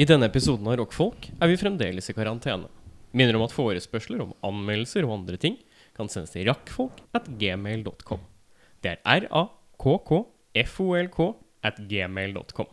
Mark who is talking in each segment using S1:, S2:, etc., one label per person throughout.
S1: I denne episoden av Rockfolk er vi fremdeles i karantene. Minner om at forespørsler om anmeldelser og andre ting kan sendes til rakkfolk at gmail.com. Det er r-a-k-k-f-o-l-k at gmail.com.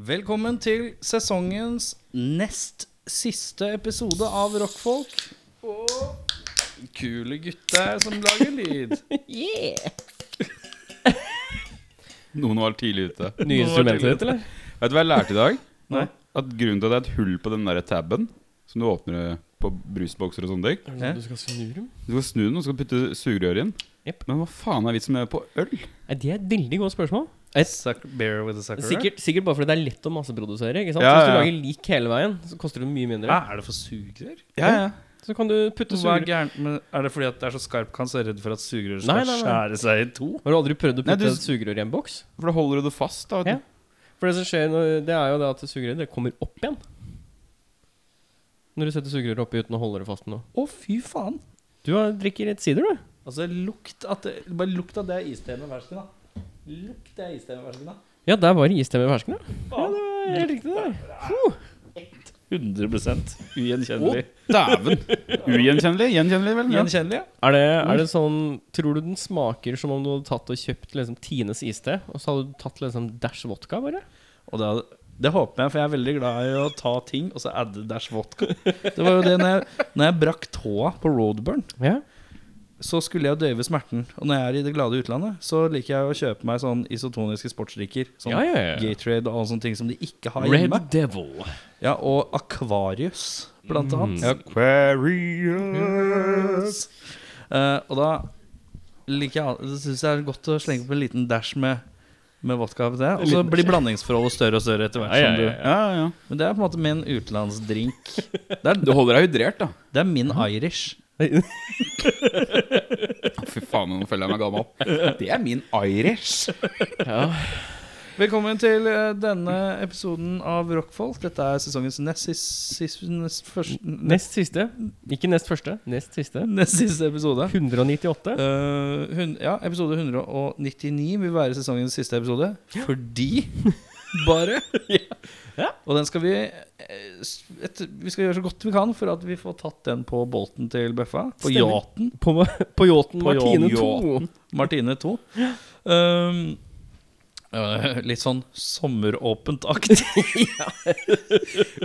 S2: Velkommen til sesongens nest siste episode av Rockfolk. Og kule gutter som lager lyd.
S3: Noen var tidlig ute. Vet
S1: Nye instrumenter, ditt, eller?
S3: du hva jeg lærte i dag?
S2: Nei.
S3: At grunnen til at det er et hull på den der tabben som du åpner på brusbokser og sånne ting
S2: sånn
S1: du skal snu dem?
S3: Du skal snu den og så skal du putte sugerøret inn.
S1: Jep.
S3: Men hva faen er vitsen med det på øl?
S1: Det er et veldig godt spørsmål. Et,
S2: Suck, bear with a sucker.
S1: sikkert, sikkert bare fordi det er lett å masseprodusere. ikke sant?
S3: Ja,
S1: Så Hvis du
S3: ja.
S1: lager lik hele veien, så koster det mye mindre.
S2: Hæ, er det for sugerør?
S3: Ja, ja.
S1: Så kan du putte
S2: Hva er
S1: sugerør
S2: gærent med Er det fordi at det er så skarp kant, så er jeg redd for at sugerør
S1: Nei,
S2: skal
S1: nei, nei.
S2: skjære seg i to?
S1: Har du aldri prøvd å
S3: Nei,
S1: putte
S3: du-
S1: et sugerør i en boks?
S3: For da holder du det fast. da vet
S1: Ja. For det som skjer, når, det er jo det at sugerøret det kommer opp igjen. Når du setter sugerøret oppi uten å holde det fast med noe.
S2: Å, fy faen.
S1: Du har- drikker litt sider, du.
S2: Altså, lukt at det, Bare lukt at det er iste med fersken, da. Lukt det er iste med fersken, da.
S1: Ja, der var det iste med fersken, ja.
S2: Faen.
S1: Det er helt riktig, det.
S2: 100 ugjenkjennelig.
S3: du. Dæven! Ugjenkjennelig? Gjenkjennelig, vel? Ja.
S2: Gjenkjennelig, ja.
S1: Er det, er det sånn Tror du den smaker som om du hadde tatt og kjøpt liksom, Tines iste, og så hadde du tatt liksom dæsj vodka, bare?
S2: Og det, det håper jeg, for jeg er veldig glad i å ta ting og så adde dash vodka. Det var jo det når jeg, når jeg brakk tåa på roadburn,
S1: Ja.
S2: så skulle jeg døyve smerten. Og når jeg er i det glade utlandet, så liker jeg å kjøpe meg sånn isotoniske sportsdrikker. Sånn
S1: Ja, ja, ja.
S2: Gatorade og alle sånne ting som de ikke har
S1: Red
S2: hjemme.
S1: Devil.
S2: Ja, og Aquarius, blant
S1: Mm.
S2: annet.
S3: Aquarius.
S2: Eh, og da liker jeg Det syns jeg er godt å slenge på en liten dash med, med vodka. på det, Og så blir blandingsforholdet større og større etter hvert.
S1: Ja, ja,
S2: som
S1: ja,
S2: du
S3: Ja, ja.
S2: Men det er på en måte min utenlandsdrink. Det er,
S3: Du holder deg hydrert, da.
S2: det er min Irish.
S3: Fy faen, nå føler jeg meg gammel. Det er min Irish.
S2: Velkommen til eh, denne episoden av Rockfolk. Dette er sesongens nest sis- sis- nest først- nest-
S1: Nest siste. Ikke nest første. Nest siste.
S2: nest siste episode.
S1: 198.
S2: Eh, hun, ja, episode 199 vil være sesongens siste episode. Fordi Bare.
S1: Ja.
S2: Og den skal vi eh, s- et, Vi skal gjøre så godt vi kan for at vi får tatt den på båten til Bøffa. På
S1: Stemmer.
S2: yachten.
S1: På, på yachten
S2: På
S1: Martine 2.
S3: yachten.
S2: Martine 2. Um, eh, litt sånn sommeråpent-aktig.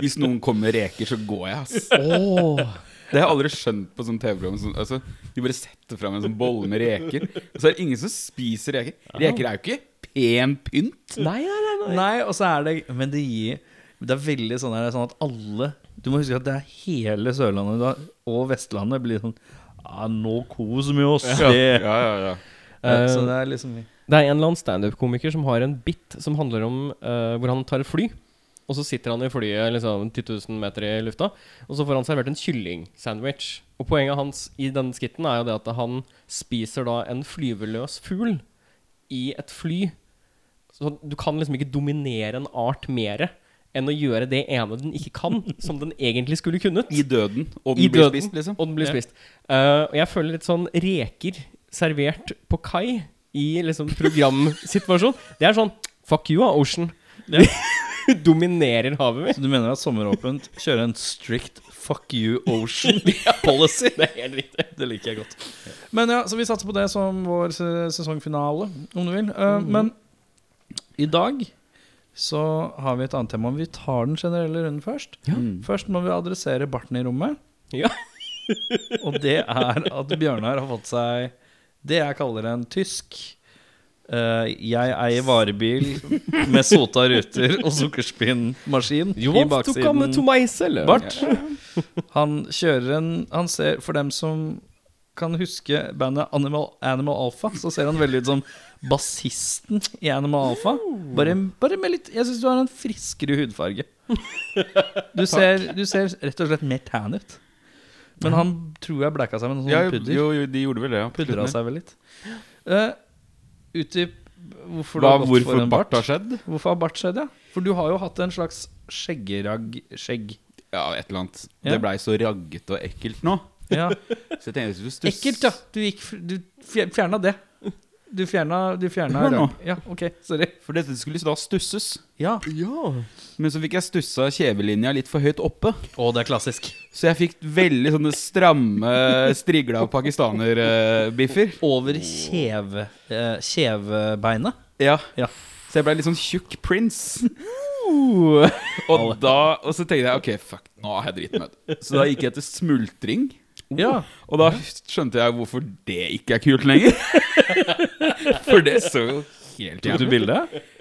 S3: Hvis noen kommer med reker, så går jeg, ass.
S1: Åh.
S3: Det har jeg aldri skjønt på sånn TV-program. Sånn, altså, de bare setter fram en sånn bolle med reker, og så er det ingen som spiser reker. Reker er jo ikke pen pynt.
S1: Nei, nei, nei. nei.
S2: Nei, og så er det Men det gir Det er veldig sånn, her, sånn at alle Du må huske at det er hele Sørlandet da, og Vestlandet blir sånn Ja, nå koser vi oss.
S3: Ja,
S2: det».
S3: ja, ja, ja.
S2: Ja, Så det er liksom
S1: Det er en eller annen standup-komiker som har en bit som handler om eh, hvor han tar et fly. Og så sitter han i flyet liksom 10 000 meter i lufta, og så får han servert en kyllingsandwich. Og poenget hans i denne skitten er jo det at han spiser da en flyveløs fugl i et fly. Så du kan liksom ikke dominere en art mere enn å gjøre det ene den ikke kan, som den egentlig skulle kunnet.
S3: I døden, og
S1: I
S3: den blir
S1: døden,
S3: spist, liksom.
S1: Og den blir
S2: Ja.
S1: spist. Eh, og jeg føler litt sånn reker servert på kai i liksom programsituasjon. Det er sånn Fuck you, ah, Ocean.
S2: Ja.
S1: Du dominerer havet mitt.
S2: Så du mener at Sommeråpent kjører en strict fuck you ocean policy?
S1: Det er helt riktig.
S2: Det liker jeg godt. Men ja, så vi satser på det som vår se- sesongfinale, om du vil. Eh,
S1: Mhm.
S2: Men i dag så har vi et annet tema. Vi tar den generelle runden først.
S3: Mm.
S2: Først må vi adressere barten i rommet.
S1: Ja.
S2: Og det er at Bjørnar har fått seg det jeg kaller en tysk. eh, jeg eier varebil med sota ruter og sukkerspinnmaskin
S1: You
S2: i
S1: want to come
S2: baksiden.
S1: to myself.
S2: Bart. Han kjører en Han ser For dem som kan huske bandet Animal, Animal Alpha, så ser han veldig ut som bassisten i Animal Alpha. Bare, bare med litt Jeg syns du har en friskere hudfarge. Du ser, du ser rett og slett mer tan ut. Men han tror jeg blæka seg med noe
S3: Ja,
S2: sånn
S3: jo,
S2: pudder.
S3: jo, de gjorde vel det, ja. på
S2: Pudra
S3: slutten.
S2: seg vel litt. Eh, utdyp hvorfor du
S3: Hva,
S2: har gått
S3: hvorfor
S2: for en
S3: bart
S2: bart.
S3: har skjedd?
S2: Hvorfor har bart skjedd, ja? For du har jo hatt en slags skjeggeragg-skjegg.
S3: Ja, et eller annet.
S2: Ja.
S3: Det blei så raggete og ekkelt nå.
S2: Ja.
S3: Så jeg tenkte jeg skulle stusse.
S2: Ekkelt, ja. Du, gikk, f- du fjer- fjerna det. Du fjerna, du fjerna
S3: Hør nå.
S2: ragg- Ja, OK. Sorry.
S3: For dette skulle da stusses.
S2: Ja.
S1: Ja.
S3: Men så fikk jeg stussa kjevelinja litt for høyt oppe.
S2: Å, det er klassisk.
S3: Så jeg fikk veldig sånne stramme, strigla pakistanerbiffer.
S2: Over kjeve, eh, kjevebeinet.
S3: Ja.
S2: Ja.
S3: Så jeg blei litt sånn tjukk prince.
S2: Uh.
S3: Og da Og så tenkte jeg ok, fuck, nå er jeg dritmett. Så da gikk jeg til smultring.
S2: Ja.
S3: Og da skjønte jeg hvorfor det ikke er kult lenger. For det så jo helt
S2: Tok du
S3: jævlig
S2: bilde?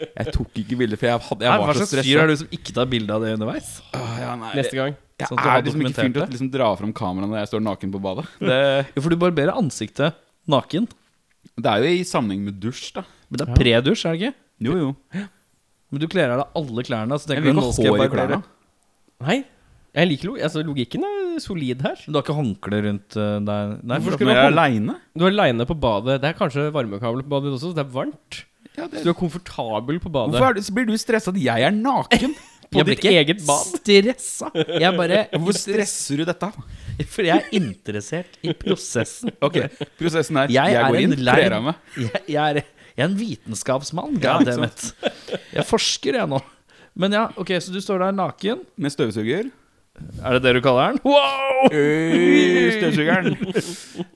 S3: Jeg tok ikke bilde, for jeg, hadde,
S2: Nei,
S3: jeg var så
S2: fyr
S3: stressa.
S2: er du som ikke tar bilde av det underveis?
S3: Åh, ja, nei,
S1: Neste gang.
S3: Jeg
S2: sånn at du har
S3: er liksom ikke
S2: dokumentert
S3: fyren til å
S2: det?
S3: liksom dra fram kameraet når jeg står naken på badet.
S2: Det... Jo, for du barberer ansiktet naken.
S3: Det er jo i sammenheng med dusj, da.
S2: Men det er
S1: Ja.
S2: predusj, er det ikke?
S3: Jo, jo.
S2: Men du kler av deg alle klærne. Så
S3: Jeg
S2: tenker
S3: vil
S2: du,
S3: ikke
S2: nå skal
S3: ha
S2: jeg
S3: hår i
S2: barbere.
S3: klærne.
S1: Nei. Jeg liker lo altså, logikken er solid her.
S2: Men Du har ikke håndkle rundt eh, deg? Nei,
S1: Hvorfor
S3: Når
S1: du
S3: jeg
S1: ha
S3: er aleine?
S1: Du er aleine på badet. Det er kanskje varmekabel på badet ditt også, så det er varmt.
S3: Ja,
S1: Så du er komfortabel på badet.
S3: Hvorfor er du, så blir du stressa at jeg er naken?
S1: På ditt eget bad.
S2: Stressa. Jeg er bare
S3: Hvorfor stresser du dette?
S2: For jeg er interessert i prosessen.
S3: Ok, Prosessen er
S2: Jeg
S3: jeg,
S2: er
S3: går
S2: en
S3: inn,
S2: lei-
S3: kler av meg.
S2: Jeg, jeg, er, jeg er en vitenskapsmann.
S3: Ja,
S2: God
S3: ikke
S2: damn it. Jeg forsker, jeg nå. Men ja, ok, så du står der naken.
S3: Med støvsuger.
S2: Er det det du kaller den? Wow!
S3: Øy, Støvsugeren.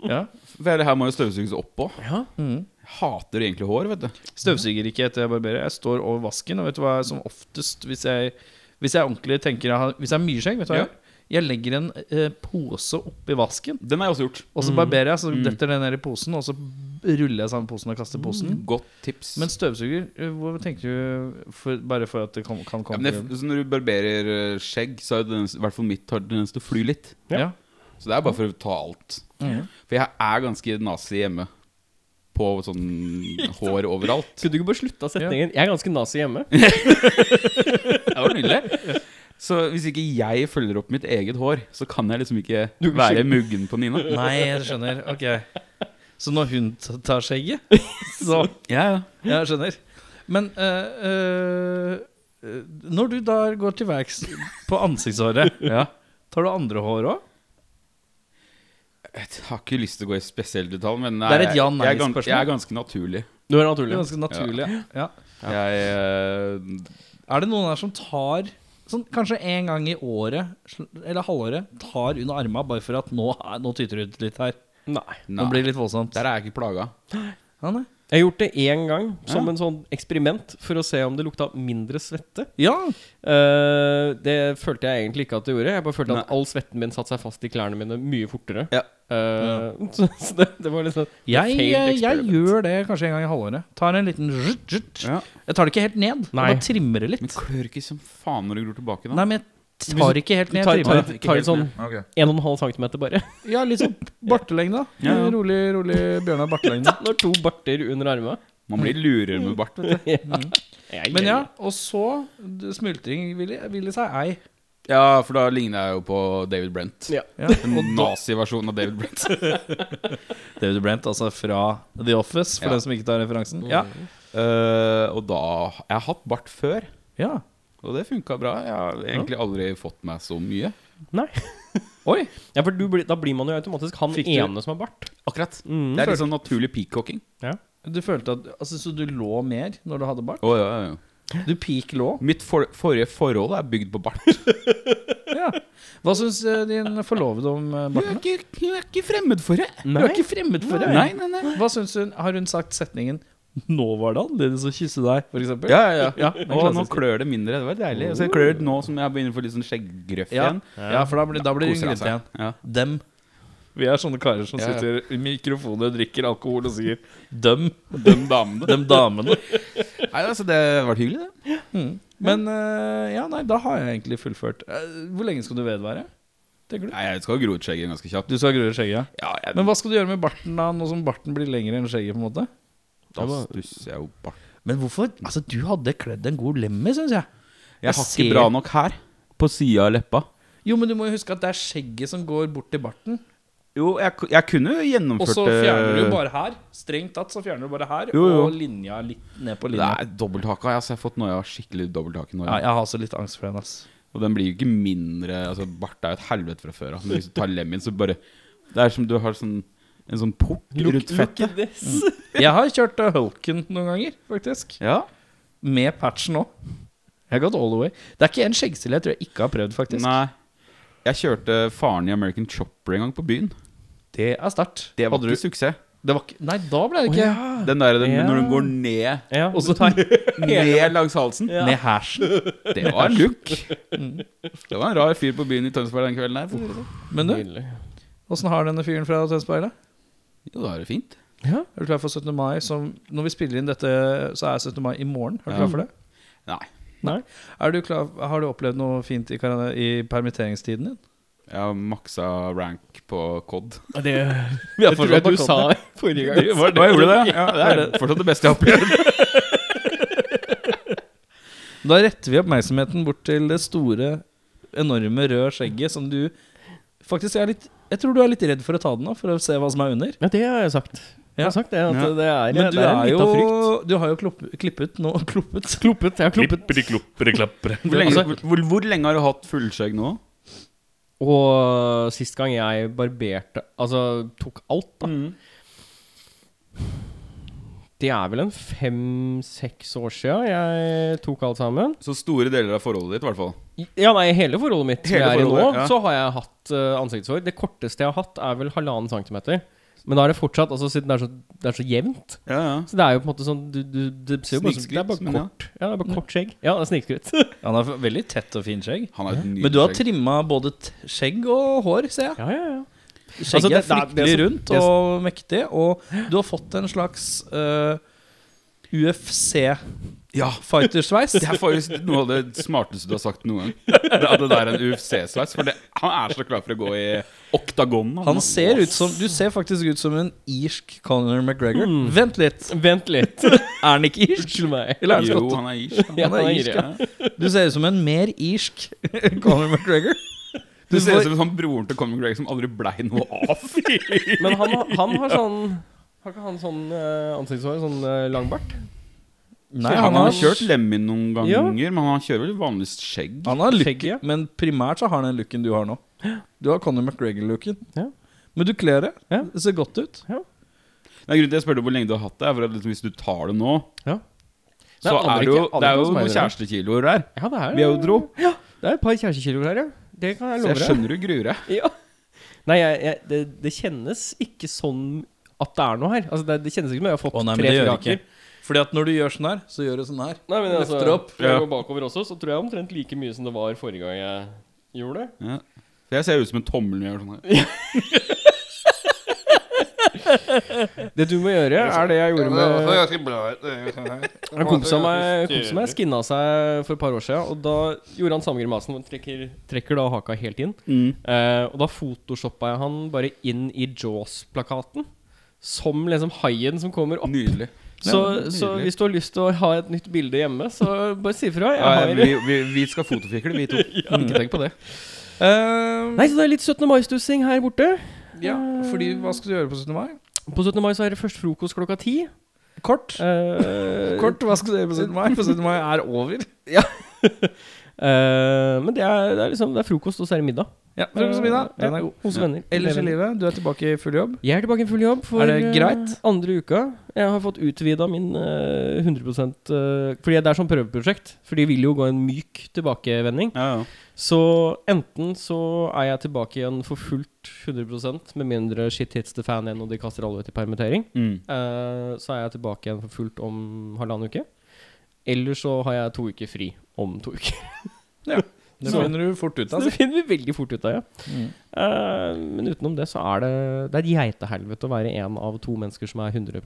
S2: Ja.
S3: For det her må jo støvsuges oppå.
S1: Ja.
S2: Mm.
S3: Jeg hater egentlig hår, vet du.
S2: Støvsuger ikke etter jeg barberer. Jeg står over vasken, og vet du hva jeg som oftest Hvis jeg, hvis jeg ordentlig tenker jeg har- Hvis jeg har mye skjegg, vet du hva
S3: Ja.
S2: jeg gjør? Jeg legger en eh, pose oppi vasken,
S3: Den har jeg også gjort.
S2: og så barberer jeg, så detter den ned i posen, og så ruller jeg sammen posen og kaster posen.
S3: Godt tips.
S2: Mm. Men støvsuger, eh, hvor tenker du for, Bare for at det kan, kan
S3: ja,
S2: komme
S3: men det, så når du barberer eh, skjegg, så er jo tendens- i hvert fall mitt har tendens til å fly litt.
S2: ja. Ja.
S3: Så det er bare for å ta alt.
S2: Mhm.
S3: For jeg er ganske nazi hjemme. På sånn hår overalt.
S1: Skulle du ikke bare slutta setningen? Jeg er ganske nazi hjemme.
S3: Det var nydelig. Så hvis ikke jeg følger opp mitt eget hår, så kan jeg liksom ikke
S1: Du kan
S3: være
S1: ikke-
S3: muggen på Nina.
S2: Nei, jeg skjønner. Ok. Så når hun t- tar skjegget, så
S3: Ja, ja.
S2: Jeg skjønner. Men eh, eh, eh, når du da går til verks på ansiktshåret, tar du andre hår òg?
S3: Jeg har ikke lyst til å gå i spesiell detalj, men
S2: Det er et
S3: jeg-
S2: ja-nei
S3: jeg, er gan-
S2: spørsmål.
S3: jeg er ganske naturlig.
S1: Du er
S2: Det er
S1: naturlig.
S2: ganske naturlig. Ja.
S3: Jeg, eh,
S2: Er det noen her som tar sånn, kanskje en gang i året sl- eller halvåret tar under arma bare for at nå, er- nå tyter det ut litt her?
S1: Nei.
S3: nei,
S2: Nå blir det litt voldsomt.
S3: der er jeg ikke plaga.
S2: Ja, nei.
S1: Jeg har gjort det én gang som
S3: Ja.
S1: en sånn eksperiment for å se om det lukta mindre svette.
S2: ja.
S1: Eh, det følte jeg egentlig ikke at det gjorde. Jeg bare følte at
S3: Nei.
S1: all svetten min satte seg fast i klærne mine mye fortere.
S3: Ja.
S1: Eh, Så, så det, det var liksom
S2: Jeg,
S1: failed
S2: eh, jeg
S1: experiment.
S2: gjør det kanskje en gang i halvåret. Tar en liten zzt, zzt.
S3: Ja.
S2: Jeg tar det ikke helt ned. Jeg
S1: Nei.
S2: bare trimmer det
S3: Men
S2: litt.
S3: klør ikke som faen når du gror tilbake, da.
S2: Nei, men jeg tar ikke helt
S1: Du
S2: ned.
S1: tar,
S2: jeg trimmer
S1: tar,
S2: det.
S1: tar, tar sånn 1,5 cm bare.
S2: Ja, litt sånn bartelengde. da.
S3: Ja, ja.
S2: Rolig, rolig Bjørnar Bartelengde.
S1: Når to barter under armene.
S3: Man blir lurere med bart, vet du. Mm.
S1: Jeg
S2: Men ja, og så d- smultring ville, ville seg ei.
S3: Ja, for da ligner jeg jo på David Brent.
S1: Ja.
S2: Ja.
S3: En naziversjon av David Brent.
S2: David Brent, altså fra The Office, for
S3: Ja.
S2: dem som ikke tar referansen. Ja.
S3: Eh, og da Jeg har hatt bart før,
S2: ja.
S3: og det funka bra. Jeg har egentlig aldri fått meg så mye.
S2: Oi.
S1: Ja, for du, blir- da blir man jo automatisk han
S3: Fikk du-
S1: ene som har bart.
S3: Akkurat.
S1: Mm.
S3: Det er litt sånn naturlig peacocking.
S2: Du følte at, altså Så du lå mer når du hadde bart?
S3: Oh, ja, ja, ja.
S2: Du peak lå?
S3: Mitt for forrige forhold er bygd på bart.
S2: Ja. Hva syns eh, din forlovede om eh,
S3: Hun er
S2: barten?
S3: ikke, hun er ikke fremmed for det.
S2: Hun er ikke fremmed for det.
S3: Nei, nei, nei.
S2: Hva syns hun? Har hun sagt setningen 'Nå var det annerledes å kysse deg', for eksempel?
S3: Ja, ja, ja. Oh.
S2: Ja, den
S3: Å, nå
S2: klassiske.
S3: klør det mindre. Det var deilig. Og så klør det nå som jeg begynner å få litt sånn skjegggrøff
S2: Ja,
S3: igjen.
S2: ja for da blir, da blir hun
S3: Koser han
S2: grinete
S3: seg.
S2: igjen.
S3: Ja.
S2: Dem. Vi er sånne karer som
S3: Ja, ja.
S2: sitter i mikrofoner og drikker alkohol og sier dem,
S3: De damene.
S2: dem damene.
S3: Nei, altså, det var hyggelig, det.
S2: Men eh, ja, nei, da har jeg egentlig fullført. Eh, hvor lenge skal du vedvære? Tenker du?
S3: Nei, jeg skal gro ut skjegget ganske kjapt.
S2: Du skal grue skjegget, ja.
S3: Ja, jeg,
S2: Men hva skal du gjøre med barten da, nå som barten blir lengre enn skjegget? på en måte?
S3: da stusser jeg jo bart.
S2: Men hvorfor? Altså, Du hadde kledd en god lemme, syns jeg.
S3: Jeg har
S2: ser-
S3: ikke bra nok her. På sida av leppa.
S2: Jo, men du må jo huske at det er skjegget som går bort til barten.
S3: Jo, jeg, ku- jeg kunne jo
S2: Og
S3: gjennomført
S2: så fjerner du
S3: eh,
S2: bare her. Strengt tatt så fjerner du bare her,
S3: Jo, jo.
S2: og linja litt ned på
S3: Det
S2: linja.
S3: er dobbelthaka. Altså, jeg har fått noia skikkelig dobbelthake nå.
S2: Ja, jeg har også litt angst for den, ass.
S3: Og den blir jo ikke mindre Altså, Bart er jo et helvete fra før. Altså. Men Hvis du tar lemmen, så bare Det er som du har sånn, en sånn port rundt fettet.
S2: Jeg har kjørt eh, Hulken noen ganger, faktisk.
S3: Ja.
S2: Med patchen òg. Jeg har gått all the way. Det er ikke en skjeggstille jeg tror jeg ikke har prøvd, faktisk.
S3: Nei. Jeg kjørte faren i American Chopper en gang på byen.
S2: Det er sterkt.
S3: Det var
S2: Hadde du-
S3: ikke suksess.
S2: det var ikke Nei, da ble det ikke
S3: Den der den,
S1: Ja.
S3: når den går ned,
S1: Ja,
S2: Og så
S3: ned langs halsen.
S1: Ja.
S2: ned hersen.
S3: Det var en look. Mm. Det var en rar fyr på byen i Tønsberg den kvelden her. for å si det sånn.
S2: Men du, åssen har denne fyren fra Tønsberg det?
S3: Jo, da er det fint.
S1: Ja.
S2: Er du klar for 17. mai? Som, når vi spiller inn dette, så er 17. mai i morgen. Er du
S3: Ja.
S2: klar for det?
S3: Nei.
S1: Nei.
S2: Er du klar, har du opplevd noe fint i, karan- i permitteringstiden din?
S3: Jeg har maksa rank på COD.
S1: Det, det tror jeg du sa forrige gang.
S3: Hva gjorde du det? Ja, det er fortsatt det beste jeg har opplevd.
S2: Da retter vi oppmerksomheten bort til det store, enorme røde skjegget som du Faktisk, jeg er litt jeg tror du er litt redd for å ta den nå, for å se hva som er under.
S1: Ja, det har jeg sagt. Jeg
S2: Ja.
S1: har sagt det, at
S3: Ja.
S1: det er,
S2: Men
S1: det
S2: du
S1: er, en
S2: er,
S1: liten frykt.
S2: jo Du har jo klopp, klippet nå Kloppet?
S1: Kluppet. Jeg har kluppet.
S3: Hvor lenge, hvor, hvor lenge har du hatt fullskjegg nå?
S1: Og sist gang jeg barberte Altså tok alt, da.
S3: Mm.
S1: Det er vel en fem-seks år siden jeg tok alt sammen.
S3: Så store deler av forholdet ditt, i hvert fall.
S1: I- Ja, nei, hele forholdet mitt som
S3: Hele
S1: jeg er i nå,
S3: forholdet, ja.
S1: så har jeg hatt eh, ansiktshår. Det korteste jeg har hatt, er vel halvannen centimeter. Men da er det fortsatt Altså siden det er så, det er så jevnt
S3: Ja, ja.
S1: Så det er jo på en måte sånn du, du, Det ser jo bare ut som- det er
S3: Snikskryt,
S1: bare
S3: men ja.
S1: kort ja. det er bare kort skjegg. Ja, det er snikskryt.
S2: Han har veldig tett og fint skjegg.
S3: Han er et nydelig
S2: Men du har
S3: skjegg.
S2: trimma både t skjegg og hår, ser jeg.
S1: ja, ja, ja. Altså,
S2: Skjegget
S1: det- det
S2: er
S1: er- det
S2: fryktelig
S1: som-
S2: rundt
S1: det
S2: og mektig, og du har fått en slags eh, UFC-fightersveis.
S3: Ja, det er faktisk noe av det smarteste du har sagt noen gang. Det at det der er en UFC-sveis. For det, han er så klar for å gå i oktagon.
S2: Han ser ut som Du ser faktisk ut som en irsk Conor McGregor.
S1: Mm.
S2: Vent litt,
S1: Vent litt.
S2: er han ikke irsk?
S1: Unnskyld meg.
S2: Eller er han
S3: Jo,
S2: skott?
S3: han er irsk.
S1: Ja,
S2: Han er
S1: han er
S2: irsk,
S1: irsk,
S2: ja. Du ser ut som en mer irsk Conor McGregor. Du
S3: Du ser
S2: får-
S3: ut som han broren til Conor McGregor som aldri blei noe av.
S1: Men han, har- han har sånn Har ikke han sånn eh, ansiktshår? Sånn eh, lang bart?
S2: Nei,
S3: han, har kjørt Lemmy noen ganger,
S1: Ja.
S3: men han kjører vel vanligvis skjegg.
S2: Han har look,
S1: Skjegget.
S2: men primært så har han den looken du har nå. Du har Conor McGregor-looken.
S1: Ja.
S2: Men du kler det.
S1: Ja.
S2: Det ser godt ut.
S3: Det er grunnen til jeg spurte hvor lenge du har hatt det. er For at liksom, hvis du tar det nå,
S1: Ja.
S3: så
S1: Nei, aldri
S3: er det jo,
S1: ikke- aldri
S3: det er
S1: noe
S3: jo
S1: som er
S3: noen
S1: i det.
S3: kjærestekiloer der.
S1: Ja, det er
S3: Vil jeg jo tro.
S1: Det er et par kjærestekiloer her, ja. Det kan jeg
S3: Så
S1: love
S3: jeg
S1: deg.
S3: skjønner du gruer deg.
S1: Ja. Nei, jeg, jeg, det, det kjennes ikke sånn at det er noe her. Altså, det, det kjennes ikke som jeg har fått
S2: Å, nei, men det
S1: tre-fire
S2: gjør det
S1: aker.
S2: ikke. Fordi at når du gjør sånn her, så gjør du sånn her.
S1: Nei, men altså,
S2: Løfter opp.
S1: Når jeg
S3: Ja.
S1: går bakover også, så tror jeg omtrent like mye som det var forrige gang jeg gjorde det.
S3: Ja. Så Jeg ser ut som en tommel når jeg gjør sånn her.
S1: Det du må gjøre, er det jeg gjorde med sånn En kompis av meg, kompis av meg skinna seg for et par år siden, og da gjorde han samme grimasen. hvor Han trekker, trekker da haka helt inn.
S3: Mm.
S1: Eh, og da photoshoppa jeg han bare inn i Jaws-plakaten. Som liksom haien som kommer opp.
S3: Nydelig.
S1: Så,
S3: Ja,
S1: så
S3: nydelig.
S1: hvis du har lyst til å ha et nytt bilde hjemme, så bare si ifra. Jeg har
S3: Ja, vi, vi, vi skal fotofikle, vi to. Ikke tenk på det.
S2: Eh,
S1: Nei, så det er litt 17. mai-stussing her borte.
S2: ja, fordi hva skal du gjøre på 17. mai?
S1: På 17. mai så er det først frokost klokka ti.
S2: Kort.
S1: Eh,
S2: Kort, hva skal du gjøre på 17. mai? For 17. mai er over.
S1: eh, men det er, det er liksom Det er frokost, og så er det middag.
S2: Ja, frokost og
S1: Eh,
S2: middag. Den er god.
S1: Hos venner.
S2: Ellers i livet, du er tilbake i full jobb.
S1: Jeg er tilbake i full jobb for
S2: Er
S1: eh,
S2: det greit?
S1: andre uka. Jeg har fått utvida min eh, 100 eh, Fordi det er sånn prøveprosjekt. For de vil jo gå en myk tilbakevending.
S3: Ja, ja.
S1: Så enten så er jeg tilbake igjen for fullt 100 med mindre shit hits the fan igjen og de kaster alle ut i permittering.
S3: Mm.
S1: Eh, så er jeg tilbake igjen for fullt om halvannen uke. Eller så har jeg to uker fri om to uker.
S2: Det
S1: Så-
S2: finner du fort ut av. altså.
S1: Det finner vi veldig fort ut av, ja.
S2: Mm.
S1: Eh, men utenom det så er det Det er et geitehelvete å være en av to mennesker som er 100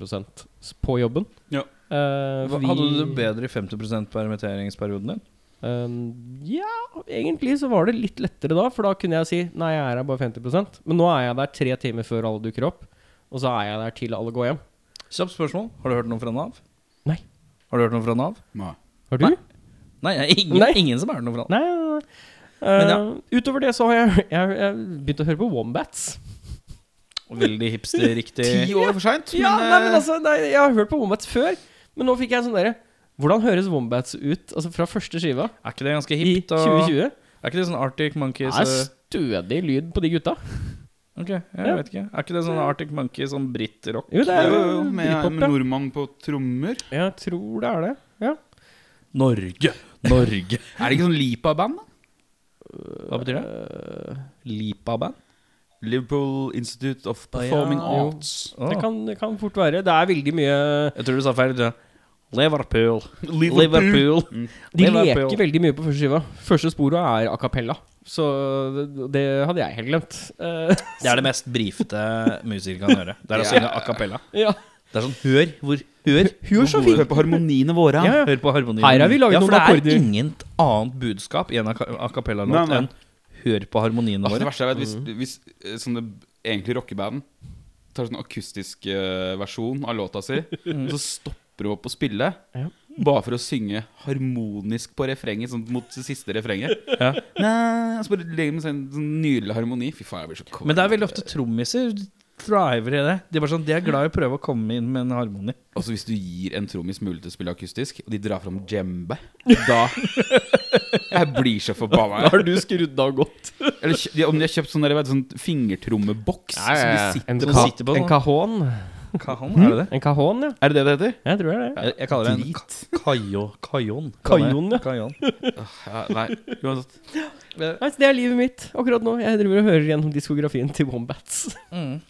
S1: s- på jobben.
S3: Ja.
S1: Eh, fordi-
S2: Hadde du det bedre i 50 permitteringsperioden din?
S1: Eh, ja, egentlig så var det litt lettere da, for da kunne jeg si nei, jeg er her bare 50 Men nå er jeg der tre timer før alle dukker opp, og så er jeg der til alle går hjem.
S2: Kjapt spørsmål. Har du hørt noe fra Nav?
S1: Nei.
S2: Har du hørt noe fra Nav?
S3: Nei.
S1: Har du?
S2: Nei, det er ingen,
S1: Nei.
S2: ingen som er noe for han.
S1: Nei, nei, nei.
S2: Men
S1: Eh, Utover det så har jeg, jeg, jeg begynt å høre på Wombats.
S2: Veldig hipster-riktig.
S3: Ti år for seint,
S1: Ja,
S3: men,
S1: nei, men
S3: eh,
S1: altså, nei, jeg har hørt på Wombats før, men nå fikk jeg sånn derre Hvordan høres Wombats ut altså fra første skiva
S2: Er ikke det ganske
S1: i
S2: hipt? og-
S1: 2020?
S2: Er ikke det sånn Arctic
S1: Det
S2: Monkeys
S1: er
S2: eh,
S1: stødig lyd på de gutta.
S2: Ok, jeg
S1: Ja.
S2: vet ikke. Er ikke det sånn Arctic Monkey som brittrock?
S1: Jo, det er
S3: jo,
S1: jo
S3: jo, med, med
S1: hiphop,
S3: nordmann på trommer.
S1: ja. Jeg tror det er det. Ja.
S2: Norge! Norge!
S3: Er det ikke sånn Lipa-band, da?
S2: Hva betyr det? Eh, Lipa-band?
S3: Liverpool Institute of
S2: ja.
S3: Performing
S1: Jo.
S3: Arts.
S1: Det kan, det kan fort være. Det er veldig mye
S2: Jeg tror du sa feil. du sa Liverpool.
S3: Mm.
S1: De
S2: Liverpool.
S1: leker veldig mye på første skiva. Første sporet er a cappella. Så det, det hadde jeg helt glemt. Eh,
S2: Det er det mest brifete musikere kan gjøre. Det er å synge a cappella.
S1: ja.
S2: Det er sånn Hør hvor Hør.
S1: Hør så fint!
S3: Hør på harmoniene våre.
S1: Ja, ja.
S2: Hør på harmonien.
S1: Her har vi laget
S2: ja, for
S1: noen
S2: det
S1: akkorder.
S2: er inget annet budskap i en a- a
S3: Nei,
S2: cappella-låt
S3: nei.
S2: enn Hør på harmoniene
S3: Åh, det
S2: våre.
S3: verste jeg vet, hvis, hvis eh, sånne b- egentlig rockeband tar sånn akustisk eh, versjon av låta si, og så stopper de opp å spille
S1: Ja.
S3: bare for å synge harmonisk på refrenget, sånn mot det siste refrenget.
S2: Ja.
S3: Nei, og så bare legger de med sånn, sånn nydelig harmoni. Fy faen, jeg blir så kåt.
S2: Men det er veldig ofte trommiser thriver i det. De er bare sånn De er glad i å prøve å komme inn med en harmoni.
S3: Altså Hvis du gir en trommis mulighet til å spille akustisk, og de drar fram djembe, da Jeg blir så forbanna.
S1: Har du skrudd av godt?
S3: Eller kjø- de- om de har kjøpt sånn, der, vet, du, sånn fingertrommeboks
S1: Ja, ja, ja.
S3: som de sitter
S1: En,
S2: som
S1: ka
S2: sitter på
S1: en
S2: sånn.
S1: cajon.
S2: Kajon, er det det?
S1: En cajon, ja.
S3: Er det det det heter?
S1: Jeg tror det er det.
S2: Jeg, jeg kaller det en
S3: Drit.
S2: ka- kajo... Kajon.
S1: Kajon, ja.
S2: Kajon.
S3: Åh, ja, nei, uansett.
S1: Nei, så det er livet mitt akkurat nå. Jeg driver og hører gjennom diskografien til Wombats.
S2: Mm.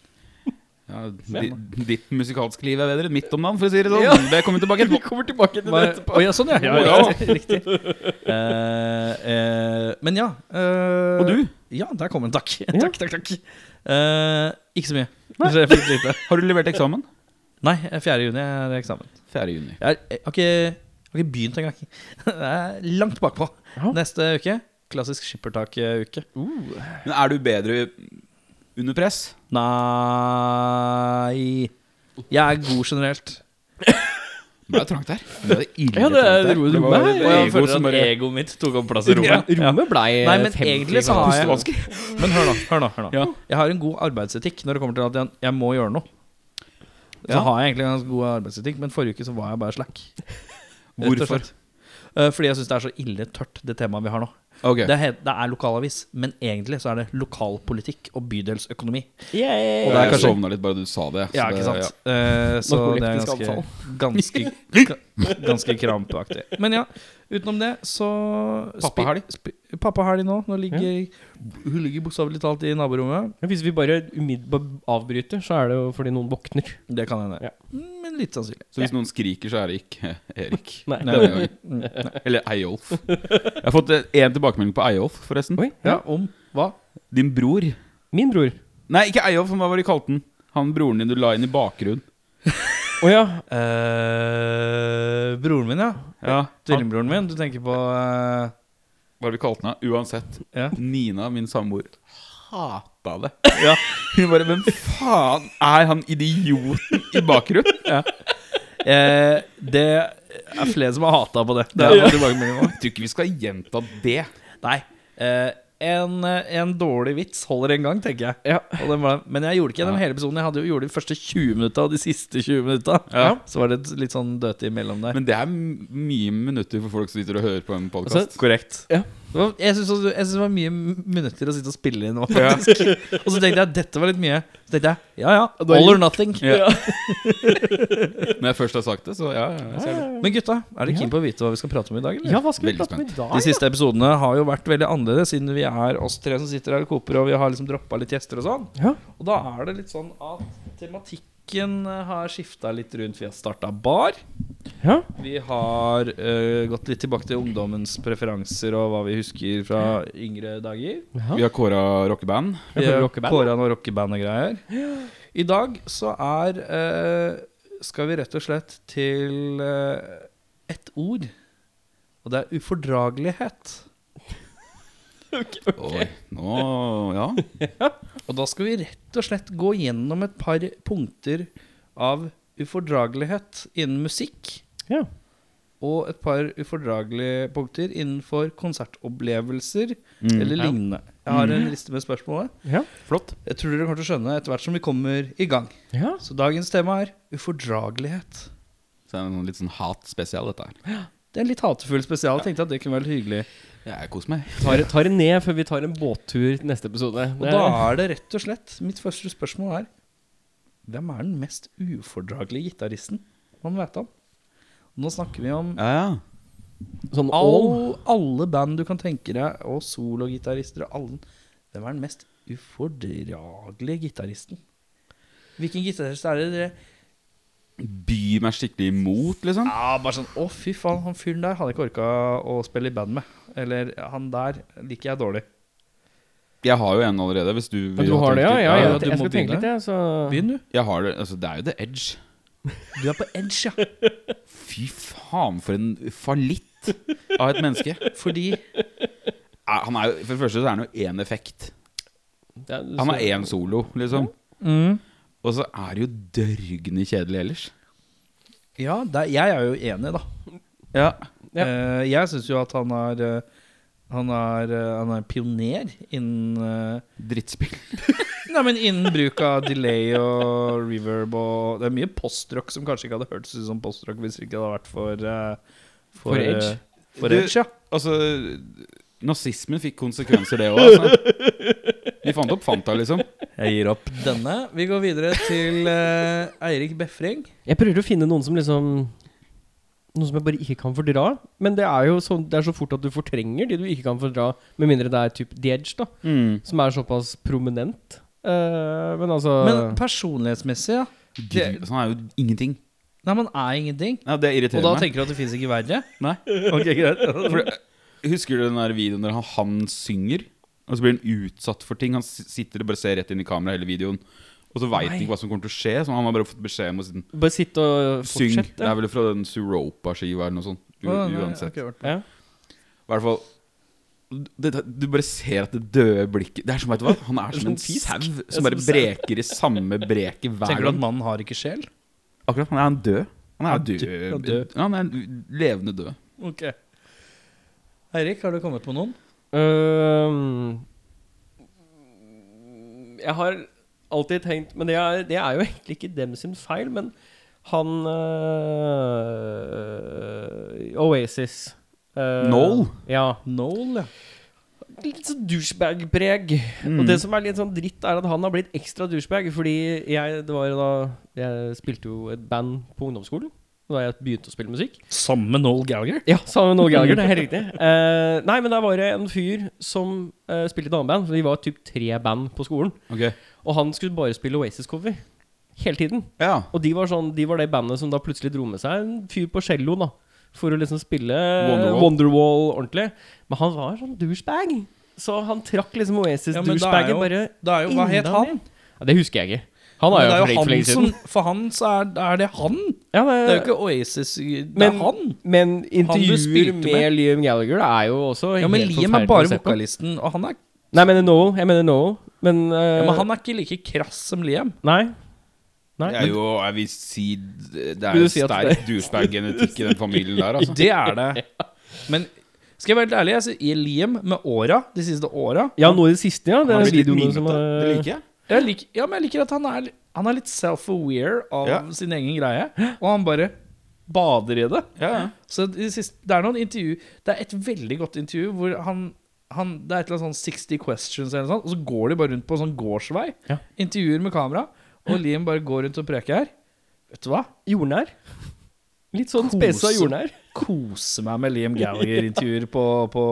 S3: Ja, di, ditt musikalske liv er bedre enn mitt om dagen, for å si det sånn.
S1: Ja.
S3: Det kommer tilbake etterpå.
S1: kommer tilbake
S2: Bare- Å ja, sånn, ja.
S1: Ja,
S3: ja.
S2: Riktig. Eh, eh, men ja eh,
S3: Og du?
S2: Ja, der kom den. Takk.
S1: Ja.
S2: takk, takk, takk. Eh, ikke så mye.
S1: Nei.
S2: Så jeg fikk lite.
S3: Har du levert eksamen?
S2: Nei, 4. juni er eksamen.
S3: 4. juni.
S2: Jeg, er, jeg har ikke, jeg har ikke begynt engang. Jeg er langt bakpå.
S1: Ja.
S2: Neste uke klassisk skippertak-uke.
S3: Men er du bedre under press?
S2: Nei Jeg er god generelt.
S3: Det er trangt her. Det er ille
S1: Ja, det er
S3: trangt her.
S1: ro-
S3: Det var-
S1: rommet er-
S3: det var
S1: Jeg
S3: ego som bare-
S2: egoet mitt tok opp plass
S1: Rommet blei
S2: Altså, Nei, men egentlig så har jeg Men hør nå, hør nå, hør nå.
S3: Ja.
S2: Jeg har en god arbeidsetikk når det kommer til at jeg, jeg må gjøre noe. Så
S3: Ja.
S2: har jeg egentlig en ganske god arbeidsetikk, men forrige uke så var jeg bare slack. Rett og
S3: Hvorfor?
S2: slett. Eh, Fordi jeg syns det er så ille tørt, det temaet vi har nå.
S3: Ok.
S2: Det, er, helt- det er lokalavis, men egentlig så er det lokalpolitikk og bydelsøkonomi.
S1: Yeah.
S2: Og det er
S3: jeg
S2: kanskje-
S3: sovna litt bare du sa det. så
S2: Ja, ikke
S3: det-
S2: sant? Eh, så det er
S1: Narkoleptisk
S2: ganske, ganske, ga- ganske krampaktig. Men ja, utenom det så
S3: Pappahelg?
S2: spi- Pappahelg nå. Nå ligger Hun ligger bokstavelig talt i naborommet.
S1: Hvis vi bare umiddelbart avbryter, så er det jo fordi noen våkner.
S2: Det kan hende.
S1: Ja.
S2: Men litt sannsynlig.
S3: Så hvis noen skriker, så er det ikke Erik.
S1: Nei.
S3: Denne gangen.
S2: Mm.
S3: Eller Eyolf. Jeg har fått én tilbakemelding på Eyolf, forresten.
S1: Oi.
S2: Ja, om hva?
S3: Din bror
S1: Min bror.
S3: Nei, ikke Eyolf, men hva var det de kalte den? Han broren din du la inn i bakgrunnen.
S1: Å ja.
S2: Eh, broren min, ja.
S3: Ja, han,
S2: Tvillingbroren min. Du tenker på eh,
S3: Hva var det vi kalte den? da? Uansett.
S2: Ja.
S3: Nina, min samboer, hata det. Hun bare Hvem faen er han idioten i bakgrunnen?
S2: eh, Det er flere som har hata på det. det er
S3: Ja.
S2: noen tilbakemeldinger om.
S3: Jeg tror ikke vi skal gjenta det.
S2: Nei. eh, en, eh, en dårlig vits holder en gang, tenker jeg.
S1: Ja.
S2: Og den var, men jeg gjorde ikke gjennom
S3: Ja.
S2: hele episoden. Jeg hadde jo gjorde det de første 20 minutta og de siste 20 minutta.
S3: Ja.
S2: Så var det et litt sånn dødt imellom der.
S3: Men det er m- mye minutter for folk som sitter og hører på en podkast.
S1: Altså,
S2: Korrekt.
S1: Ja.
S2: Det var, jeg syns også- jeg syns det var mye minutter å sitte og spille inn nå.
S3: Ja.
S2: Og så tenkte jeg at dette var litt mye. Så tenkte jeg ja ja,
S1: Da
S2: all or nothing.
S3: Ja. Når jeg først har sagt det, så ja. ja, jeg ser det.
S2: Men gutta, er dere
S1: Ja.
S2: keen på å vite hva vi skal prate om i dag?
S1: Ah,
S2: eller?
S1: ja, hva skal vi
S3: Veldig
S1: prate om i dag?
S2: De siste episodene har jo vært veldig annerledes, siden vi er oss tre som sitter her og koper, og vi har liksom droppa litt gjester og sånn.
S1: Ja.
S2: Og da er det litt sånn at tematikken eh, har skifta litt rundt. Vi har starta bar.
S1: Ja.
S2: Vi har eh, gått litt tilbake til ungdommens preferanser og hva vi husker fra yngre dager.
S1: Ja.
S3: Vi har kåra rockeband.
S1: Jeg
S2: Vi
S1: føler
S2: har
S1: rockeband.
S2: kåra noe rockeband og greier. I dag så er eh, Skal vi rett og slett til eh, ett ord. Og det er ufordragelighet.
S3: Oi, nå Ja.
S2: Og da skal vi rett og slett gå gjennom et par punkter av ufordragelighet innen musikk
S1: Ja.
S2: og et par ufordragelige punkter innenfor konsertopplevelser
S3: Mm.
S2: eller
S1: Ja.
S2: lignende. Jeg har en liste med spørsmålet.
S1: Ja, flott.
S2: Jeg tror dere kommer til å skjønne etter hvert som vi kommer i gang.
S1: Ja.
S2: Så dagens tema er ufordragelighet.
S3: Så det er en litt sånn hatspesial, dette her.
S2: Det er en litt hatefull spesial. Jeg tenkte at det kunne være litt hyggelig.
S3: Jeg koser meg.
S1: Tar, tar det ned før vi tar en båttur til neste episode.
S2: Og da er det rett og slett Mitt første spørsmål er Hvem er den mest ufordragelige gitaristen man vet om? Nå snakker vi om
S3: Ja, ja.
S1: sånn all
S2: all, alle band du kan tenke deg, og sologitarister og alle. Hvem er den mest ufordragelige gitaristen? Hvilken gitarist er det dere
S3: Byr meg skikkelig imot, liksom.
S2: Ja, bare sånn Å, fy faen, han fyren der hadde jeg ikke orka å spille i band med. Eller han der liker jeg dårlig.
S3: Jeg har jo en allerede, hvis du
S1: ja, Du har det, ja? ja,
S2: Ja,
S1: ja,
S2: ja, du
S1: jeg
S2: må
S1: skal tenke
S2: begynne.
S1: litt, jeg. Så
S2: Begynn, du.
S3: Jeg har det, altså Det er jo The Edge.
S2: Du er på edge, ja.
S3: Fy faen, for en fallitt av et menneske.
S2: Fordi
S3: Ja, Han er jo, for det første så er han jo én effekt.
S1: Ja, du-
S3: Han har én solo, liksom.
S2: mm,
S3: Og så er det jo dørgende kjedelig ellers.
S2: Ja, der, jeg er jo enig, da.
S3: Ja.
S1: Ja.
S2: Eh, jeg syns jo at han er eh, han er, eh, han er en pioner innen eh,
S3: Drittspill.
S2: Nei, men innen bruk av delay og reverb og Det er mye postrock som kanskje ikke hadde hørtes ut som postrock hvis det ikke hadde vært for eh,
S1: For Edge.
S2: eh, For
S3: Du-
S2: Edge, ja.
S3: Altså, nazismen fikk konsekvenser, det òg, altså. De fant opp Fanta, liksom.
S2: Jeg gir opp denne. Vi går videre til eh, Eirik Befring.
S1: Jeg prøver å finne noen som liksom Noen som jeg bare ikke kan fordra. Men det er jo sånn Det er så fort at du fortrenger de du ikke kan fordra, med mindre det er typ The Edge, da.
S3: Mm.
S1: Som er såpass prominent. Eh, men altså
S2: Men personlighetsmessig, ja.
S3: Gud, Så han er jo ingenting.
S2: Nei, man er ingenting.
S3: Ja, det
S2: Og da
S3: irriterer meg.
S2: tenker du at det fins ikke verre?
S3: Nei.
S2: Ok, greit.
S3: For, det- husker du den der videoen der han, han synger? Og så blir han utsatt for ting. Han s- sitter og bare ser rett inn i kameraet hele videoen. Og så veit han
S1: Nei.
S3: ikke hva som kommer til å skje, så han har bare fått beskjed om å si-
S1: Bare sitt og
S3: syng.
S1: fortsett.
S3: Det er vel fra den Suropa-skiva eller noe sånt. U
S2: Å, nei, jeg
S3: uansett.
S2: har ikke hørt på.
S1: Ja.
S3: I hvert fall det, det, Du bare ser at det døde blikket Det er som, vet du hva? Han er som en
S1: Som fisk.
S3: sau
S1: som
S3: som bare
S1: sau.
S3: breker i samme breket hver
S2: Tenker du at
S3: gang.
S2: mannen har ikke sjel?
S3: Akkurat, han er en død. Han er
S2: Han er død. Han er
S3: død.
S2: død.
S3: Ja, Han er en levende død.
S2: Ok. Eirik, har du kommet på noen?
S1: Øhm, jeg har alltid tenkt Men det er, det er jo egentlig ikke dem sin feil, men han øh, Oasis. øh,
S3: Noel?
S1: Ja.
S2: Noel, ja.
S1: Litt sånn douchebag-preg. Og det som er litt sånn dritt, er at han har blitt ekstra douchebag. Fordi jeg, det var jo da, jeg spilte jo et band på ungdomsskolen da jeg begynte å spille musikk.
S2: Samme Noel Gallagher?
S1: Ja, sammen med Noel Gallagher, det er helt riktig. Eh, nei, men der var det en fyr som eh, spilte i et annet band. for Vi var typ tre band på skolen.
S3: Ok.
S1: Og han skulle bare spille Oasis-cover hele tiden.
S3: Ja.
S1: Og de var, sånn, de var det bandet som da plutselig dro med seg en fyr på celloen da, for å liksom spille
S3: Wonderwall.
S1: Wonderwall, ordentlig. Men han var sånn douchebag. Så han trakk liksom
S2: Ja, men da er
S1: Oasis-douchebagen
S2: jo-
S1: bare
S2: Det er jo, hva het
S1: inna
S2: han?
S1: mi. Ja, det husker jeg ikke. Han er
S2: Men
S1: jo,
S2: det er jo
S1: for
S2: han
S1: lenge
S2: som
S1: siden.
S2: For han så er, er det han.
S1: Ja,
S2: Det er jo ikke Oasis. Det er
S1: Men-
S2: han.
S1: Men intervjuer
S2: spilte
S1: med,
S2: med.
S1: Liam Gallagher er jo også
S2: Ja, men
S1: helt
S2: Liam er
S1: forferdelig
S2: bare
S1: å se på.
S2: vokalisten, og han er
S1: Nei, jeg mener Noel. Jeg mener Noel. Men, eh,
S2: ja, Men han er ikke like krass som Liam.
S1: Nei. Nei.
S3: Det er jo, jeg vil si Det er
S1: Vil du
S3: jo
S1: si at
S3: sterk douchebag-genetikk i den familien der, altså.
S2: Det er det. Men skal jeg være helt ærlig, jeg sier i Liam med åra, de siste åra
S1: Ja, nå i det siste, ja. Det
S3: Han
S1: er
S3: har blitt litt
S1: videoene som
S3: mimete.
S1: har-
S3: Det liker jeg.
S2: jeg liker, Ja, men jeg liker at han er, han er litt self-aware av
S3: Ja.
S2: sin egen greie, og han bare bader i det.
S3: Ja, ja.
S2: Så de siste, det er noen intervju Det er et veldig godt intervju hvor han, han Det er et eller annet sånn 60 questions eller noe sånt, og så går de bare rundt på en sånn gårdsvei.
S1: Ja.
S2: Intervjuer med kamera, og Liam bare går rundt og preker her. Vet du hva?
S1: Jordnær. Litt sånn
S2: Kose.
S1: spesa jordnær.
S2: Kose meg med Liam Gallagher-intervjuer på, på,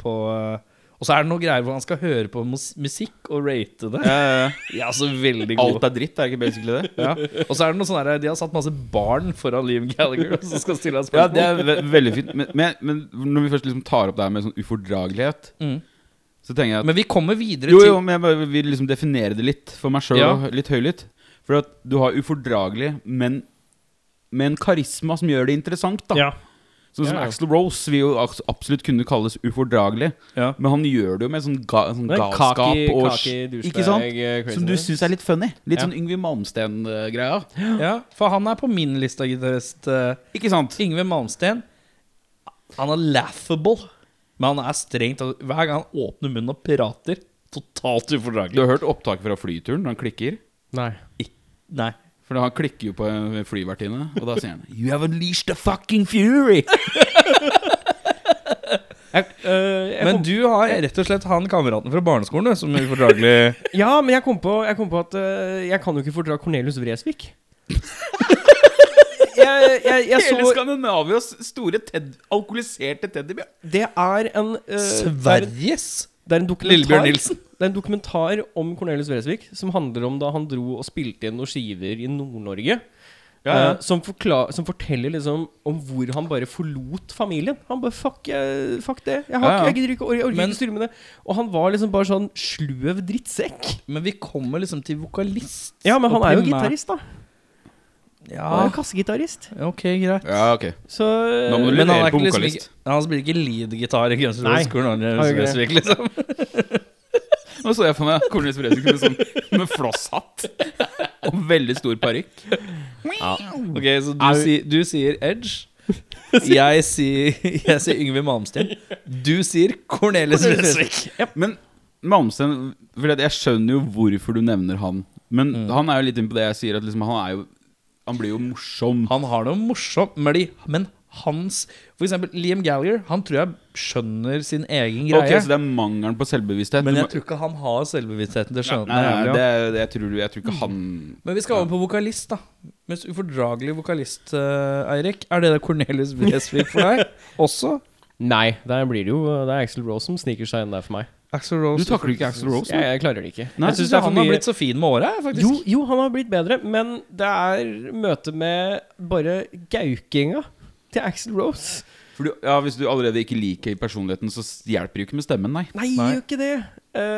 S2: på eh, Og så er det noen greier hvor han skal høre på mus musikk og rate det.
S3: Ja, ja, ja.
S2: Ja, så veldig god.
S3: Alt er dritt, er ikke basically det?
S2: Ja. Og så er det noe sånn her De har satt masse barn foran Liam Gallagher, og så skal stille han
S3: Ja,
S2: spørsmål.
S3: det er ve veldig fint. Men, men, men når vi først liksom tar opp det her med sånn ufordragelighet,
S2: Mm.
S3: så tenker jeg at
S2: Men vi kommer videre
S3: Jo,
S2: til
S3: jo, men jeg bare vil liksom definere det litt for meg sjøl,
S2: Ja.
S3: litt høylytt. For at du har ufordragelig, men med en karisma som gjør det interessant, da. Sånn som
S1: Ja, ja.
S3: Axl Rose vil jo abs- absolutt kunne kalles ufordragelig,
S2: Ja.
S3: men han gjør det jo med sånn, ga, sånn
S1: Det er
S3: galskap
S1: kaki-
S3: og
S1: kaki douchebag,
S3: Ikke sant?
S1: eh, craziness.
S3: Som du syns er litt funny. Litt
S1: Ja.
S3: sånn Yngve Malmsten-greia.
S2: Ja, for han er på min liste av gitarist. eh,
S3: Ikke sant?
S2: Yngve Malmsten. Han er laughable, men han er strengt tatt- Hver gang han åpner munnen og prater, totalt
S3: Du
S2: ufordragelig.
S3: har hørt opptaket fra flyturen når han klikker?
S1: Nei.
S2: Nei.
S3: For han klikker jo på en flyvertinne, og da sier han You have unleashed the fucking fury!
S1: Jeg, øh, jeg
S2: Men
S1: kom-
S2: du har rett og slett han kameraten fra barneskolen du, som er ufordragelig.
S1: Ja, men jeg kom på, jeg kom på at øh, jeg kan jo ikke fordra Cornelius Vresvik. jeg, jeg, jeg
S3: Hele
S1: så
S3: Skandinavias store ted alkoholiserte teddybjørn.
S1: Det er en øh,
S2: eh,
S1: det er en-
S2: Sveriges
S1: Det er en dokumentar
S2: Lillebjørn Nilsen.
S1: Det er en dokumentar om Cornelius Vresvik som handler om da han dro og spilte inn noen skiver i Nord-Norge.
S2: Ja, ja.
S1: eh, som, forkla- som forteller liksom om hvor han bare forlot familien. Han bare Fuck, jeg, fuck det. Jeg, har
S2: Ja, ja.
S1: Ikke, jeg gidder ikke, jeg orker
S2: Men-
S1: ikke styre med det. Og han var liksom bare sånn sløv drittsekk.
S2: Men vi kommer liksom til vokalist.
S1: Ja, men han
S2: og
S1: er jo
S2: primær-
S1: gitarist, da. Han er
S2: Ja,
S1: jo kassegitarist.
S2: ok, greit.
S3: Ja, ok.
S1: Så
S3: Da må du
S2: Men han, er
S3: levere på
S2: ikke liksom
S3: vokalist.
S2: ikke, han spiller ikke lead-gitar i Guns N'
S1: Nei,
S2: Roses. Hvordan er det
S1: han gjør
S2: i Sundhetsvik, Liksom.
S3: Nå så jeg for meg Cornelis Fredrik med, sånn, med flosshatt og veldig stor parykk.
S2: Ok, så du, sier- du sier Edge. Jeg sier, jeg sier Yngve Malmsten. Du sier Cornelis Vresvik.
S3: Men Malmsten For jeg skjønner jo hvorfor du nevner han. Men
S2: Mm.
S3: han er jo litt inne på det jeg sier, at liksom, han er jo Han blir jo morsom.
S2: Han har noe morsomt, men de- men hans For eksempel Liam Gallagher. Han tror jeg skjønner sin egen
S3: Ok,
S2: greie.
S3: Så det er mangelen på selvbevissthet.
S2: men
S3: Du
S2: jeg
S3: må-
S2: tror ikke han har selvbevisstheten til å skjønne at
S3: Nei,
S2: den er
S3: nei,
S2: jævlig, ja.
S3: det, er- det, jeg, tror, jeg tror ikke han
S2: Men vi skal over på vokalist, da. Mens ufordragelig vokalist, eh, Eirik. Er det det Cornelius Bresvik for deg også?
S1: Nei, der blir det jo Det er Axel Rose som sniker seg inn der for meg.
S2: Axel Rose.
S3: Du takler ikke Axl Rose?
S1: Jeg, jeg klarer det ikke. jeg
S3: Nei,
S2: Jeg
S1: synes
S2: syns
S1: det er for
S2: han har
S1: mye-
S2: blitt så fin med åra, faktisk.
S1: Jo, jo, han har blitt bedre, men det er møte med bare gaukinga til Axel Rose.
S3: For du, ja, Hvis du allerede ikke liker personligheten, så s- hjelper det jo ikke med stemmen, nei.
S1: Nei,
S2: Nei.
S1: gjør ikke det.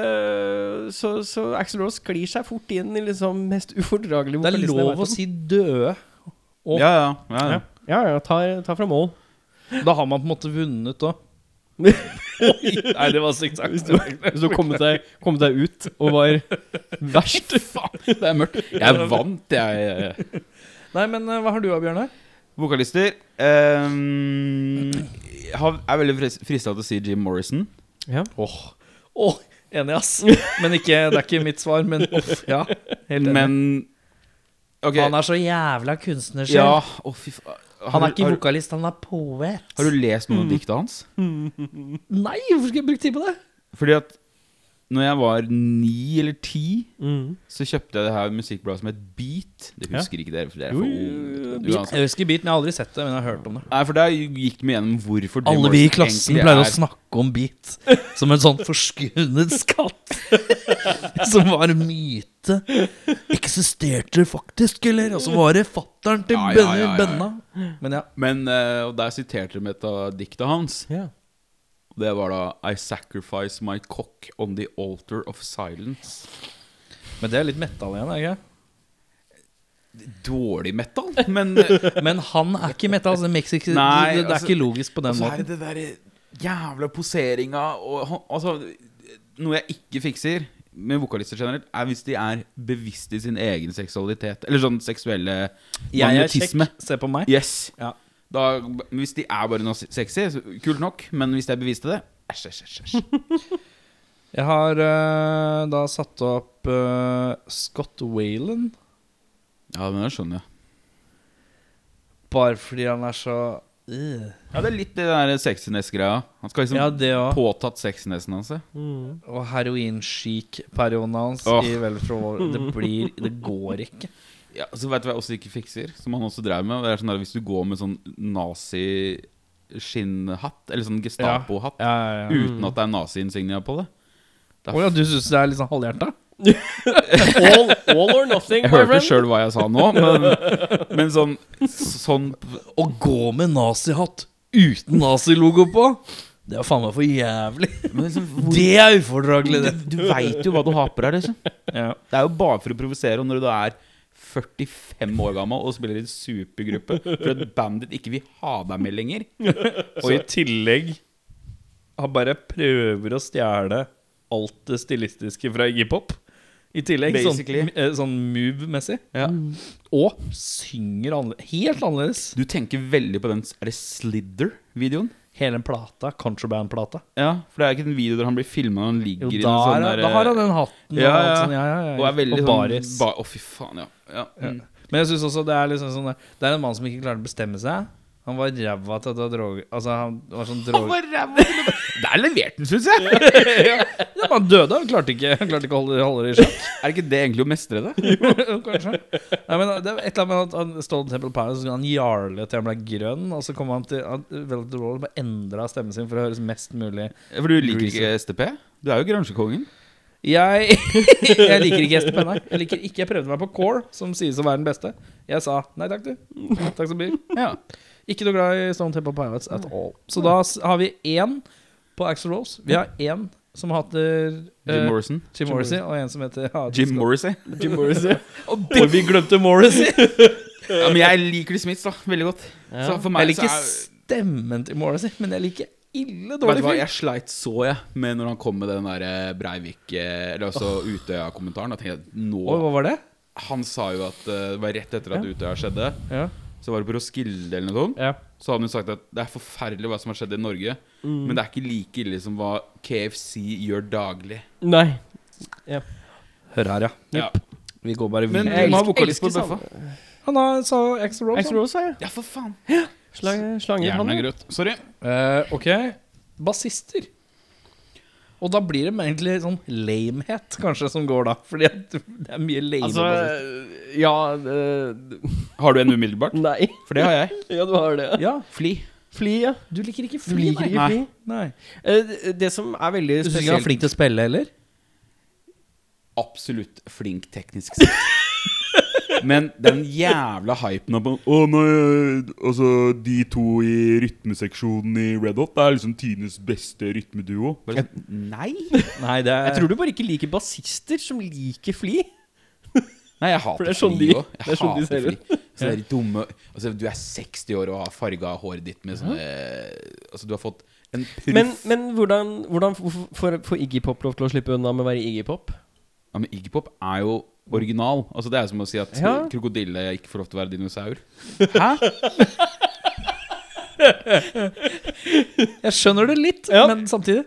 S1: Eh, så, så Axel Rose sklir seg fort inn i liksom mest ufordragelige
S2: det er
S1: vokalisten jeg vet
S2: lov
S1: om.
S2: å si døde. Og-
S3: Ja, ja, ja, ja.
S1: Ja, ja, ja ta, ta fra mål.
S2: Da har man på en måte vunnet òg. Nei, det var stygt
S1: Hvis du, hvis du kom, deg, kom deg ut og var verst.
S3: Det er mørkt. Jeg vant, jeg.
S2: Nei, men eh, hva har du da, Bjørnar?
S3: Vokalister ehm, jeg har- er veldig frista til å si Jim Morrison.
S1: Ja.
S2: Åh, enig, ass. Men ikke, det er ikke mitt svar, men uff, ja. Helt enig.
S3: Men ok,
S2: Han er så jævla kunstner selv.
S3: ja, å, fy fa- har
S2: han er
S3: du-
S2: ikke Mm.
S3: har, du-
S2: vokalist, han er poet.
S3: Har du lest noen av dikta hans?
S2: Nei, hvorfor skal jeg bruke tid på det?
S3: Fordi at når jeg var ni eller ti, så kjøpte jeg det her musikkbladet som het Beat. Det
S1: Ja.
S3: husker ikke dere, for dere
S1: Jo,
S3: er for
S1: jo,
S3: unge.
S2: Beat,
S3: Uansett.
S2: jeg husker Beat, men jeg har aldri sett det. Men jeg har hørt om det
S3: Nei, for der gikk vi gjennom hvorfor Jim
S2: Alle vi i
S3: Morrison
S2: klassen
S3: egentlig
S2: pleier å
S3: er-
S2: snakke om Beat som en sånn forskunnet skatt. som var en myte. Eksisterte faktisk, eller? Og så var det fattern til
S3: Ja,
S2: Benny
S3: ja, ja, ja, ja.
S2: Benna. Men ja.
S3: Men eh, og der siterte de et av dikta hans.
S1: Ja.
S3: Det var da I sacrifice my cock on the altar of silence.
S2: Men det er litt metal igjen, er det ikke?
S3: Dårlig metal, men eh,
S2: Men han er ikke metal. Altså, Mexico,
S3: Nei,
S2: det, det er
S3: altså-
S2: ikke logisk på den
S3: så er
S2: måten.
S3: det det derre jævla poseringa og han- Altså, noe jeg ikke fikser med vokalister generelt, er hvis de er bevisst i sin egen seksualitet. Eller sånn seksuelle
S2: Jeg er kjekk,
S3: magnetisme.
S2: se på meg.
S3: Yes.
S2: Ja.
S3: Da, hvis de er bare noe sexy, så, kult nok, men hvis de er bevisst til det Æsj, æsj, æsj. æsj.
S2: Jeg har eh, da satt opp eh, Scott Wayland.
S3: Ja, men det skjønner jeg.
S2: Bare fordi han er så øh.
S3: Ja, Det er litt det der sexiness-greia. Han skal liksom
S2: Ja, det òg.
S3: påtatt sexinessen hans. ja.
S2: Og heroin-chic-perioden hans
S3: Åh.
S2: i Vel for vår Det blir Det går ikke.
S3: Ja, så vet du hva jeg også ikke fikser, som han også drev med. Det er sånn der, Hvis du går med sånn nazi-skinnhatt, eller sånn Gestapo-hatt,
S2: Ja, ja, ja.
S3: uten at det er nazi-insignia på det
S2: Å ja, du syns det er litt sånn halvhjerta?
S1: All, all or nothing,
S3: Jeg
S1: my
S3: hørte
S1: friend.
S3: sjøl hva jeg sa nå, men, men sånn, sånn
S2: Å gå med nazihatt uten nazilogo på, det er faen meg for jævlig.
S3: men liksom, hvor,
S2: Det er ufordragelig, det.
S3: Du veit jo hva du har på deg, liksom.
S2: Ja.
S3: Det er jo bare for å provosere. Og når du da er 45 år gammel og spiller i en supergruppe for at bandet ikke vil ha deg med lenger
S2: Og i tillegg han bare prøver å stjele alt det stilistiske fra Iggy Pop. I tillegg, sånn,
S3: Basically.
S2: eh, sånn move-messig. Og synger annerledes. Helt annerledes.
S3: Du tenker veldig på den Er det Slither-videoen?
S2: Hele den plata, Contraband-plata.
S3: Ja, For det er ikke den video der han blir filma når han
S2: Jo,
S3: ligger i
S2: da,
S3: noen sånn
S2: er-
S3: der
S2: da har han den hatten og
S3: Ja,
S2: alt
S3: ja.
S2: sånn. eh, Ja, ja, ja.
S3: Og er veldig
S2: Og
S3: sånn
S2: baris.
S3: ba- Å, fy faen, ja. ja. Mm.
S2: Ja. Men jeg synes også det er liksom sånn der- Det er en mann som ikke klarte å bestemme seg. Han var ræva til å ta droger. Altså, han var sånn
S3: Han
S2: droger
S3: var ræva! Der leverte han, syns jeg!
S2: ja, men Han døde, han klarte ikke, han klarte ikke å holde, holde det i sjakk.
S3: Er ikke det egentlig å mestre det?
S2: Kanskje. Nei, men det var et eller annet med at han Stolten Temple Palace Han jarle til han ble grønn, og så kom han til han, Vel til Roll bare endra stemmen sin for å høres mest mulig
S3: Ja, For du liker ikke STP? Du er jo gransjekongen.
S2: Jeg, jeg liker ikke STP, nei. Jeg liker ikke, jeg prøvde meg på Core, som sies å være den beste. Jeg sa nei takk, du. Takk som byr.
S3: Ja.
S2: Ikke noe glad i Stone Temple Pilots at all. Så da s- har vi én på Axel Rose. Vi har én som hater eh,
S3: Jim Morrison.
S2: Jim Morrissey, og en som heter ja,
S3: Jim
S2: Scott.
S3: Morrissey.
S1: Jim Morrissey.
S2: Og vi glemte Morrissey!
S3: Ja, men jeg liker de Smiths da, veldig godt. Så for meg
S2: Jeg liker
S3: så er
S2: stemmen til Morrissey, men jeg liker ille
S3: Vet du
S2: dårlig
S3: hva,
S2: film.
S3: jeg sleit så jeg med når han kom med den der eh, Breivik eh, Eller altså Utøya-kommentaren. Da tenkte jeg nå
S2: Oi, hva var det?
S3: Han sa jo at eh, det var rett etter at
S2: Ja.
S3: Utøya skjedde.
S2: Ja.
S3: Så var det på Roskilde eller noe sånt.
S1: Ja.
S3: Så hadde hun sagt at det er forferdelig hva som har skjedd i Norge,
S2: Mm.
S3: men det er ikke like ille som hva KFC gjør daglig.
S1: Nei.
S2: Hør her, ja.
S3: Ja,
S2: Vi går bare
S3: Men
S2: videre.
S1: Jeg
S3: du må ha
S1: elsker-
S3: vokalist på
S1: elsker
S3: bøffa.
S2: Han har, sa Axel Rose.
S1: Axl Rose, sa jeg.
S3: Ja, for faen.
S1: Slag, slanger han.
S3: Hjernen er
S1: ja.
S3: grøt. Sorry.
S2: han. Eh, ok. Bassister. Og da blir det egentlig sånn lamehet, kanskje, som går da. Fordi at det er mye lame
S1: Altså
S2: bassister.
S1: Ja eh,
S3: Har du en umiddelbart?
S1: Nei.
S3: For det har jeg.
S1: Ja, du har det.
S2: Ja,
S3: Fli.
S1: Fly, ja.
S2: du liker ikke
S1: Du
S2: fly,
S1: liker
S2: nei.
S1: ikke fly.
S2: nei.
S1: Eh, det- Det som er veldig
S2: Du synes ikke han er
S1: spesielt
S2: flink til å spille heller?
S3: Absolutt flink teknisk sett. Men den jævla hypen om Å nei, altså de to i rytmeseksjonen i Red Hot er liksom tidenes beste rytmeduo. Bare sånn, nei.
S2: Nei, det er
S1: Jeg tror du bare ikke liker bassister som liker fly.
S3: Nei, jeg
S1: For det
S3: hater
S1: er sånn
S3: fly
S1: de-
S3: òg.
S1: det er
S3: Jeg
S1: sånn de
S3: hater
S1: ser
S3: fly. Så det er de dumme Altså, du er 60 år og har farga håret ditt med sånne Altså, du har fått en proff
S1: Men, men hvordan, hvordan f- f- får får Iggy Pop lov til å slippe unna med å være Iggy Pop?
S3: Ja, men Iggy Pop er jo original. Altså, det er som å si at
S1: Ja.
S3: krokodille ikke får lov til å være dinosaur.
S2: Jeg skjønner det litt,
S1: Ja.
S2: men samtidig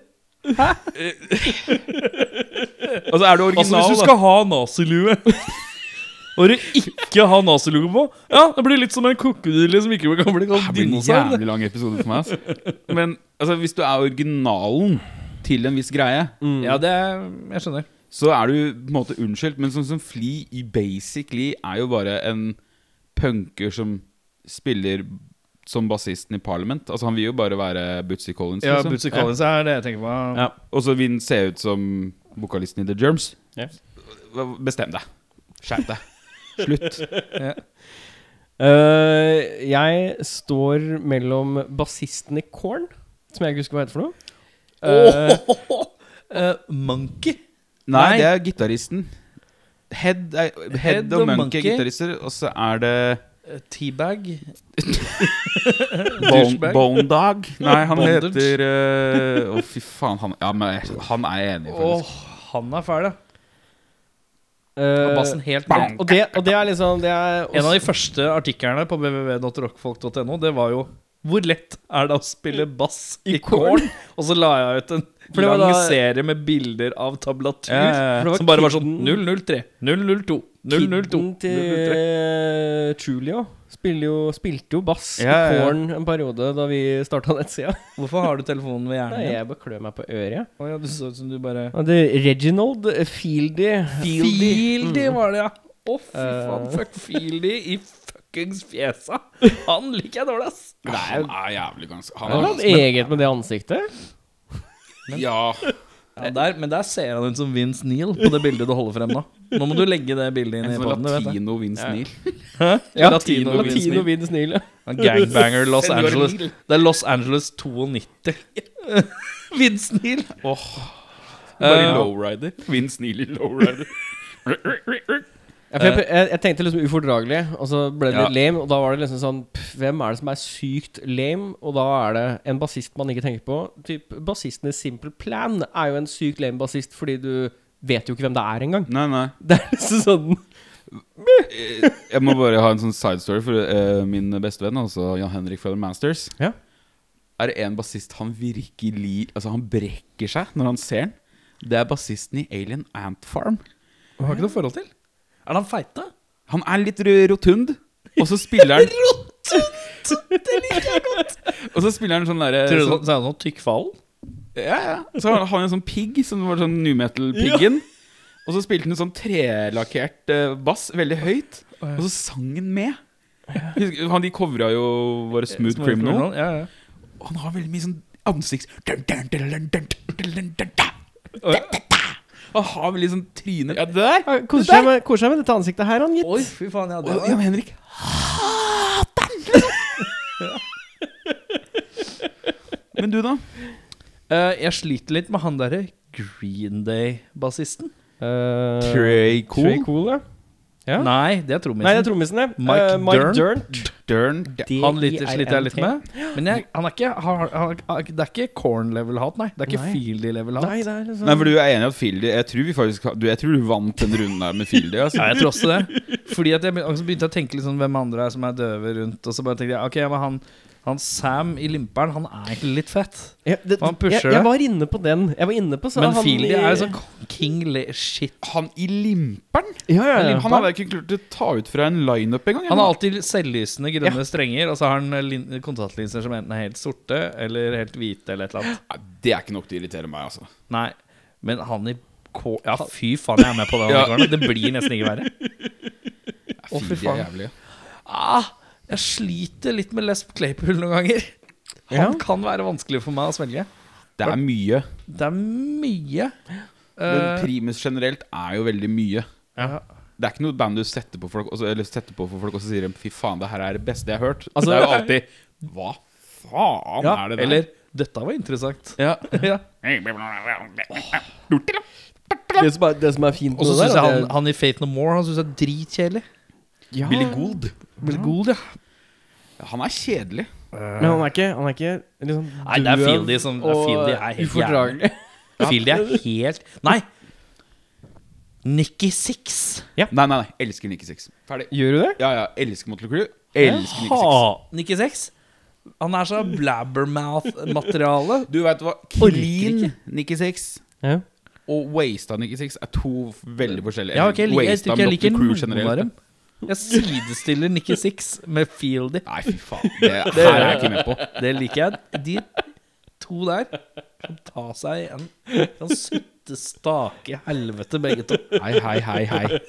S3: Altså, er du original, da?
S2: ha nazilue og du ikke har nazilue på, ja, det blir litt som en krokodille som ikke kan bli
S3: Det blir en jævlig lang episode for meg. Altså. Men altså, hvis du er originalen til en viss greie,
S2: Ja, det er, jeg skjønner.
S3: så er du på en måte unnskyldt. Men sånn som Flea i basically er jo bare en punker som spiller som bassisten i Parliament. Altså Han vil jo bare være Bootsy Collins.
S2: Ja,
S3: liksom.
S2: Bootsy Collins er det jeg tenker på.
S3: Ja. Og så vil han se ut som vokalisten i The Germs.
S1: Ja.
S3: Bestem deg. Skjerp deg. Slutt.
S1: Eh, jeg står mellom bassisten i Korn, som jeg ikke husker hva heter for noe. Eh,
S2: Eh, monkey.
S3: Nei,
S2: Nei.
S3: det er gitaristen. Head, er- head,
S2: Head
S3: og
S2: og
S3: Monkey er
S2: Monkey.
S3: gitarister, og så er det
S2: Eh, Teabag.
S3: Bone,
S2: Douchebag.
S3: Bone Dog. Nei, han
S2: Bondage.
S3: heter eh, Å, fy faen. Han, ja, men jeg- han er jeg enig i,
S2: Åh,
S3: faktisk.
S2: han er fæl, ja.
S1: eh,
S2: Og bassen helt
S1: og, og, det, og det er liksom det er
S2: En av de første artiklene på www.rockfolk.no, det var jo hvor lett er det å spille bass i korn? Og så la jeg ut en
S1: For det var
S2: lang
S1: da-
S2: serie med bilder av tablatur
S3: Ja, ja, ja.
S1: For det var
S2: som bare var sånn
S1: kidden-
S2: 003, 002, 002
S1: Kidden til
S2: 003.
S1: eh, Trulio spiller jo, spilte jo bass
S3: Ja, ja,
S1: i
S3: ja.
S1: Korn en periode da vi starta nettsida.
S2: Hvorfor har du telefonen ved hjernen
S1: Nei,
S2: din?
S1: jeg bare klør meg på øret.
S2: Å ja, du så ut som du bare
S1: Og det er Reginald Fieldy.
S2: Fieldy Mm. var det, ja. Å, fy
S1: Eh.
S2: faen. Fuck Fieldy i fuckings fjesa. Han liker jeg dårlig, ass.
S3: Han er jævlig ganske
S1: Er det
S3: Han
S1: noe eget med det ansiktet?
S3: er Ja.
S2: Ja, der, men der ser han ut som Vince Neil på det bildet du holder frem nå. Nå må du legge det bildet inn
S3: En
S2: i
S3: sånn
S2: poden.
S3: latino Vince Neil.
S2: Ja,
S1: Latino,
S2: Latino,
S1: Latino Vince Neil.
S2: Han Gangbanger Los
S3: Senor
S2: Angeles.
S3: Neil.
S2: Det er Los Angeles 92. Vince Neil.
S3: Bare i
S2: Eh,
S3: lowrider. Vince Neil i lowrider.
S1: Ja, for jeg, jeg, jeg tenkte liksom ufordragelig, og så ble det litt lame. Og da var det liksom sånn pff, Hvem er det som er sykt lame? Og da er det en bassist man ikke tenker på. Typ, bassisten i Simple Plan er jo en sykt lame bassist fordi du vet jo ikke hvem det er engang.
S3: Nei, nei.
S1: Det er liksom sånn
S3: Eh, Jeg må bare ha en sånn side story for eh, min bestevenn, altså Jan Henrik Feather Masters.
S1: Ja.
S3: er det en bassist han virkelig Altså, han brekker seg når han ser den. Det er bassisten i Alien Ant Farm.
S2: Jeg har ikke noe forhold til. Er han feit, da?
S3: Han er litt ru- rotund, og så spiller han Og så spiller han sånn derre
S2: Tror du
S3: sånn-
S2: sånn, så er han sånn tykkfallen?
S3: Ja, ja. Så har han en sånn pigg, som var sånn new metal-piggen. Og så spilte han en sånn trelakkert eh, bass, veldig høyt, og så sang han med. Husker- Han, de covra jo våre Smooth Criminal.
S2: Ja, ja.
S3: Og han har veldig mye sånn ansikts... Han har veldig sånn tryne Ja, det der!
S1: Koser seg, med, koser seg med dette ansiktet her, han, gitt.
S2: Oi, fy faen. Ja, det
S3: Og
S2: var
S3: Jan Henrik hater den! Men du, da?
S2: Eh, jeg sliter litt med han derre Green Day-bassisten.
S1: Eh,
S3: Trey Cole?
S1: Trey Cole, ja. Ja.
S2: Nei, det er trommisen.
S1: Nei, det er trommisen, det.
S2: Mike
S1: Eh, Mike
S2: Dirnt.
S1: Dirnt.
S3: Dørn
S2: han liter, sliter jeg litt
S1: D-I-R-N-T.
S2: med. Men jeg, han er ikke, har, har, har- det er ikke corn-level-hat, nei. Det er ikke
S1: Nei.
S2: fieldy-level-hat.
S1: Nei, det er liksom
S3: Nei, for du er enig i at Fieldy Jeg tror vi faktisk har- du, Jeg tror du vant den runden her med Fieldy. Altså.
S2: Ja, jeg tror også det. Fordi at jeg begyn- og så begynte jeg å tenke litt sånn hvem andre er som er døve rundt. Og så bare tenkte jeg ok, men han, han Sam i Limperen, han er egentlig litt fett.
S1: Ja, det,
S2: Han pusher
S1: jeg, jeg
S2: det.
S1: var inne på den. Jeg var inne på så
S2: Men
S1: han
S2: Fieldy
S1: i-
S2: er jo sånn king le shit.
S3: Han i limperen?
S1: Ja, ja, ja.
S3: Han hadde jeg ikke klart å ta ut fra en lineup engang.
S2: Han har alltid selvlysende grønne strenger, og så har han eh, lin- kontaktlinser som enten er helt sorte eller helt hvite eller et eller annet.
S3: Nei, Det er ikke nok til å irritere meg, altså.
S2: Nei, men han i K... Ja, fy faen, jeg er med på det. Han i
S3: Ja.
S2: Korn. Det blir nesten ikke verre. Å, fy
S3: Fieldy er
S2: faen.
S3: jævlig.
S2: Ah, jeg sliter litt med Les Claypool noen ganger. Han
S1: Ja.
S2: kan være vanskelig for meg å svelge.
S3: Det er mye.
S2: Det er mye.
S3: Men
S2: Eh,
S3: primus generelt er jo veldig mye.
S2: ja.
S3: Det er ikke noe band du setter på, folk, og så- eller setter på for folk, og så sier de 'fy faen, det her er det beste jeg har hørt'. Altså, det er jo alltid Hva faen
S2: ja,
S3: er det der?
S2: eller 'dette var interessant'.
S3: ja.
S2: Ja.
S1: det, som er, det som er fint
S2: Og så syns jeg han, han i Faith No More Han synes jeg er dritkjedelig.
S1: ja.
S3: Billy Gould.
S2: Blir god, ja.
S3: Han er kjedelig.
S1: Men han er ikke, han er ikke liksom
S2: Nei, det er
S1: døv
S2: Fieldy som- det er
S1: og
S2: Fieldy er helt
S1: ufordragelig.
S2: Fieldy er helt Nei! Nikki Six.
S3: Nei, nei, nei. Elsker Nikki Six. Ferdig.
S1: Gjør du det?
S3: Ja, ja. Elsker Motley Crue. Elsker Nikki Six.
S2: Ha- Nikki Six. Han er så blabbermouth-materiale.
S3: Du vet hva?
S2: Orker
S3: Clean
S2: ikke.
S3: Nikki Six
S1: Ja.
S3: og Wasta Nikki Six er to veldig forskjellige.
S2: Ja, ok, jeg, lik- jeg,
S3: Waste
S2: tror
S3: av
S2: ikke jeg
S3: Motley
S2: liker
S3: Crue
S2: noen av
S3: generelt.
S2: dem. Jeg sidestiller Nikki Six med Fieldy.
S3: Nei, fy faen. Det her er jeg ikke med på.
S2: Det liker jeg. De to der kan ta seg en Kan sutte stake helvete, begge to.
S3: Hei, hei, hei, hei.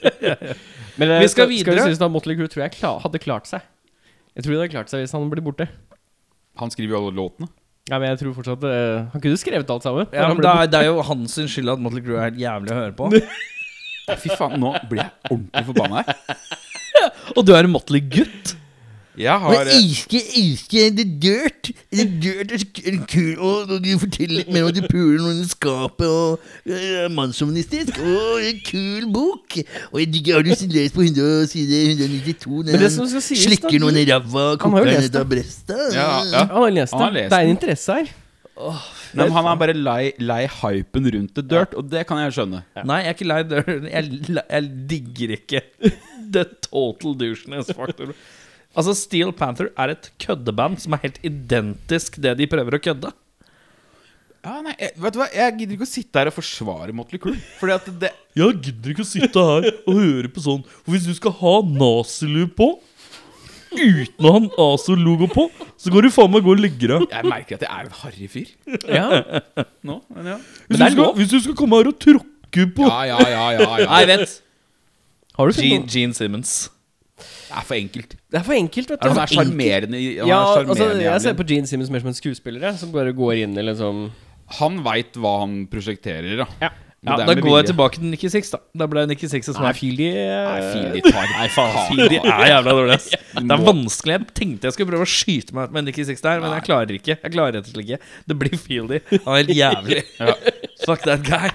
S1: Men eh,
S2: Vi skal
S1: Skal
S2: videre.
S1: vi synes da Motley Crue tror jeg kla hadde klart seg. Jeg tror det hadde klart seg hvis han ble borte.
S3: Han skriver jo alle låtene.
S1: Ja, men jeg tror fortsatt eh, Han kunne skrevet alt sammen.
S2: Ja,
S1: Han
S2: men
S1: ble
S2: det er, det er jo hans sin skyld at Motley Crue er helt jævlig å høre på.
S3: Fy faen, nå blir jeg ordentlig forbanna her.
S2: Og du er en Motley-gutt.
S3: Jeg har eh,
S4: elsker, elsker The Dirt. The Dirt er så kul, og du forteller litt mer om at du puler noen i skapet, og eh, er mannsjournalistisk, og en kul bok. Og jeg digger, har du lest på 100 side 192,
S1: Men
S4: når
S1: det som skal
S4: han
S1: sies da,
S4: slikker noen i ræva,
S1: sånn. Han har jo
S4: koker den
S1: lest
S4: ut av brystet?
S3: ja, ja.
S1: Han har lest
S3: Han har
S1: det. Det er
S3: lest den.
S1: en interesse her.
S3: Nei, men han er bare lei, lei hypen rundt The Dirt, og det kan jeg skjønne.
S2: Nei, jeg er ikke lei døren. Jeg, li- jeg digger ikke the total doucheness factor. Altså, Steel Panther er et køddeband som er helt identisk det de prøver å kødde.
S3: Ja, nei, jeg, vet du hva? jeg gidder ikke å sitte her og forsvare Motley Crue. Fordi at det
S2: Jeg gidder ikke å sitte her og høre på sånn. For hvis du skal ha nazilue på uten å ha nazo-logo på, så går du faen meg og går og legger deg.
S3: Jeg merker at jeg er en harry fyr
S1: Ja.
S3: nå. Men ja.
S2: Hvis,
S1: det er lov.
S2: hvis du skal komme her og tråkke på
S3: Ja, ja, ja, ja, ja.
S2: Nei, vent.
S1: Har du
S2: Gene,
S1: funnet noe?
S2: Gene Simmons.
S3: Det er for enkelt.
S1: Det er for enkelt, vet du.
S3: Han er sånn sjarmerende. i- Han,
S1: Ja,
S3: er
S1: altså,
S3: sjarmerende i
S1: jeg ser
S3: hjernen.
S1: på Gene Simmons mer som en skuespiller, jeg, som bare går inn i liksom
S3: han veit hva han prosjekterer, da.
S1: Ja.
S2: Ja, da går jeg tilbake til Nikki Six, da. Da ble det Nikki Six som
S1: Nei,
S2: er
S1: Fieldy
S3: Nei,
S1: eh,
S3: Fieldy tar Nei,
S2: Fy, de er jævla dårlige, ass. Det er vanskelig. Jeg tenkte jeg skulle prøve å skyte meg ut med Nikki Six der, men jeg klarer ikke. Jeg klarer rett og slett ikke. Det blir Fieldy. Han er helt jævlig. Fuck that guy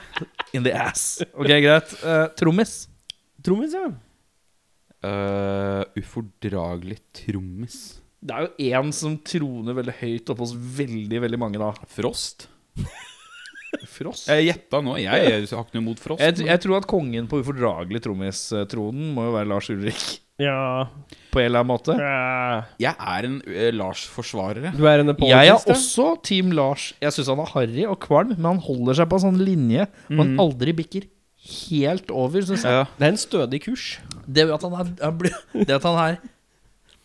S2: in the ass. Ok, greit. Eh, Trommis.
S1: Trommis, ja.
S3: Eh, ufordragelig trommis.
S2: Det er jo én som troner veldig høyt oppe hos veldig veldig mange, da.
S3: Frost?
S2: Frost? Jeg,
S3: Jeg gjetta nå. Jeg, jeg har ikke noe imot Frost.
S2: eh, tr- jeg tror at kongen på ufordragelig trommistronen må jo være Lars Ulrik.
S1: Ja,
S2: på en eller annen måte.
S1: ja.
S3: Jeg er en eh, Lars-forsvarer, jeg.
S1: Du er en
S2: Jeg er
S1: apologist, ja?
S2: også Team Lars. Jeg syns han er harry og kvalm, men han holder seg på en sånn linje hvor
S1: Mm.
S2: han aldri bikker helt over, synes jeg.
S1: Det er en stødig kurs.
S2: Det at han er, han blir, det at han er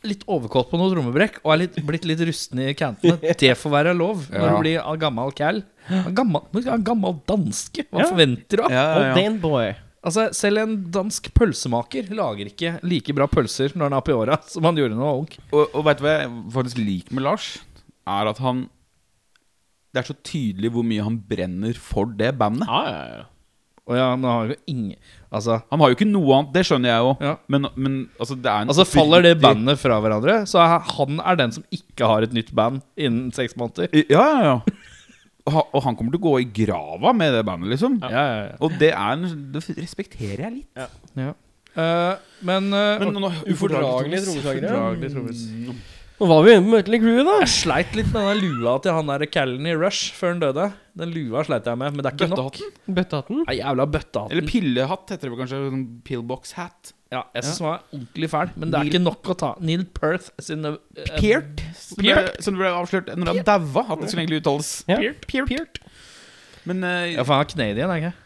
S2: litt overkåt på noe trommebrekk og er litt, blitt litt rusten i kantene, det får være lov når
S3: Ja.
S2: du blir av gammel cal. Han gammel, men han gammel danske, hva
S1: Ja.
S2: forventer du av?
S1: Og den boy.
S2: Altså, selv en dansk pølsemaker lager ikke like bra pølser når han er på åra, som han gjorde når han var ung.
S3: Og, og vet du hva jeg faktisk liker med Lars? Er at han Det er så tydelig hvor mye han brenner for det bandet.
S1: Ja, ja, ja.
S2: Og ja, men han har jo ingen Altså,
S3: Han har jo ikke noe annet, det skjønner jeg jo.
S2: Ja.
S3: Men, men altså, det er en
S2: Altså Faller det
S3: oppriktig-
S2: bandet fra hverandre, så er han er den som ikke har et nytt band innen seks måneder.
S3: Ja, ja, ja. Og han- Og han kommer til å gå i grava med det bandet, liksom.
S2: Ja, ja, ja.
S3: Og det er en- Det respekterer jeg litt.
S2: Eh, men eh,
S3: Men nå,
S1: Ufordragelige trommeslagere.
S2: Ufordragelig trommis.
S3: Mm,
S1: Nå var vi inne på Møtley Crew, da.
S2: Jeg sleit litt med den lua til han der Callen i Rush før han døde. Den lua sleit jeg med, men det er ikke nok.
S3: Bøttehatten?
S1: Bøttehatten.
S2: Nei, jævla bøttehatten.
S3: Eller pillehatt heter det vel kanskje. sånn Pillbox hat.
S2: ja, jeg synes den var ordentlig fæl, men det er ikke nok å ta. Neil Perth sin uh,
S3: Peart, som, ble- som ble avslørt når han daua. At det skulle egentlig uttales
S1: Ja.
S3: Peart. Peart. Men eh,
S2: Ja, for han er canadian, er han ikke?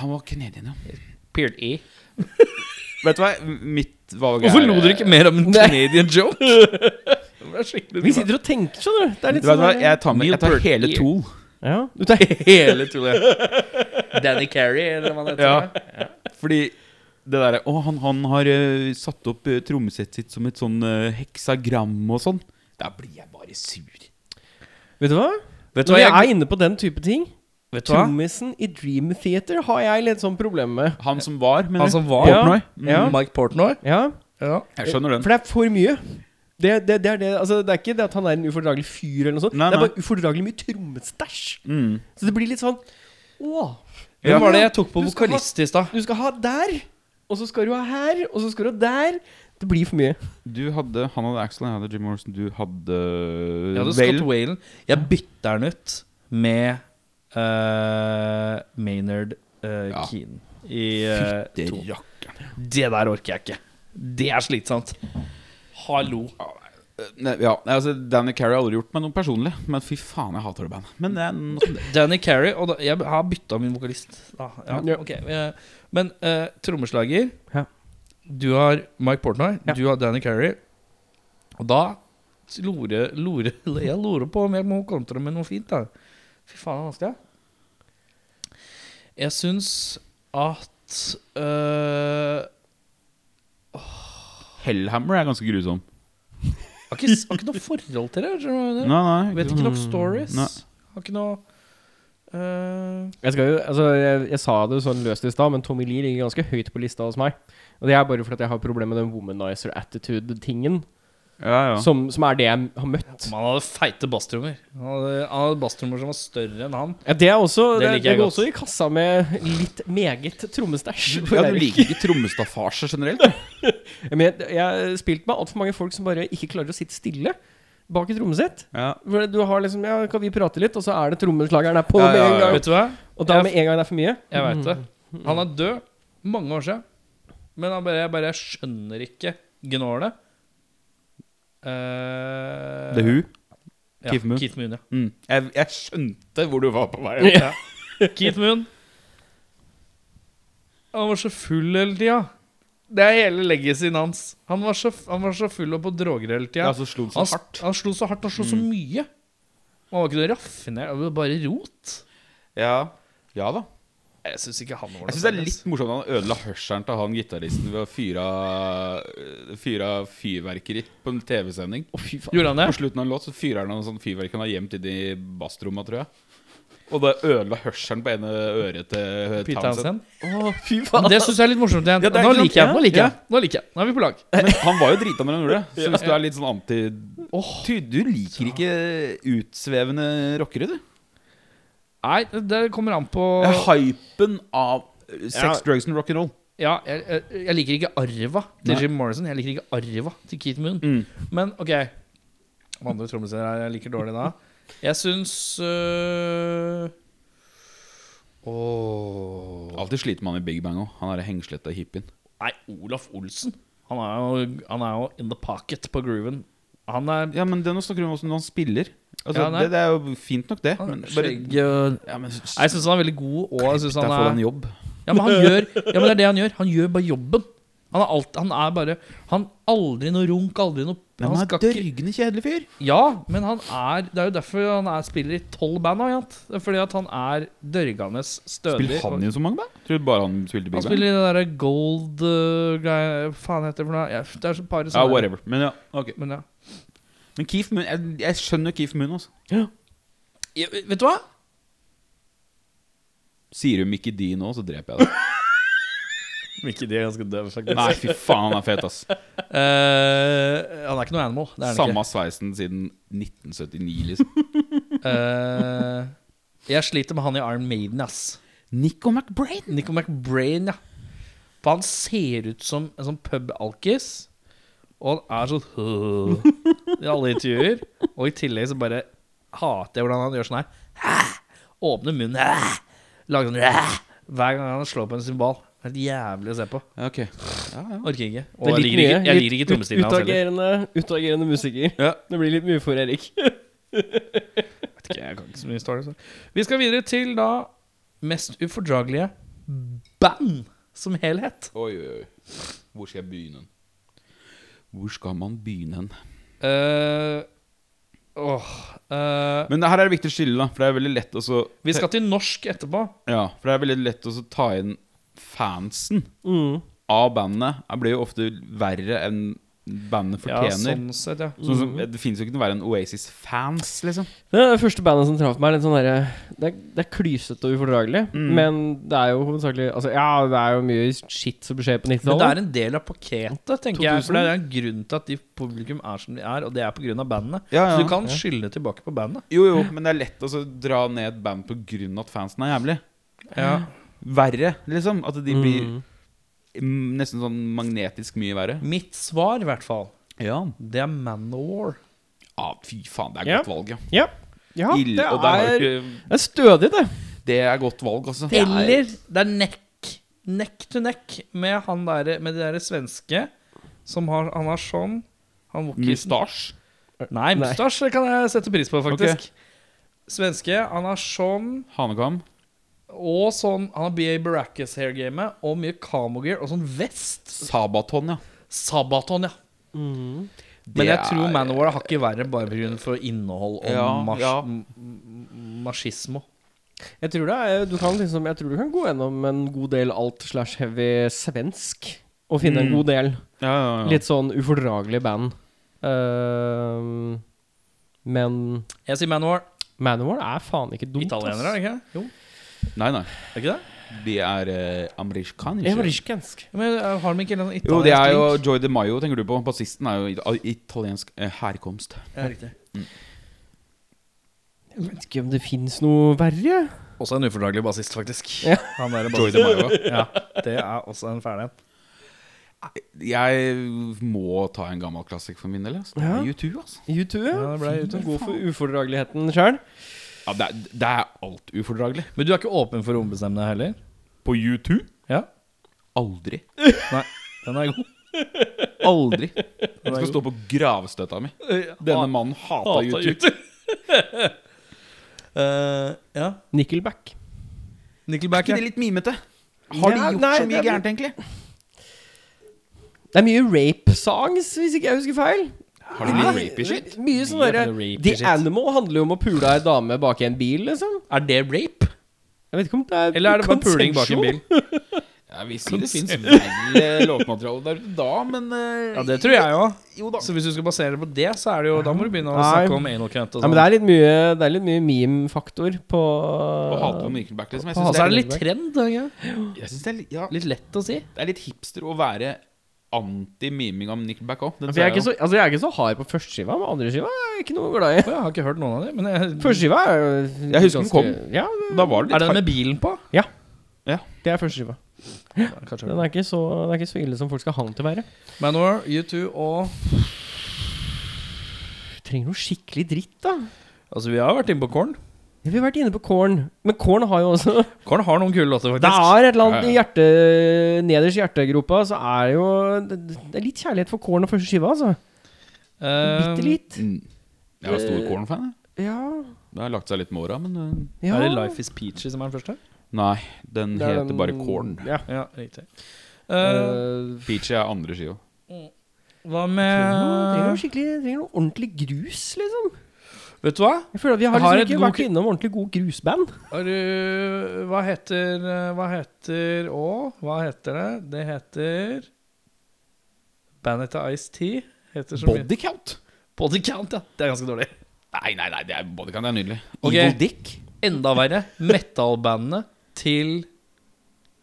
S3: han var canadier, ja.
S2: Peart E.
S3: Vet du hva, mitt valg eh,
S2: Hvorfor lo dere ikke mer om en canadian joke? det ble
S1: Vi
S2: skikkelig
S1: sitter og tenker, skjønner du. Det er
S3: Vet
S1: litt
S3: du hva,
S1: sånn
S3: jeg tar, med, jeg
S2: Neil
S3: tar
S2: Peart.
S3: hele Tool.
S1: Ja, du tar
S2: Hele tullet. Danny Carey, eller hva det heter.
S3: Ja. Fordi det derre Å, han, han har eh, satt opp uh, trommesettet sitt som et sånn eh, heksagram og sånn. Da blir jeg bare sur.
S1: Vet du hva?
S2: Vet du
S1: Når
S2: hva
S1: jeg
S2: jeg
S1: er inne på den type ting
S2: Vet du hva?
S1: Trommisen i Dream Theater har jeg litt sånn problem med.
S3: Han som var, mener
S2: Han
S3: du?
S2: som var
S3: Portnoy?
S2: Mm,
S1: Ja.
S2: Mike Portnoy.
S1: Ja,
S2: Ja.
S3: Jeg skjønner den.
S1: For det er for mye. Det, det, det, er det. Altså, det er ikke det at han er en ufordragelig fyr, eller noe sånt.
S3: Nei,
S1: det er
S3: nei.
S1: bare ufordragelig mye trommestæsj.
S3: Mm.
S1: Så det blir litt sånn Å,
S2: Hvem
S1: Ja.
S2: var det jeg tok på
S1: Du skal
S2: vokalist i stad?
S1: du skal ha der, og så skal du ha her, og så skal du ha der. Det blir for mye.
S3: Du hadde Han hadde Axel, jeg hadde Jim Morrison, du hadde eh,
S2: Jeg hadde
S3: Vel.
S2: Scott Whalen. Jeg bytter den ut med eh, Maynard eh,
S3: Ja.
S2: Keane i eh,
S3: Det
S2: to.
S3: rakk.
S2: Det der orker jeg ikke. Det er slitsomt. Hallo.
S3: Nei, ja, nei, altså Danny Carey har aldri gjort meg noe personlig, men fy faen, jeg hater det bandet. Men det er noe som det
S2: Danny Carey og da, Jeg har bytta min vokalist. Da.
S1: Ja.
S2: Ja, ok. eh, Men eh, trommeslager
S1: Ja.
S2: Du har Mike Portnoy,
S1: Ja.
S2: du har Danny Carey. Og da lorer lore, jeg lorer på om jeg må kontre med noe fint. da Fy faen, det er vanskelig. Jeg syns at eh,
S3: Hellhammer er ganske grusom.
S2: jeg har, ikke, jeg har ikke noe forhold til det. skjønner du hva jeg mener?
S3: Nei, nei.
S2: Vet ikke nok stories.
S3: Nei.
S2: Har ikke noe eh,
S1: Jeg, skal jo, altså, jeg, jeg sa det jo sånn løst i stad, men Tommy Lee ligger ganske høyt på lista hos meg. Og det er bare fordi jeg har problemer med den womanizer attitude-tingen,
S3: Ja, ja.
S1: som, som er det jeg har møtt.
S2: Om Han hadde feite basstrommer. Han hadde, han hadde basstrommer som var større enn han.
S1: Ja, det er også
S2: Det
S1: Det,
S2: liker
S1: det
S2: jeg
S1: går
S2: godt.
S1: også i kassa med litt meget trommestæsj.
S3: ja, du liker ikke trommestaffasje generelt? du.
S1: Men jeg, jeg har spilt med altfor mange folk som bare ikke klarer å sitte stille bak et trommesett.
S3: Ja.
S1: For Du har liksom Ja, kan vi prate litt? Og så er det trommeslageren er på
S3: Ja, ja,
S1: med
S3: ja.
S1: en gang.
S2: Vet du hva?
S1: Og da med en gang det er for mye. Mm.
S2: Jeg veit det. Mm. Han er død mange år siden. Men han bare, jeg bare jeg skjønner ikke gnålet. Eh,
S3: Det er hun.
S2: Ja,
S3: Keith Moon.
S2: Keith Moon, ja.
S3: Mm. Jeg, jeg skjønte hvor du var på vei.
S2: ja. Keith Moon. Han var så full hele tida. Det er hele legacyen hans. Han var, så, han var så full og på droger hele tida.
S3: Ja, så slo den så
S2: Han,
S3: hardt. Mm.
S2: han slo så hardt, han slo så mye. Han var ikke noe raffinert, han var bare rot.
S3: Ja. ja da.
S2: Jeg syns ikke han var
S3: Jeg syns det er litt morsomt at han ødela hørselen til han gitaristen ved å fyre av- fyre av fyrverkeri på en TV-sending.
S1: Å, fy faen.
S2: Gjorde han det?
S3: På slutten av en låt så fyrer han noe sånn fyrverkeri han har gjemt inni basstromma, tror jeg. Og det ødela hørselen på ene øret til eh,
S2: Pete
S3: Townsend.
S2: Townsend.
S1: Å, fy
S2: Men
S1: faen.
S2: Det syns jeg er litt morsomt. igjen.
S1: Ja, det er
S2: nå,
S1: ikke sant,
S2: liker jeg, nå
S1: ja,
S2: liker jeg. Nå liker jeg. Nå er vi på lag.
S3: Men han var jo drita når han gjorde det. Så hvis du er litt sånn anti Ty, Du liker ikke utsvevende rockere, du.
S2: Nei, det kommer an på
S3: Det er hypen av sex,
S1: Ja.
S3: drugs and rock'n'roll.
S2: Ja, jeg, jeg, jeg liker ikke arva til
S3: Nei.
S2: Jim Morrison. Jeg liker ikke arva til Keith Moon.
S3: Mm.
S2: Men OK. Hva andre trommiser er jeg liker dårlig da? Jeg syns øh... Åh
S3: Alltid sliter man i Big Bang òg. Han derre hengslete hippien.
S2: Nei, Olaf Olsen. Han er jo, han er jo in the pocket på grooven. Han er
S3: Ja, men det nå snakker vi om hvordan han spiller. Altså,
S2: Ja, nei.
S3: det, det er jo fint nok, det.
S2: Han
S3: Men
S2: er
S3: bare
S2: skjegg og
S3: ja, men,
S2: Nei, Jeg syns han er veldig god, og jeg synes han
S3: der får
S2: er
S3: han jobb.
S2: Ja, men han gjør Ja, men det er det han gjør. Han gjør bare jobben. Han er, alt, han er bare Han aldri noe runk, aldri noe
S3: Men
S2: han
S3: han er
S2: skal ikke-
S3: dørgende kjedelig fyr.
S2: Ja, men han er Det er jo derfor han er spiller i tolv band. har jeg hatt. Det er fordi at han er dørgende stødig.
S3: Spiller han i så mange band? Tror du bare han spilte i
S2: Han
S3: Big
S2: spiller
S3: Band?
S2: i det derre gold uh, greia Faen heter det for noe? Ja, det er så par
S3: Ja,
S2: sånne-
S3: whatever. Men ja, ok.
S2: Men ja.
S3: Men Keith Moon, jeg, jeg skjønner Keith Moon, altså.
S2: Ja, Vet du hva?
S3: Sier du Mickey D nå, så dreper jeg deg.
S2: Ikke de er ganske døve, faktisk.
S3: Nei, fy faen, han er fet, ass.
S2: Eh, han er ikke noe animal. Det er han
S3: Samme sveisen siden 1979, liksom.
S2: ikke. Eh, jeg sliter med han i Iron Maiden, ass.
S3: Nico McBrain!
S2: Nico McBrain, ja. For han ser ut som en sånn pub-alkis. Og han er sånn i alle intervjuer. Og i tillegg så bare hater jeg hvordan han gjør sånn her. Åpner munnen. «Hæ?» Lager sånn «Hæ?» Hver gang han slår på en symbal. Helt jævlig å se på.
S3: Ok.
S2: Orker ikke.
S1: Det er
S2: Og jeg
S1: litt
S2: liker ikke,
S1: mye.
S2: jeg
S1: Litt
S2: liker ikke
S1: ut-
S2: trommestilen hans heller.
S1: Utagerende, utagerende musiker.
S3: Ja.
S1: Det blir litt mye for Erik.
S2: Jeg kan ikke så mye story, så. Vi skal videre til da mest ufordragelige band som helhet.
S3: Oi, oi, oi. Hvor skal jeg begynne? Hvor skal man begynne?
S2: Eh, Åh eh,
S3: Men det her er det viktig å skille, da. For det er veldig lett å så-
S2: Vi skal til norsk etterpå.
S3: Ja, for det er veldig lett å så ta inn fansen
S1: Mm.
S3: av bandet. Det blir jo ofte verre enn bandet fortjener.
S2: Ja, sånn sett, ja.
S3: Sånn som, det fins jo ikke noe verre enn Oasis-fans, liksom.
S1: Det er det første bandet som traff meg. Litt sånn derre- det, er, det er klysete og ufordragelig.
S3: Mm.
S1: Men det er jo hovedsakelig altså, Ja, det er jo mye skitt som skjer på
S2: Men det
S1: 90-tallet.
S2: er en del av paketet, tenker jeg. For det er en grunn til at de publikum er som de er, og det er pga. bandene.
S3: Ja, ja.
S2: Så du kan skylde tilbake på bandet.
S3: Jo, jo, men det er lett å så dra ned et band på grunn av at fansen er jævlig.
S2: Ja.
S3: Verre, liksom. At de blir
S1: Mm.
S3: mm, nesten sånn magnetisk mye verre.
S2: Mitt svar, i hvert fall,
S3: Ja.
S2: det er Man of War.
S3: Ah, fy faen, det er
S1: Ja.
S3: godt valg, ja.
S1: Ja. ja
S3: Ille,
S1: det,
S3: og det, er,
S1: er,
S3: jo ikke-
S1: det er stødig, det.
S3: det er godt valg, altså.
S2: Eller det er neck. Neck to neck med han derre med det derre svenske som har Han har sånn. Han vokisen
S3: Mustasj.
S2: Nei,
S1: Nei.
S2: mustasje kan jeg sette pris på, faktisk. Svenske. Han har sånn.
S3: Hanekam.
S2: Og sånn Han har BA Baracus hair-gamet og mye camogear og sånn vest.
S3: Sabaton, ja.
S2: Sabaton, ja. Mhm. Men jeg tror Manowar har ikke verre bare pga. innhold og
S3: Ja,
S2: mars
S3: ja.
S2: m- m- machismo.
S1: Jeg tror, det er, du kan liksom, jeg tror du kan gå gjennom en god del alt slash heavy svensk og finne en
S3: Mm.
S1: god del
S3: ja, ja, ja.
S1: litt sånn ufordragelige band. Ehm, men
S2: Jeg sier Manowar.
S1: Manowar er faen ikke dumt.
S2: Italienere, er det ikke det? Jo.
S3: Nei, nei.
S2: Er det ikke det?
S3: De er eh, amerikanske.
S1: Amerikansk.
S2: Men eh, har de ikke en eller annen
S3: Jo, det er jo
S2: italiensk link?
S3: Joy De Mayo, tenker du på. Bassisten er jo it- av italiensk eh, herkomst.
S2: Ja, riktig.
S1: Jeg vet ikke om det fins noe verre.
S2: Også en ufordragelig bassist, faktisk.
S1: Ja.
S2: Han er en
S3: Joy
S2: bassist.
S3: De Mayo.
S2: Ja, det er også en fæl en.
S3: Jeg må ta en gammel klassik for min del. Altså. Det er
S1: Ja.
S3: U2, altså.
S1: U2,
S2: Ja, det ble E. U2.
S1: Gå for ufordrageligheten sjøl.
S3: Ja, det, er, det er alt ufordragelig.
S2: Men du er ikke åpen for å ombestemme deg heller?
S3: På U2?
S2: Ja.
S3: Aldri.
S2: Nei, den er god.
S3: Aldri.
S2: Den
S3: Jeg
S2: er
S3: skal
S2: god.
S3: stå på gravstøtta mi. Denne mannen hata
S2: Hata
S3: U2.
S2: Eh, ja.
S1: Nickelback.
S2: Nickelback,
S3: Ikke
S2: ja.
S3: det litt mimete? Har de
S1: Ja,
S3: gjort
S1: nei,
S3: så mye
S1: det er-
S3: gærent, egentlig?
S1: Det er mye rape-songs, hvis ikke jeg husker feil. Ah,
S3: Har de mye rapey shit?
S1: Mye sånn
S2: Mye
S1: derre
S2: rapey
S1: The
S2: shit.
S1: Animal handler jo om å pule ei dame bak i en bil, liksom.
S2: Er det rape?
S1: Jeg vet ikke om det er
S2: Eller er det bare puling bak en bil?
S3: Ja, vi sier det fins verre låtmateriale der ute da, men eh,
S2: Ja, det tror jeg òg.
S3: Jo da.
S2: Så hvis du skal basere det på det, så er det jo Da må du begynne å
S1: Nei.
S2: snakke om anal cunt og
S1: Ja, men
S2: sånn.
S1: det er litt mye, det er litt mye meme-faktor på
S3: Å hate på Nickelback, liksom. Jeg
S1: På
S2: Og så
S3: syns det,
S2: er Altså, det litt trend. er det ikke?
S3: er- jeg synes det, er litt- ja,
S2: Litt lett å si.
S3: det er litt hipster å være anti-miming av Nickelback òg.
S1: For jeg, er ikke så, altså jeg er ikke så hard på førsteskiva, men andreskiva er jeg ikke noe glad i.
S2: Å, jeg har ikke hørt noen av dem. Men jeg,
S1: Førsteskiva er jo
S3: Jeg husker den
S1: ganske-
S3: kom.
S1: Ja,
S3: Da var det litt
S2: er den med bilen på?
S1: det er førsteskiva.
S2: Kanskje.
S1: Den er ikke så, den er ikke så ille som folk skal ha den til å være.
S2: Manor, U2 og
S1: Du trenger noe skikkelig dritt, da.
S2: Altså, vi har vært inne på Korn.
S3: hype-
S1: Vi har vært inne på Korn, men Korn har jo også
S2: Korn har noen kule låter,
S1: Det
S2: faktisk.
S1: er et eller annet i hjerte, nederst i hjertegropa, så er det jo Det, det er litt kjærlighet for Korn og første skiva, altså.
S2: Eh,
S1: Bitte litt.
S3: Mm. Jeg var stor Korn-fan. jeg.
S1: Ja.
S3: Det har lagt seg litt med åra, men øh,
S1: ja.
S2: Er det 'Life Is Peachy' som er den første?
S3: Nei, den
S1: Det er
S3: heter
S1: den-
S3: bare Korn. Uh,
S1: Ja.
S2: Ja, riktig.
S1: Eh,
S3: Peachy er andre skiva.
S2: hva
S1: trenger noe
S2: med
S1: skikkelig Trenger noe ordentlig grus, liksom.
S2: Vet du hva?
S1: Jeg føler at vi har
S2: Jeg har
S1: liksom
S2: et
S1: ikke
S2: god
S1: vært innom ordentlig gode grusband.
S2: Har du Hva heter eh, Hva heter Å, hva heter det? Det heter Bandet til Ice-T. Heter så mye-
S3: Bodycount?
S2: Body Count, ja. Det er ganske dårlig.
S3: Nei, nei, nei, det er Bodycount er nydelig.
S2: Ok.
S3: Evil Dick?
S2: Enda verre. Metal-bandene til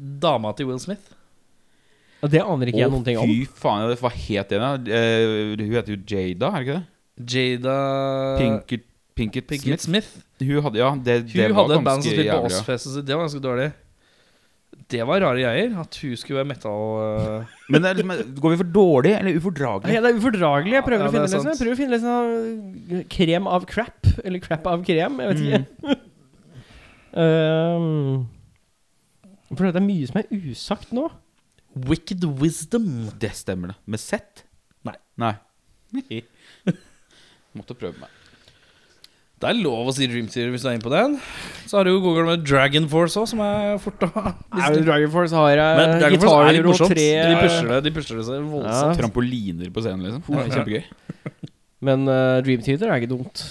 S2: dama til Will Smith.
S1: Og det aner ikke jeg
S3: Å,
S1: noen ting om.
S3: fy faen, jeg- hva het den? da? Eh, hun heter jo Jada, er det ikke det?
S2: Jada
S3: Pinkert, Pinkett
S2: Eh, Pinkett
S3: Smith.
S2: Smith.
S3: Hun hadde, ja, det,
S2: Hun
S3: det var
S2: hadde et band
S3: ganske
S2: som spilte på
S3: jævlig. ja.
S2: Åsfest, og så det var ganske dårlig. Det var rare greier. At hun skulle være metal... eh,
S3: Men det er liksom, går vi for dårlig eller
S1: Nei,
S3: ufordragelig?
S1: det er ufordragelig. Jeg prøver
S2: Ja,
S1: å
S2: det er
S1: finne liksom.
S2: sant.
S1: Jeg prøver å finne liksom krem av crap. Eller crap av krem. Jeg vet ikke. um, for det er mye som er usagt nå.
S4: Wicked wisdom.
S3: Det stemmer det. Med Z?
S2: Nei.
S3: Nei. Måtte prøve meg.
S2: Det er lov å si Dream Theater hvis du er inne på den. Så har du jo Google med Dragon Force òg, som er fort å Eh, Men
S1: Dragon Force har eh,
S2: Dragon Force er litt morsomt. De pusher det, de pusher det så
S1: Ja.
S2: voldsomt.
S3: Trampoliner på scenen, liksom. Det er kjempegøy.
S1: Men eh, Dream Theater er ikke dumt.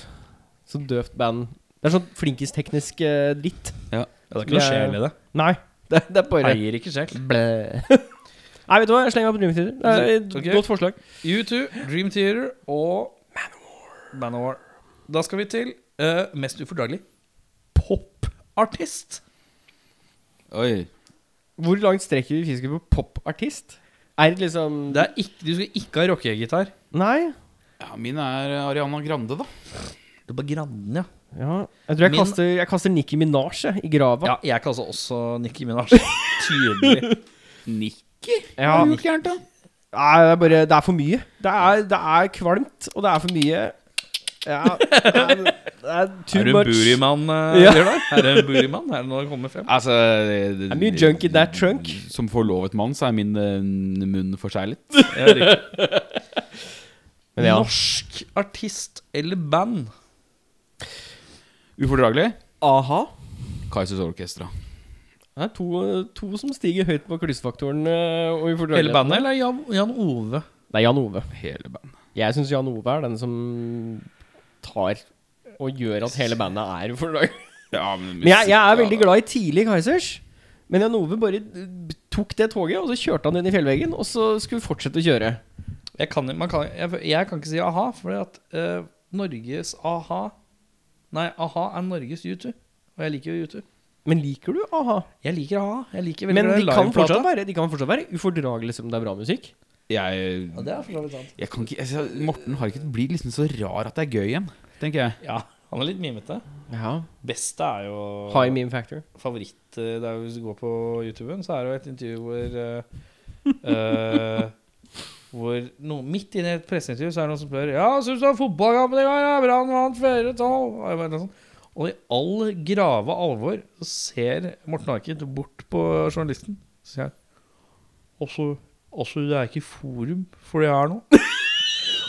S1: Så døvt band. Det er sånn flinkisteknisk uh, dritt.
S2: Ja, det er ikke noe sjel i det.
S1: Nei. Det, det er bare
S2: Eier ikke sjel.
S1: Nei, vet du hva? Jeg slenger meg på Dream Theater. Det er et
S2: Ok.
S1: Godt forslag.
S2: U2, Dream Theater og Manowar. Da skal vi til eh, mest ufordragelig popartist.
S3: Oi.
S1: Hvor langt strekker vi fisken på popartist? Er det liksom
S2: Det er ikke, du skal ikke ha rockegitar.
S1: Nei.
S3: Ja, min er eh, Ariana Grande, da.
S2: Det er bare Granden, ja.
S1: Ja. Jeg tror jeg
S2: Min-
S1: kaster, jeg kaster Nicki Minaj jeg, i grava.
S2: Ja, jeg kaller også Nikki Minaj. Tydelig.
S3: Nikki?
S1: Ja.
S3: Hva har du gjort gærent, da?
S1: Nei, det er bare Det er for mye. Det er, det er kvalmt, og det er for mye. Ja. Det er, det er too
S2: er du en
S1: much.
S2: bootyman?
S1: Ja.
S2: Ja. Er du en bootyman? Er det noe å komme frem?
S3: Altså Det
S1: Det er mye junk in that trunk.
S3: Som forlovet mann, så er min eh, munn forseglet.
S2: Ja, riktig.
S1: Men ja.
S2: Norsk artist eller band?
S3: Ufordragelig?
S1: Aha.
S3: Kaizers Orkestra.
S1: Det er to, to som stiger høyt på klysefaktoren. eh, Og ufordrageligheten.
S2: Hele bandet eller Jan, Jan Ove?
S1: Det er Jan Ove.
S3: Hele band.
S1: Jeg syns Jan Ove er den som tar og gjør at hele bandet er ufordragelig.
S3: Ja, men,
S1: Men jeg, jeg er veldig glad i tidlig Kaizers. Men Jan Ove bare eh, tok det toget, og så kjørte han inn i fjellveggen, og så skulle vi fortsette å kjøre.
S2: Jeg kan, man kan, jeg, jeg kan ikke si a-ha, fordi at eh, Norges a-ha Nei, a-ha er Norges YouTube. Og jeg liker jo YouTube.
S1: Men liker du a-ha?
S2: Jeg liker a-ha. Jeg liker veldig
S1: Men
S2: godt
S1: de kan,
S2: liveplata.
S1: fortsatt være, de kan fortsatt være ufordragelige selv om det er bra musikk.
S2: Ja,
S3: Jeg,
S2: det er for så vidt sant.
S3: jeg kan ikke altså, Morten Harket blir liksom så rar at det er gøy igjen, tenker jeg.
S2: Ja, han er litt mimete.
S1: Ja.
S2: Beste er jo
S1: High meme factor.
S2: favoritt eh, det er jo Hvis du går på YouTuben, så er det jo et intervju hvor eh, eh, Hvor noen, Midt inne i et presseintervju så er det noen som spør Ja, syns du at fotballkampen i går er bra? Nå vant flere tall. Og jeg bare sånn. Og i all grave alvor så ser Morten Harket bort på journalisten. Så sier han Altså, altså, det er ikke forum for det jeg er nå.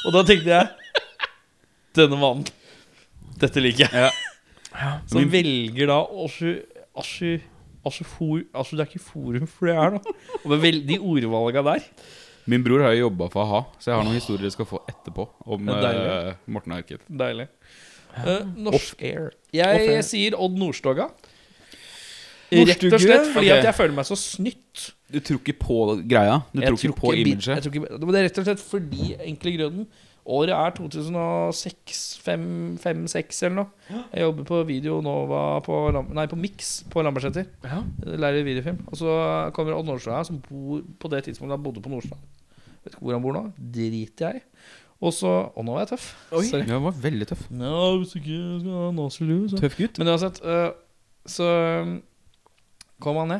S2: Og da tenkte jeg Denne mannen. Dette liker jeg. Som
S3: Min-
S2: velger da altså, altså, altså, for, altså, det er ikke forum for det jeg er nå. Og med vel, de ordvalga der.
S3: Min bror har jo jobba for a-ha, så jeg har noen historier jeg skal få etterpå om
S2: Ja, deilig.
S3: eh, Morten Harket.
S2: Deilig. Eh, norsk air. Jeg,
S1: Off air.
S2: sier Odd Nordstoga. Rett
S1: Nordstoga?
S2: og slett fordi
S3: Ok.
S2: at jeg føler meg så snytt.
S3: Du tror ikke på greia? Du
S2: Jeg
S3: tror ikke på
S2: bi- Jeg
S3: imaget?
S2: tror ikke, men det er rett og slett fordi enkle grunnen. Året er 2006-2006 eller noe. Jeg jobber på Video Nova på, Lam- nei, på Mix på Lambertseter.
S1: Ja.
S2: Lærer i videofilm. Og så kommer Odd Nordstrand her, som bor på det tidspunktet han bodde på Nordstrand. Vet ikke hvor han bor nå. Driter jeg i. Og så Og nå er jeg tøff.
S1: Oi.
S2: Sorry.
S3: Ja, den var veldig tøff.
S2: Ja, hvis ikke skal jeg ha naselue, så
S1: Tøff gutt.
S2: men uansett, eh, så um, kom han ned,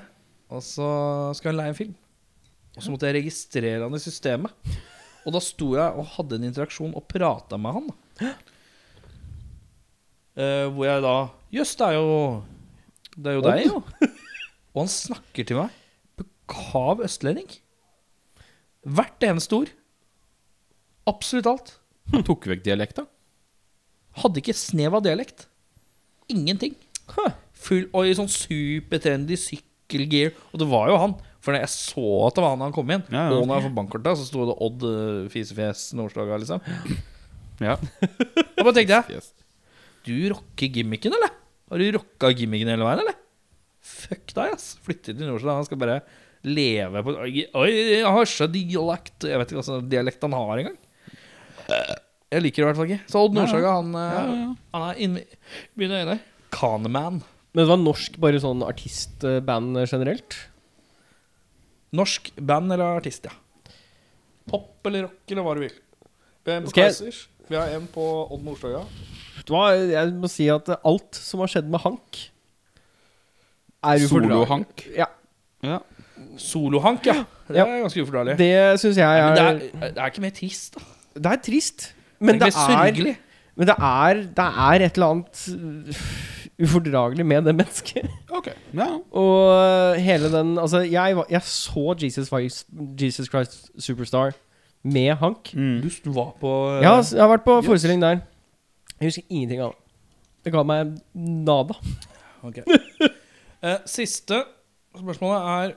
S2: og så skulle han leie en film. Og så måtte jeg registrere han i systemet. Og da sto jeg og hadde en interaksjon og prata med han. Eh, hvor jeg da Jøss, det er jo Det er jo deg, jo. Og han snakker til meg på kav østlending. Hvert eneste ord. Absolutt alt.
S5: Han tok vekk dialekta.
S2: Hadde ikke snev av dialekt. Ingenting. Full og i sånn supertrendy sykkelgear. Og det var jo han. For jeg så at det var han da han kom inn.
S3: Ja, ja.
S2: Og når jeg får bankkortet, så sto det Odd eh, Fisefjes Nordstoga, liksom.
S3: Ja.
S2: Da bare tenkte jeg
S5: Yes.
S2: Du rocker gimmicken, eller? Har du rocka gimmicken hele veien, eller? Fuck deg, ass. Flytter til Nordstoga. Han skal bare leve på Oi, oi, jeg har så dialekt Jeg vet ikke hva slags dialekt han har engang. Jeg liker det i hvert fall ikke. Så Odd Nordstoga, han, eh, han er inni mine øyne. Kaneman.
S1: Men det var norsk, bare sånn artistband generelt?
S2: Norsk band eller artist, ja. Pop eller rock eller hva du vil. Vi har en på
S1: Skal jeg-
S2: Kaizers. Vi har en på Odd Nordstoga.
S1: Vet du hva, jeg må si at alt som har skjedd med Hank er ufordragelig.
S5: Solo-Hank.
S1: Ja,
S2: Solohank, ja. Det
S1: Ja.
S2: er ganske ufordragelig.
S1: det syns jeg
S2: Men
S1: er
S2: det,
S1: det,
S2: er, det er ikke mer trist, da.
S1: er trist. Men det
S2: mer
S1: er,
S2: sørgelig.
S1: men det er Det er et eller annet øh, ufordragelig med det mennesket.
S5: Ok.
S3: Ja.
S1: Og hele den Altså, jeg, var, jeg så Jesus, Christ- Jesus Christ Superstar med Hank.
S3: Mm.
S2: Du s- var på eh,
S1: Jeg har, jeg har vært på forestilling der. Jeg husker ingenting av det. Det ga meg nada.
S2: eh, Siste spørsmålet er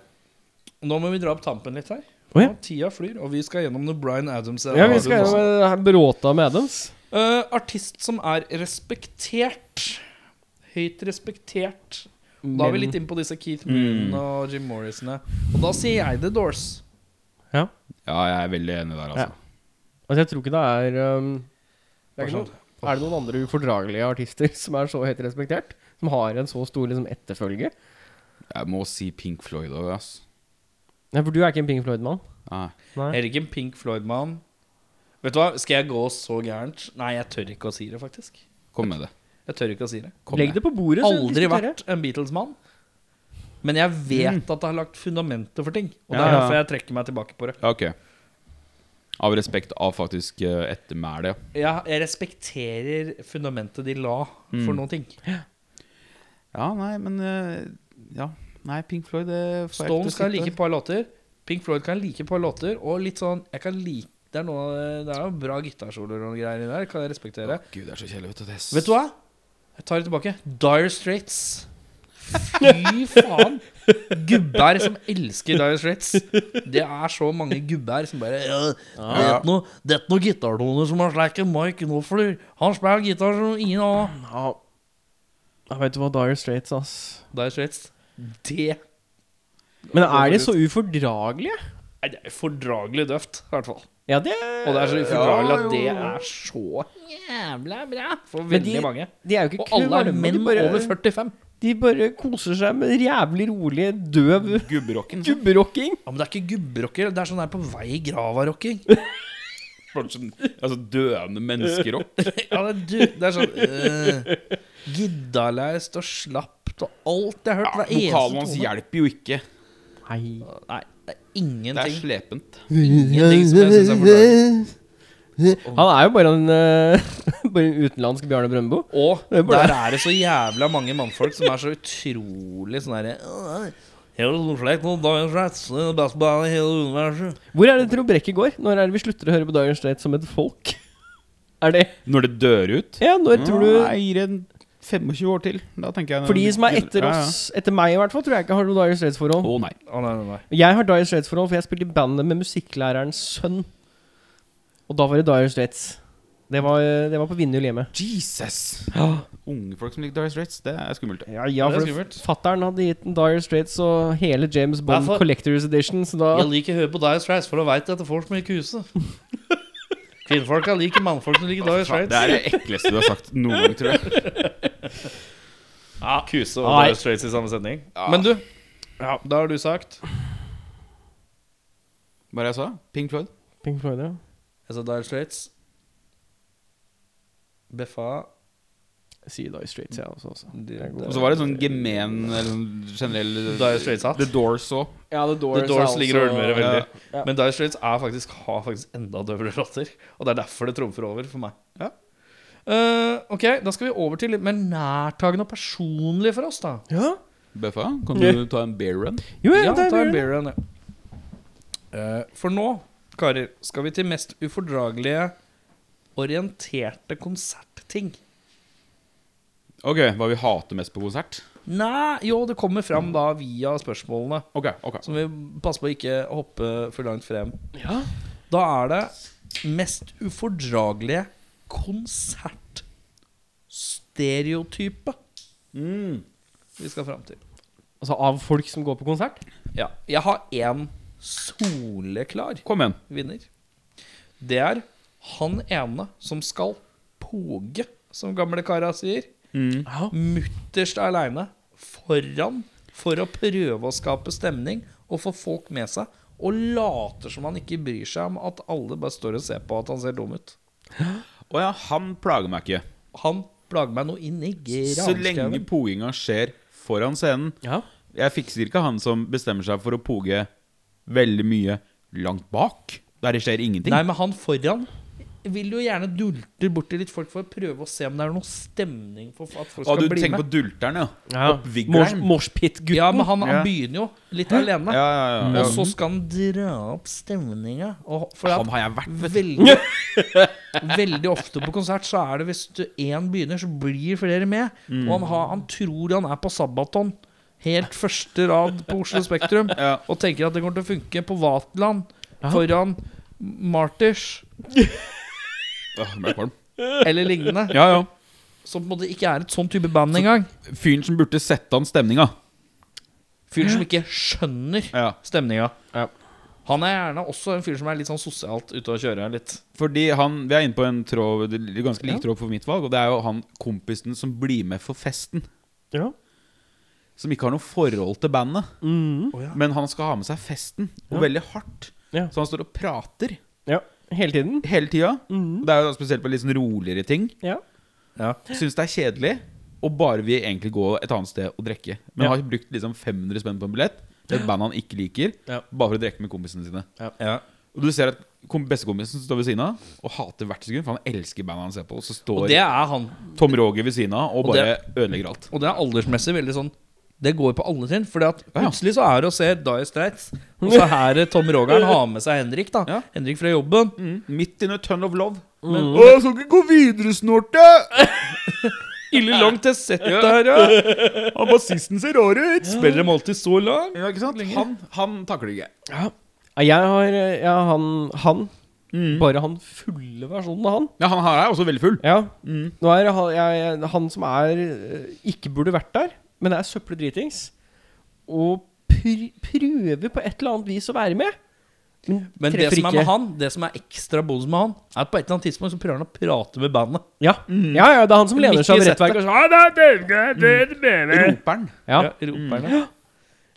S2: Nå må vi dra opp tampen litt her.
S1: Å, ja.
S2: Nå, Tida flyr, og vi skal gjennom noe Bryan Adams.
S1: Ja, vi skal gjennom bråta med Adams.
S2: Eh, artist som er respektert. Høyt respektert. Da er vi litt inne på disse Keith Moon
S3: Mm.
S2: og Jim Morrisene. Og da sier jeg The Doors.
S5: Ja, jeg er veldig enig der, altså.
S1: Altså, jeg tror ikke det er um, det er, ikke noe, er det noen andre ufordragelige artister som er så høyt respektert? Som har en så stor liksom, etterfølge?
S5: Jeg må si Pink Floyd òg, ass.
S1: Nei, for du er ikke en Pink Floyd-mann.
S5: Nei.
S1: Nei.
S2: Erik en Pink Floyd-mann. Vet du hva, skal jeg gå så gærent? Nei, jeg tør ikke å si det, faktisk.
S5: Kom med det.
S2: Jeg tør ikke å si det.
S5: Kom
S1: Legg
S5: med.
S1: det på bordet. så
S2: Aldri
S1: diskuterer jeg.
S2: vært en Beatles-mann. Men jeg vet at det har lagt fundamentet for ting. Og det
S3: Mm. Ja,
S2: er
S3: ja.
S2: derfor jeg trekker meg tilbake på det.
S5: Ja, ok. Av respekt av faktisk eh, ettermælet, ja.
S2: Jeg, jeg respekterer fundamentet de la for
S3: Mm.
S2: noen ting.
S5: Ja, nei, men eh, Ja. Nei, Pink Floyd det får jeg ikke til å
S2: Stones kan
S5: sitte.
S2: like et par låter. Pink Floyd kan like et par låter. Og litt sånn Jeg kan like Det er, noe, det er noen bra gitarsoloer og noen greier i der. Kan jeg respektere.
S5: Gud, det er så kjedelig, vet du. Det er
S2: Vet du hva? Jeg tar det tilbake. Dire Straits. Fy faen! Gubber som elsker Dire Straits. Det er så mange gubber som bare øh, ja, Det er noe- det er noen gitartoner som har slik en Mike Knopfler. Han spiller gitar som ingen annen.
S1: Ja. Jeg vet du hva, Dire Straits, ass.
S2: Dire Straits. Det
S1: Men er de så ufordragelige?
S2: Nei, det er fordragelig døvt, i hvert fall.
S1: Ja, det
S2: Og det er så ufordragelig at det er så jævla bra for
S1: Men
S2: veldig
S1: de-
S2: mange.
S1: De er jo ikke
S2: Og alle er
S1: varme,
S2: menn
S1: de bare,
S2: over 45.
S1: De bare koser seg med jævlig rolig, døv
S3: Gubberocken.
S1: gubberocking.
S2: Ja, men det er ikke gubberocker. Det er sånn der på vei i grava-rocking.
S3: Sånn, altså døende menneskerock.
S2: Ja, det er, du, det er sånn øh, Giddaleist og slappt og alt jeg har hørt. hver
S5: Vokalen hans
S2: eneste tone.
S5: hjelper jo ikke.
S1: Hei.
S2: Nei, det er
S5: Det er
S2: ingenting.
S5: slepent.
S2: Ingenting som jeg synes er
S1: Han er jo bare en, eh, bare en utenlandsk Bjarne Brøndbo.
S2: Og
S1: Det er bare-
S2: der er det så jævla mange mannfolk som er så utrolig sånn derre «Åh, sånn Hele Nordflekt og Dire Straits, det er best band eh, i hele universet.
S1: Hvor er det Trond Brekke går? Når er det vi slutter å høre på Dire Straits som et folk? Er det
S5: Når det dør ut
S1: Ja, når tror du
S5: Nei, gir en 25 år til. Da tenker jeg
S1: For de som er etter oss, etter meg i hvert fall, tror jeg ikke har noe Dire Straits-forhold.
S5: Å nei.
S2: Å, nei, nei, nei.
S1: Jeg har Dire Straits-forhold, for jeg spilte i bandet med musikklærerens sønn. Og da var det Dire Straits. Det var, det var på Vindhjul hjemme.
S5: Jesus! Unge folk som liker Dire Straits, det er skummelt.
S1: Ja, ja,
S2: Det er
S1: for
S2: skummelt.
S1: fattern hadde gitt en Dire Straits og hele James Bond
S2: Derfor-
S1: Collectors Edition, så da
S2: Jeg liker å høre på Dire Straits, for da veit jeg at det får så mye kuse. Kvinnfolka liker mannfolk som liker Dire Straits.
S5: Det er det ekleste du har sagt noen gang, tror jeg.
S2: Ja, kuse og
S1: Nei.
S2: Dire Straits i samme setning. Men du, ja, da har du sagt
S5: Hva er det jeg sa? Pink Floyd?
S1: Pink Floyd, ja.
S2: Jeg sa Dire Straits. Beffa
S1: Jeg sier Dire Straits, jeg også. også.
S2: De-
S1: Det er god.
S5: Og så var det sånn gemen eller sånn generell
S2: Dire Straits-hatt.
S5: The Doors òg.
S1: Ja, The Doors,
S2: The Doors
S1: er
S2: ligger og
S1: også-
S2: ulmer veldig.
S1: Ja.
S2: Men Dire Straits er faktisk, har faktisk enda døvere låter. Og det er derfor det trumfer over for meg.
S5: Ja.
S2: Eh, ok, Da skal vi over til litt mer nærtagende og personlig for oss, da.
S1: Ja.
S3: Bøffa, kan du ta en beer run?
S1: Jo, ja,
S2: Ja,
S1: det
S2: ta
S1: er
S2: en
S1: beer.
S2: beer run, ja. Eh, for nå, karer, skal vi til mest ufordragelige orienterte konsertting.
S3: Ok, Hva vi hater mest på konsert?
S2: Nei, jo, det kommer fram da via spørsmålene.
S3: Ok, ok
S2: Så vi passer på å ikke hoppe for langt frem.
S1: Ja.
S2: Da er det mest ufordragelige konsertstereotype vi skal fram til.
S1: Altså av folk som går på konsert?
S2: Ja, jeg har én soleklar
S3: Kom igjen.
S2: vinner. Det er han ene som skal poge, som gamle kara sier.
S1: Ja.
S2: Mutterst aleine foran for å prøve å skape stemning og få folk med seg. Og later som han ikke bryr seg om at alle bare står og ser på at han ser dum ut.
S3: Å ja, han plager meg ikke.
S2: Han plager meg nå inn i
S3: Så lenge
S2: granskauen.
S3: poginga skjer foran scenen.
S1: Ja.
S3: Jeg fikser ikke han som bestemmer seg for å poge veldig mye langt bak. Der det skjer ingenting.
S2: Nei, men han foran vil jo gjerne dulte borti litt folk for å prøve å se om det er noe stemning for at folk
S3: Å,
S2: skal
S3: du
S2: bli
S3: tenker
S2: med.
S3: på dulteren, ja.
S1: ja.
S3: Oppvigleren.
S1: Moshpit-gutten.
S2: Ja, men han, han
S3: Ja.
S2: begynner jo litt alene.
S3: Ja, ja, ja, ja.
S2: Og så skal han dra opp stemninga. Og- For at
S3: Han har jeg vært
S2: veldig, veldig ofte på konsert så er det hvis du- én begynner, så blir flere med.
S3: Mm.
S2: Og han, har, han tror han er på Sabaton, helt første rad på Oslo Spektrum,
S3: Ja.
S2: og tenker at det kommer til å funke på Vatland foran Martyrs
S3: Åh, jeg ble kvalm.
S2: eller lignende.
S3: Ja, ja.
S2: Som på en måte ikke er et sånn type band engang.
S3: Fyren som burde sette an stemninga.
S2: Fyren som ikke skjønner
S3: Ja.
S2: stemninga. Han er gjerne også en fyr som er litt sånn sosialt ute og kjører litt.
S3: Fordi han, Vi er inne på en tråd, det er ganske lik tråd for mitt valg, og det er jo han kompisen som blir med for festen.
S1: Ja.
S3: Som ikke har noe forhold til bandet, men han skal ha med seg festen, og veldig hardt.
S1: Ja.
S3: Så han står og prater
S1: ja. Hele tiden.
S3: hele tida. Det er jo da spesielt på litt sånn roligere ting.
S1: Ja.
S3: Syns det er kjedelig, og bare vil egentlig gå et annet sted og drikke. Men
S1: Ja.
S3: har brukt liksom 500 spenn på en billett til et band han ikke liker,
S1: Ja.
S3: bare for å drikke med kompisene sine.
S6: Ja.
S3: Og du ser at kom- bestekompisen står ved siden av og hater hvert sekund, for han elsker bandet han ser på. Og så står
S2: Og det er han.
S3: Tom Roger ved siden av og
S2: Og det-
S3: bare ødelegger alt.
S2: Og det er aldersmessig veldig sånn Det går på alle trinn. Fordi at
S3: Ja, ja.
S2: plutselig så er det å se Dye Straits, og så her er Tom Rogan har med seg Henrik, da.
S3: Ja.
S2: Henrik fra jobben.
S3: Midt in a ton of love.
S7: Å, jeg skal ikke gå videre, snorte!
S2: Ille langt til settet her, ja.
S7: Han bassisten ser rar ut.
S2: Spiller dem alltid så langt.
S3: Ja, ikke sant? Han, han takler det ikke.
S1: Ja, Jeg har eh, ja, han, han. Bare han fulle versjonen av han.
S3: Ja, han her er også veldig full.
S1: Ja. Nå er det han, jeg, han som er eh, ikke burde vært der, men det er søppeldritings, og pr prøver på et eller annet vis å være med.
S2: Men det
S1: Treffer
S2: som er med
S1: ikke.
S2: han, det som er ekstra bonus med han, er at på et eller annet tidspunkt så prøver han å prate med bandet.
S1: Ja, ja, ja det er han som lener
S2: Midt
S1: seg
S2: i
S1: over rettverket. og sånn, «Ah, det er det, det er det, det er det».
S3: Roperen.
S1: Ja.
S2: Ja, roperne.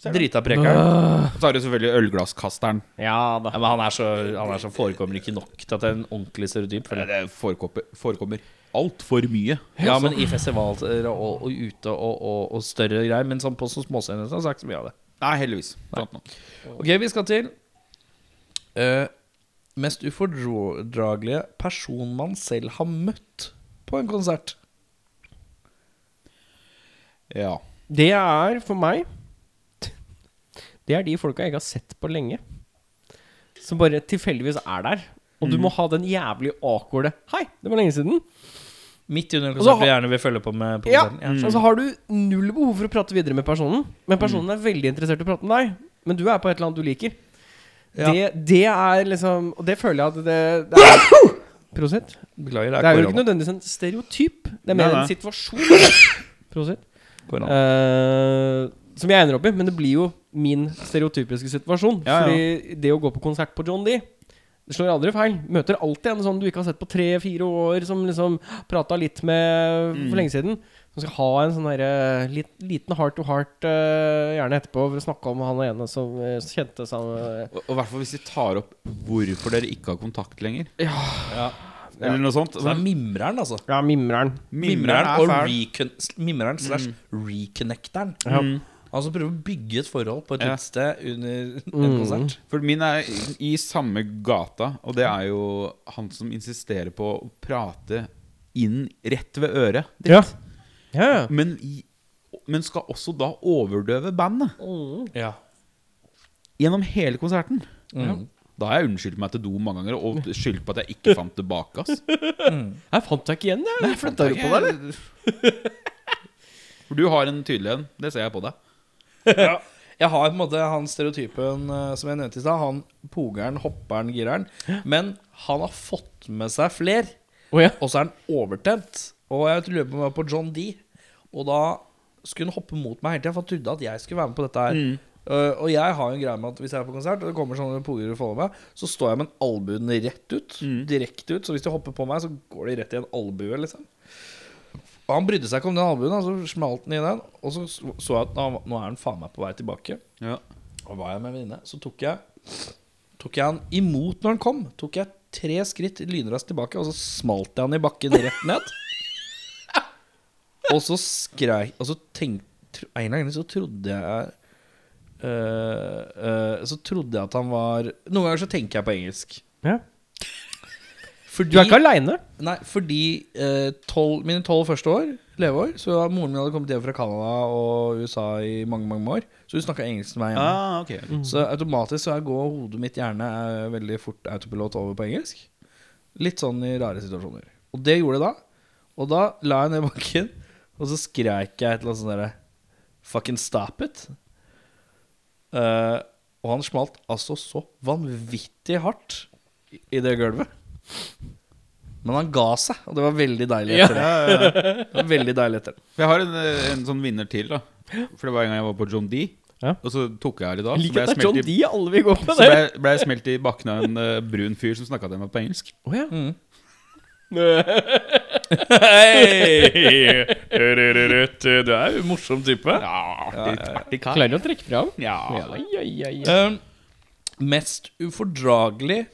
S2: Drita prekeren.
S3: Og så er det selvfølgelig ølglasskasteren.
S1: ja da.
S2: Ja, men han er, så, han er så forekommer ikke nok til at det er en ordentlig stereotyp. føler jeg.
S3: Det forekommer, forekommer eh, altfor mye.
S2: Ja, men i festivaler og, og ute og, og, og større greier. Men sånn på så småscener så har jeg ikke så mye av det.
S3: Nei, heldigvis. Sant nok.
S2: Ok, vi skal til eh, mest ufordragelige person man selv har møtt på en konsert.
S3: Ja.
S1: Det er for meg Det er de folka jeg ikke har sett på lenge. Som bare tilfeldigvis er der. Og du må ha den jævlig awkwarde 'Hei, det var lenge siden'.
S2: Midt under
S1: Og så
S2: konserten
S1: har-
S2: vi gjerne vil følge på med på
S1: Ja.
S2: konserten. Ja.
S1: Altså har du null behov for å prate videre med personen, men personen er veldig interessert i å prate med deg. Men du er på et eller annet du liker.
S2: Ja.
S1: Det, det er liksom Og det føler jeg at det, det er Prosit.
S2: Beklager,
S1: Mm. Det er
S2: det er
S1: jo ikke
S2: korona.
S1: nødvendigvis en stereotyp, det er
S3: Nei,
S1: mer
S3: nei.
S1: en situasjon. Prosit.
S2: korona.
S1: Eh, som jeg ender opp i, men det blir jo min stereotypiske situasjon.
S3: Ja, ja.
S1: Fordi det å gå på konsert på John D det slår aldri feil. Møter alltid en sånn du ikke har sett på tre-fire år, som liksom prata litt med
S3: Mm.
S1: for lenge siden. Som skal ha en sånn derre lit, liten heart to heart, eh, gjerne etterpå, for å snakke om han ene som eh, kjente seg eh,
S3: Og og i hvert fall hvis de tar opp hvorfor dere ikke har kontakt lenger. Ja. Eller noe sånt.
S2: Så det er mimreren, altså.
S1: Ja, mimreren.
S2: Mimreren, og
S3: fæl. Mm.
S2: recon mimreren slash reconnecteren. Han som prøver å bygge et forhold på et
S3: Ja.
S2: utested under en konsert.
S3: For min er i samme gata, og det er jo han som insisterer på å prate inn rett ved øret. ditt.
S1: Ja. Ja, ja.
S3: Men, i- men skal også da overdøve bandet
S8: Mm.
S2: Ja.
S3: gjennom hele konserten.
S1: Mm.
S3: Da har jeg unnskyldt meg til do mange ganger og skyldt på at jeg ikke fant tilbake. Ass.
S1: Jeg fant deg ikke igjen, jeg.
S3: Jeg fant
S8: du på deg,
S3: eller? For du har en tydelig en. Det ser jeg på deg.
S2: Jeg har på en måte han stereotypen eh, som jeg nevnte i stad. Han pogeren, hopperen, gireren. Men han har fått med seg fler,
S1: Å, ja.
S2: og så er han overtent. Og jeg lurer på om jeg var på John D. Og da skulle han hoppe mot meg hele tida, for han trodde at jeg skulle være med på dette her. Eh, og jeg har jo en greie med at hvis jeg er på konsert, og det kommer sånne pogere foran meg, så står jeg med en albuen rett ut. Direkte ut. Så hvis de hopper på meg, så går de rett i en albue, liksom. Og han brydde seg ikke om den albuen, da, så smalt han i den. Og så så jeg at nå nå er han faen meg på vei tilbake. Og var jeg med en venninne, så tok jeg Tok jeg han imot når han kom. Tok jeg tre skritt lynraskt tilbake, og så smalt jeg han i bakken rett ned. og så skreik Og så tenkte En eller annen gang så trodde jeg øh, øh, Så trodde jeg at han var Noen ganger så tenker jeg på engelsk.
S1: Ja.
S2: Fordi,
S1: Du er ikke aleine.
S2: Nei, fordi eh, tolv- mine tolv første år, leveår, så moren min hadde kommet hjem fra Canada og USA i mange mange år. Så hun snakka engelsk til meg hjemme.
S3: Ah, ok
S2: Så automatisk så jeg går hodet mitt gjerne eh, veldig fort autopilot over på engelsk. Litt sånn i rare situasjoner. Og det gjorde jeg da. Og da la jeg ned bakken, og så skreik jeg et eller annet sånt derre Fucking stop it. Eh, og han smalt altså så vanvittig hardt i- i det gulvet. Men han ga seg, og det var veldig deilig etter det. det. var Veldig deilig etter det.
S3: For jeg har en, eh, en sånn vinner til, da. For det var en gang jeg var på John D.
S1: Ja.
S3: Og så tok jeg her i dag.
S1: Jeg
S3: Så
S1: liker
S3: ble jeg
S1: at det er John
S3: smelt i,
S1: D alle vi går på
S3: så
S1: der.
S3: ble, jeg- ble jeg smelt i bakken av en eh, brun fyr som snakka til meg på engelsk.
S1: Å, ja.
S2: Mm. Du er jo en morsom type.
S1: Klarer å trekke fram.
S3: Ja.
S1: Ja, ja, ja, ja.
S2: Um, mest ufordragelig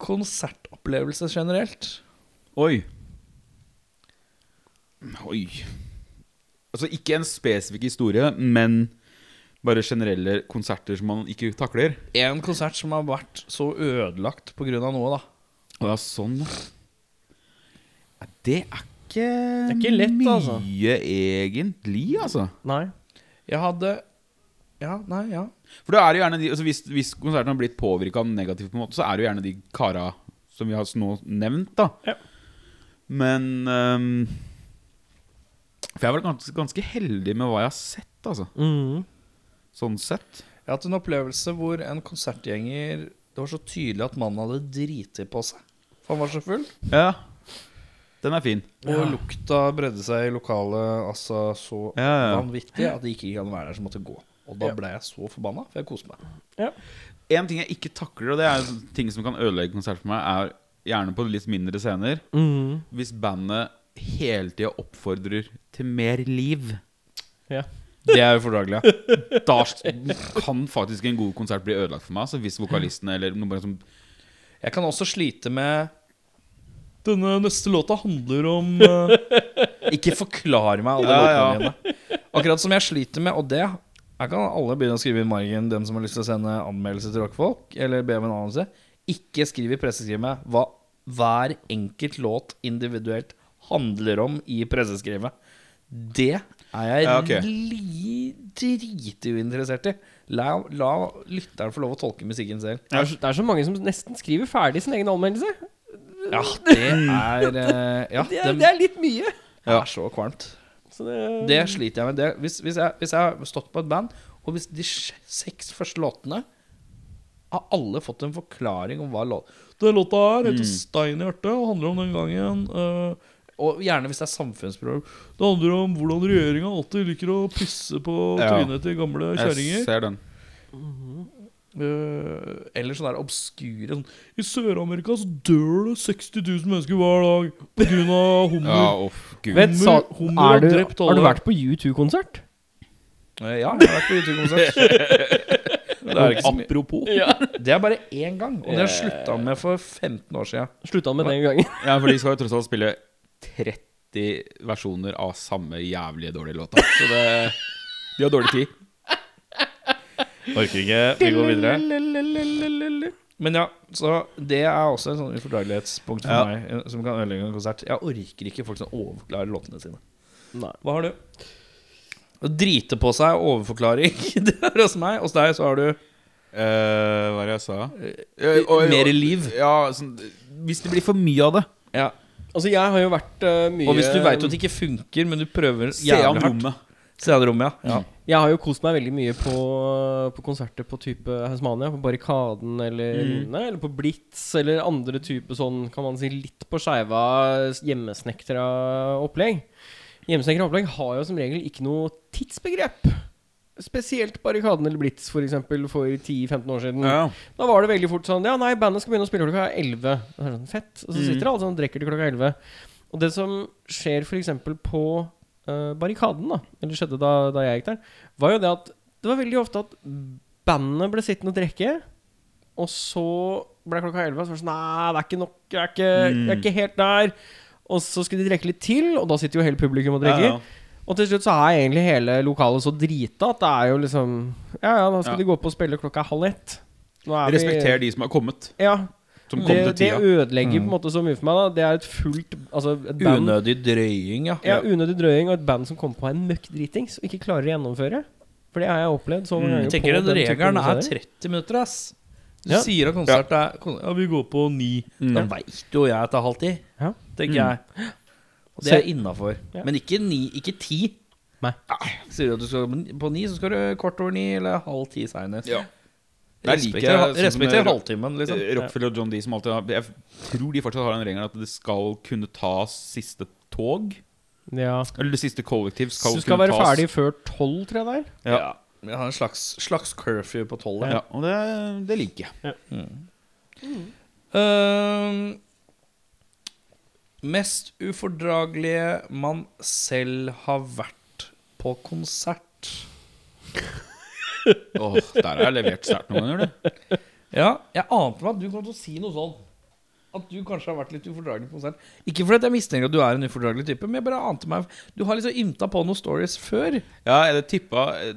S2: konsertopplevelse generelt?
S3: Oi. Oi. Altså ikke en spesifikk historie, men bare generelle konserter som man ikke takler.
S2: En konsert som har vært så ødelagt pga. noe, da.
S3: Å ja, sånn, ja. Ja, Det er ikke
S1: er ikke lett,
S3: mye,
S1: altså.
S3: egentlig, altså.
S1: Nei.
S2: Jeg hadde Ja, nei, ja.
S3: For det er jo gjerne de, altså hvis, hvis konserten har blitt påvirka negativt, på en måte, så er det jo gjerne de kara som vi har nå nevnt, da.
S1: Ja.
S3: Men ehm, For jeg har vært ganske, ganske heldig med hva jeg har sett, altså.
S1: Mm.
S3: Sånn sett.
S2: Jeg har hatt en opplevelse hvor en konsertgjenger Det var så tydelig at mannen hadde driti på seg. For han var så full.
S3: Ja. Den er fin.
S2: Og lukta bredde seg i lokalet altså så
S3: Ja, ja.
S2: vanvittig at det ikke gikk an å være der, så måtte jeg gå. Og da ble jeg så forbanna, for jeg koste meg.
S3: En ting jeg ikke takler, og det er en ting som kan ødelegge konsert for meg, er gjerne på litt mindre scener
S1: Mm.
S3: hvis bandet hele tida oppfordrer til mer liv.
S1: Ja.
S2: Det er ufordragelig. ja.
S3: Da kan faktisk en god konsert bli ødelagt for meg. Altså hvis vokalisten eller noen bare som
S2: Jeg kan også slite med Denne neste låta handler om eh, Ikke forklar meg alle
S3: Ja,
S2: låtene mine. Akkurat som jeg sliter med, og det Her kan alle begynne å skrive i margen, dem som har lyst til å sende anmeldelse til rockfolk, eller be om en anelse. Ikke skriv i presseskrivet hva hver enkelt låt individuelt handler om i presseskrivet. Det er jeg
S3: Ja, ok.
S2: li- drituinteressert i. La, la lytteren få lov å tolke musikken selv.
S1: Det, er så, det er så mange som nesten skriver ferdig sin egen anmeldelse.
S2: Ja, det er eh, Ja,
S1: Det,
S2: dem-
S1: det er litt mye.
S2: det er så kvalmt.
S1: Så det,
S2: Det sliter jeg med. Det, hvis, hvis, jeg, hvis jeg har stått på et band, og hvis de sj- seks første låtene har alle fått en forklaring om hva låt Den låta her
S3: Mm.
S2: heter 'Stein i hjertet' og handler om den gangen eh, Og gjerne hvis det er samfunnsproblem. Det handler om hvordan regjeringa alltid liker å pisse på
S3: Ja.
S2: trynet til gamle
S3: Jeg
S2: kjerringer.
S3: ser den.
S2: Eh, eller sånne der obskure sånn I Sør-Amerika så dør det 60 000 mennesker hver dag pga. hummer.
S3: Ja, uff, gud.
S1: Vet, sa,
S2: Hummer
S1: er du,
S2: har drept
S1: har du
S2: alle.
S1: vært på U2-konsert?
S2: Eh, ja, jeg har vært på YouTube-konsert. det, er ikke så mye.
S3: Apropos.
S2: det er bare én gang, og det har jeg slutta med for 15 år siden.
S1: Slutta med den gangen.
S3: Ja, for de skal jo tross alt spille 30 versjoner av samme jævlige dårlige låta. Så det De har dårlig tid.
S2: Orker ikke. Vi går videre. Men ja, så det er også en sånn ufordragelighetspunkt for
S9: Ja.
S2: meg eh, som kan ødelegge en konsert. Jeg orker ikke folk som overklarer låtene sine.
S1: Nei.
S2: Hva har du? Å drite på seg er overforklaring. Det er hos meg. Hos deg så har du
S3: Eh, hva er det jeg sa? Eh,
S2: mer liv.
S3: Ja, sånn, hvis det blir for mye av det.
S2: Ja.
S1: Altså, jeg har jo vært eh, mye
S2: Og hvis du veit at det ikke funker, men du prøver
S3: Se an
S2: jævlig hardt
S3: rommet.
S2: Se an rommet, ja.
S1: Jeg har jo kost meg veldig mye på, på konserter på type Hausmania. På Barrikaden eller lignende. Eller på Blitz eller andre type sånn, kan man si, litt på skeiva hjemmesnekra opplegg. Hjemmesnekra opplegg har jo som regel ikke noe tidsbegrep. Spesielt Barrikaden eller Blitz for eksempel for 10-15 år siden.
S3: Ja.
S1: Da var det veldig fort sånn Ja, nei, bandet skal begynne å spille klokka 11. Og så er det sånn, Fett.
S9: Mm.
S1: Og så sitter alle sånn og drikker til klokka 11. Og det som skjer f.eks. på eh, Barrikaden, da, eller skjedde da, da jeg gikk der, var jo det at det var veldig ofte at bandet ble sittende og drikke, og så ble klokka 11, og så var det sånn Nei, det er ikke nok. Jeg er ikke,
S9: Mm.
S1: jeg er ikke helt der. Og så skulle de drikke litt til, og da sitter jo hele publikum og drikker.
S9: Ja, ja.
S1: Og til slutt så er egentlig hele lokalet så drita at det er jo liksom Ja, ja, da skal
S3: Ja.
S1: de gå opp og spille klokka halv ett. Nå er vi-
S3: Respekter de som har kommet.
S1: Ja.
S3: Som kom
S1: Mm. Det,
S3: til
S1: det
S3: tida.
S1: ødelegger på en måte så mye for meg. da Det er et fullt altså, et band,
S2: Unødig drøying, ja.
S1: ja, unødig drøying og et band som kommer på en møkk dritings og ikke klarer å gjennomføre. For det har jeg opplevd så mange ganger.
S2: Jeg tenker
S1: på
S2: at
S1: den type
S2: regelen er
S1: konserter.
S2: 30 minutter, ass. Du
S1: Ja. Mm.
S2: sier at konsert er kon- Ja, vi går på ni. Da veit jo jeg at det er halv ti,
S1: Ja. Mm.
S2: tenker jeg. Og det
S1: Så-
S2: er innafor.
S1: Ja.
S2: Men ikke ni, ikke ti.
S1: Nei.
S2: Sier du at du skal på ni, så skal du kvart over ni eller halv ti seinest.
S3: Ja. Der liker jeg
S2: Respekter,
S3: sånn som
S2: respekter
S3: det-
S2: halvtimen, liksom.
S3: Eh, Rockefeller og John D som alltid har Jeg tror de fortsatt har den regelen at det skal kunne tas siste tog.
S1: Ja.
S3: Eller det siste kollektiv
S1: Så
S3: skal,
S1: du skal være
S3: tas.
S1: ferdig før tolv, tror jeg det er.
S3: Ja.
S2: Jeg har en slags, slags curfew på tolv.
S3: Ja, og det, det liker jeg.
S2: Øhm, Ehm, mest ufordragelige man selv har vært på konsert.
S3: Åh, Der har jeg levert sterkt noen ganger, du.
S2: Ja, jeg ante meg at du kom til å si noe sånn. At du kanskje har vært litt ufordragelig på konsert. Ikke fordi at jeg mistenker at du er en ufordragelig type, men jeg bare ante meg Du har liksom ymta på noen stories før.
S3: Ja, jeg tippa eh,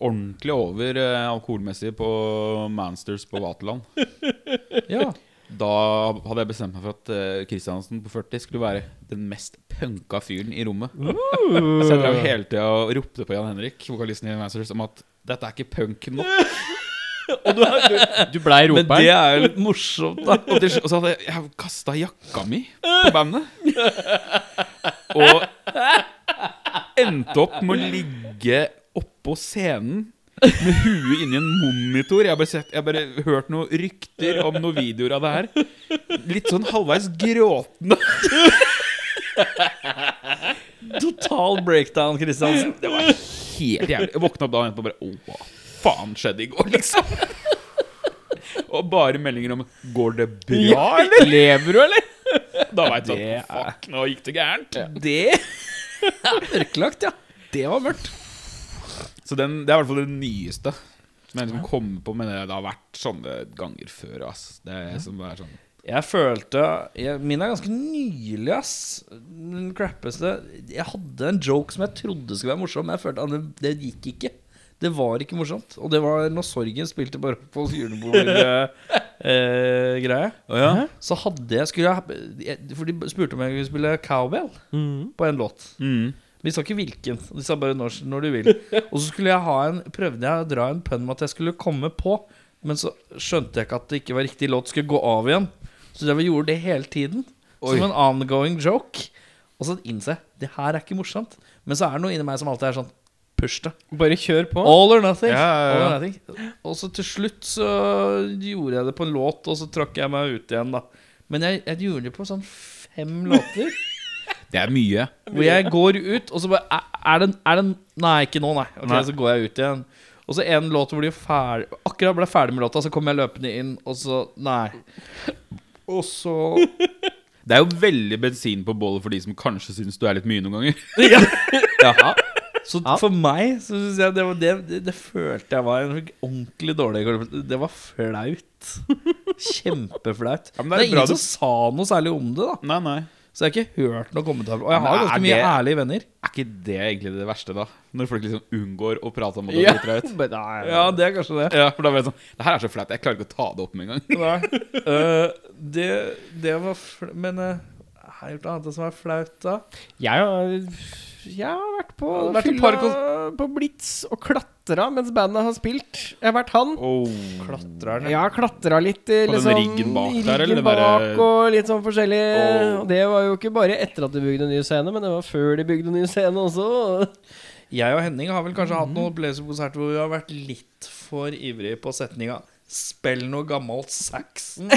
S3: ordentlig over eh, alkoholmessig på Mansters på Vaterland.
S2: Ja.
S3: Da hadde jeg bestemt meg for at eh, Kristiansen på 40 skulle være den mest punka fyren i rommet. Så jeg drev hele tida og ropte på Jan Henrik, vokalisten i Mansters, om at dette er ikke punk nok.
S1: Du blei
S2: Men det er jo litt morsomt, da.
S3: Og, til, slutt- og så hadde jeg, jeg kasta jakka mi på bandet. Og endte opp med å ligge oppå scenen med huet inni en monitor. Jeg har bare, sett, jeg har bare hørt noen rykter om noen videoer av det her. Litt sånn halvveis gråtende.
S2: Total breakdown, Kristiansen.
S3: Det var helt jævlig. Jeg våkna opp dagen etterpå og bare Å, hva faen skjedde i går, liksom? Og bare meldinger om Går det bra, eller? Lever du, eller? Da veit du at fuck, nå gikk det gærent.
S2: Det er mørklagt, ja. Det var mørkt.
S3: Så den, det er i hvert fall det nyeste. Som jeg liksom kommer på, men det har vært sånne ganger før. Ass. Det er som bare sånn
S2: Jeg følte jeg, Min er ganske nylig, ass. Den crappeste Jeg hadde en joke som jeg trodde skulle være morsom, men jeg følte at det, det gikk ikke. Det var ikke morsomt. Og det var når Sorgen spilte på Rockefolds julebord-greie. Så hadde jeg, skulle jeg jeg- For de spurte om jeg kunne spille cowbell
S1: Mm.
S2: på en låt. Men de sa ikke hvilken. De sa bare når, når du vil. Og så skulle jeg ha en prøvde jeg å dra en pønn med at jeg skulle komme på, men så skjønte jeg ikke at det ikke var riktig låt skulle gå av igjen. Så jeg gjorde det hele tiden. Som en ongoing joke. Og så innser jeg det her er ikke morsomt. Men så er det noe inni meg som alltid er sånn Push det.
S1: Bare kjør på.
S2: All or nothing.
S3: Ja, ja, ja.
S2: All or nothing. Og så til slutt så gjorde jeg det på en låt, og så trakk jeg meg ut igjen, da. Men jeg, jeg gjorde det på sånn fem låter.
S3: Det er mye.
S2: Hvor jeg går ut, og så bare Er, er det, er det Nei, ikke nå, nei. Ok, Så går jeg ut igjen. Og så en låt hvor de er ferdig akkurat ble ferdig med låta, så kommer jeg løpende inn, og så Nei. Og så
S3: Det er jo veldig bensin på bålet for de som kanskje syns du er litt mye noen ganger.
S2: Så for meg så syns jeg det, var, det, det, det følte jeg var en ordentlig dårlig kvalitet. Det var flaut. Kjempeflaut.
S3: Ja, men
S2: det
S3: det er
S2: er
S3: bra
S2: ingen
S3: du-
S2: som sa noe særlig om det, da.
S3: Nei, nei.
S2: Så jeg har ikke hørt noen kommentarer. Og jeg
S3: Men
S2: har
S3: er
S2: ganske mye
S3: det-
S2: ærlige venner.
S3: Er ikke det egentlig det verste, da? Når folk liksom unngår å prate om det
S2: Ja.
S3: og driter deg ut.
S2: Ja, det er kanskje det.
S3: Ja, for da blir det sånn Det her er så flaut, jeg klarer ikke å ta det opp med en gang.
S2: Nei. Eh, det, det var fl Men eh, har jeg gjort noe annet som er flaut, da?
S1: Jeg har, jeg har vært på
S2: Har du vært på
S1: fylla
S2: parkons-
S1: på Blitz og klatra mens bandet har spilt. Jeg har vært han.
S2: Oh. Klatrerne.
S1: Jeg har klatra litt i
S3: På den
S1: liksom,
S3: riggen bak
S1: i
S3: der, eller
S1: riggen
S3: det derre-
S1: bak og litt sånn forskjellig.
S3: Åh.
S1: Og det var jo ikke bare etter at de bygde en ny scene, men det var før de bygde en ny scene også.
S2: Jeg og Henning har vel kanskje
S1: Mhm.
S2: hatt noen opplevelsekonserter hvor vi har vært litt for ivrige på setninga 'Spill noe gammalt Saxon'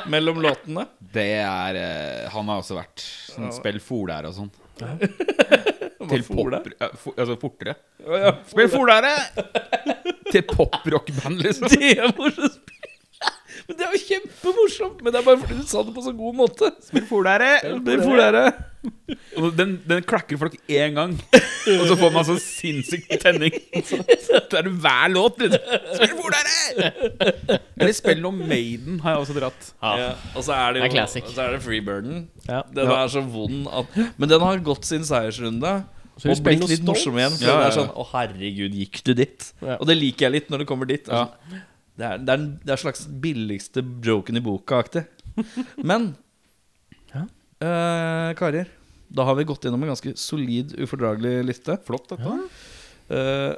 S2: mellom låtene.
S3: Det er eh, Han har også vært sånn
S2: Ja.
S3: spill folær og sånn.
S2: Hva
S3: Til
S2: for det?
S3: pop... eh, fo- Altså fortere.
S2: Å ja,
S3: Spill folere! Til poprockband, liksom.
S2: Det er morsomt. Men det er jo kjempemorsomt! Men det er bare fordi du sa det på så god måte.
S3: Spill folere! Spill folere! Og Den, den klakker folk én gang, og så får man så sinnssyk tenning. Det er det hver låt, liksom. Spill folere! Eller spill om Maiden har jeg også dratt.
S2: Ja. Og så er det
S1: Det er
S2: jo
S1: classic.
S2: så er det Freebirden.
S1: Ja.
S2: Den er så vond at Men den har gått sin seiersrunde.
S1: Så vi
S2: Og
S1: spiller noe
S2: blitt litt
S1: stolt.
S2: morsom igjen. For
S3: Ja,
S2: det
S3: ja,
S2: er
S3: ja.
S2: sånn Å, herregud, gikk du dit?
S1: Ja.
S2: Og det liker jeg litt når det kommer dit. Altså. Det, er, det, er, den- det er slags billigste joken i boka-aktig. Men
S1: Ja.
S2: eh, karer, da har vi gått gjennom en ganske solid, ufordragelig liste. Flott, dette.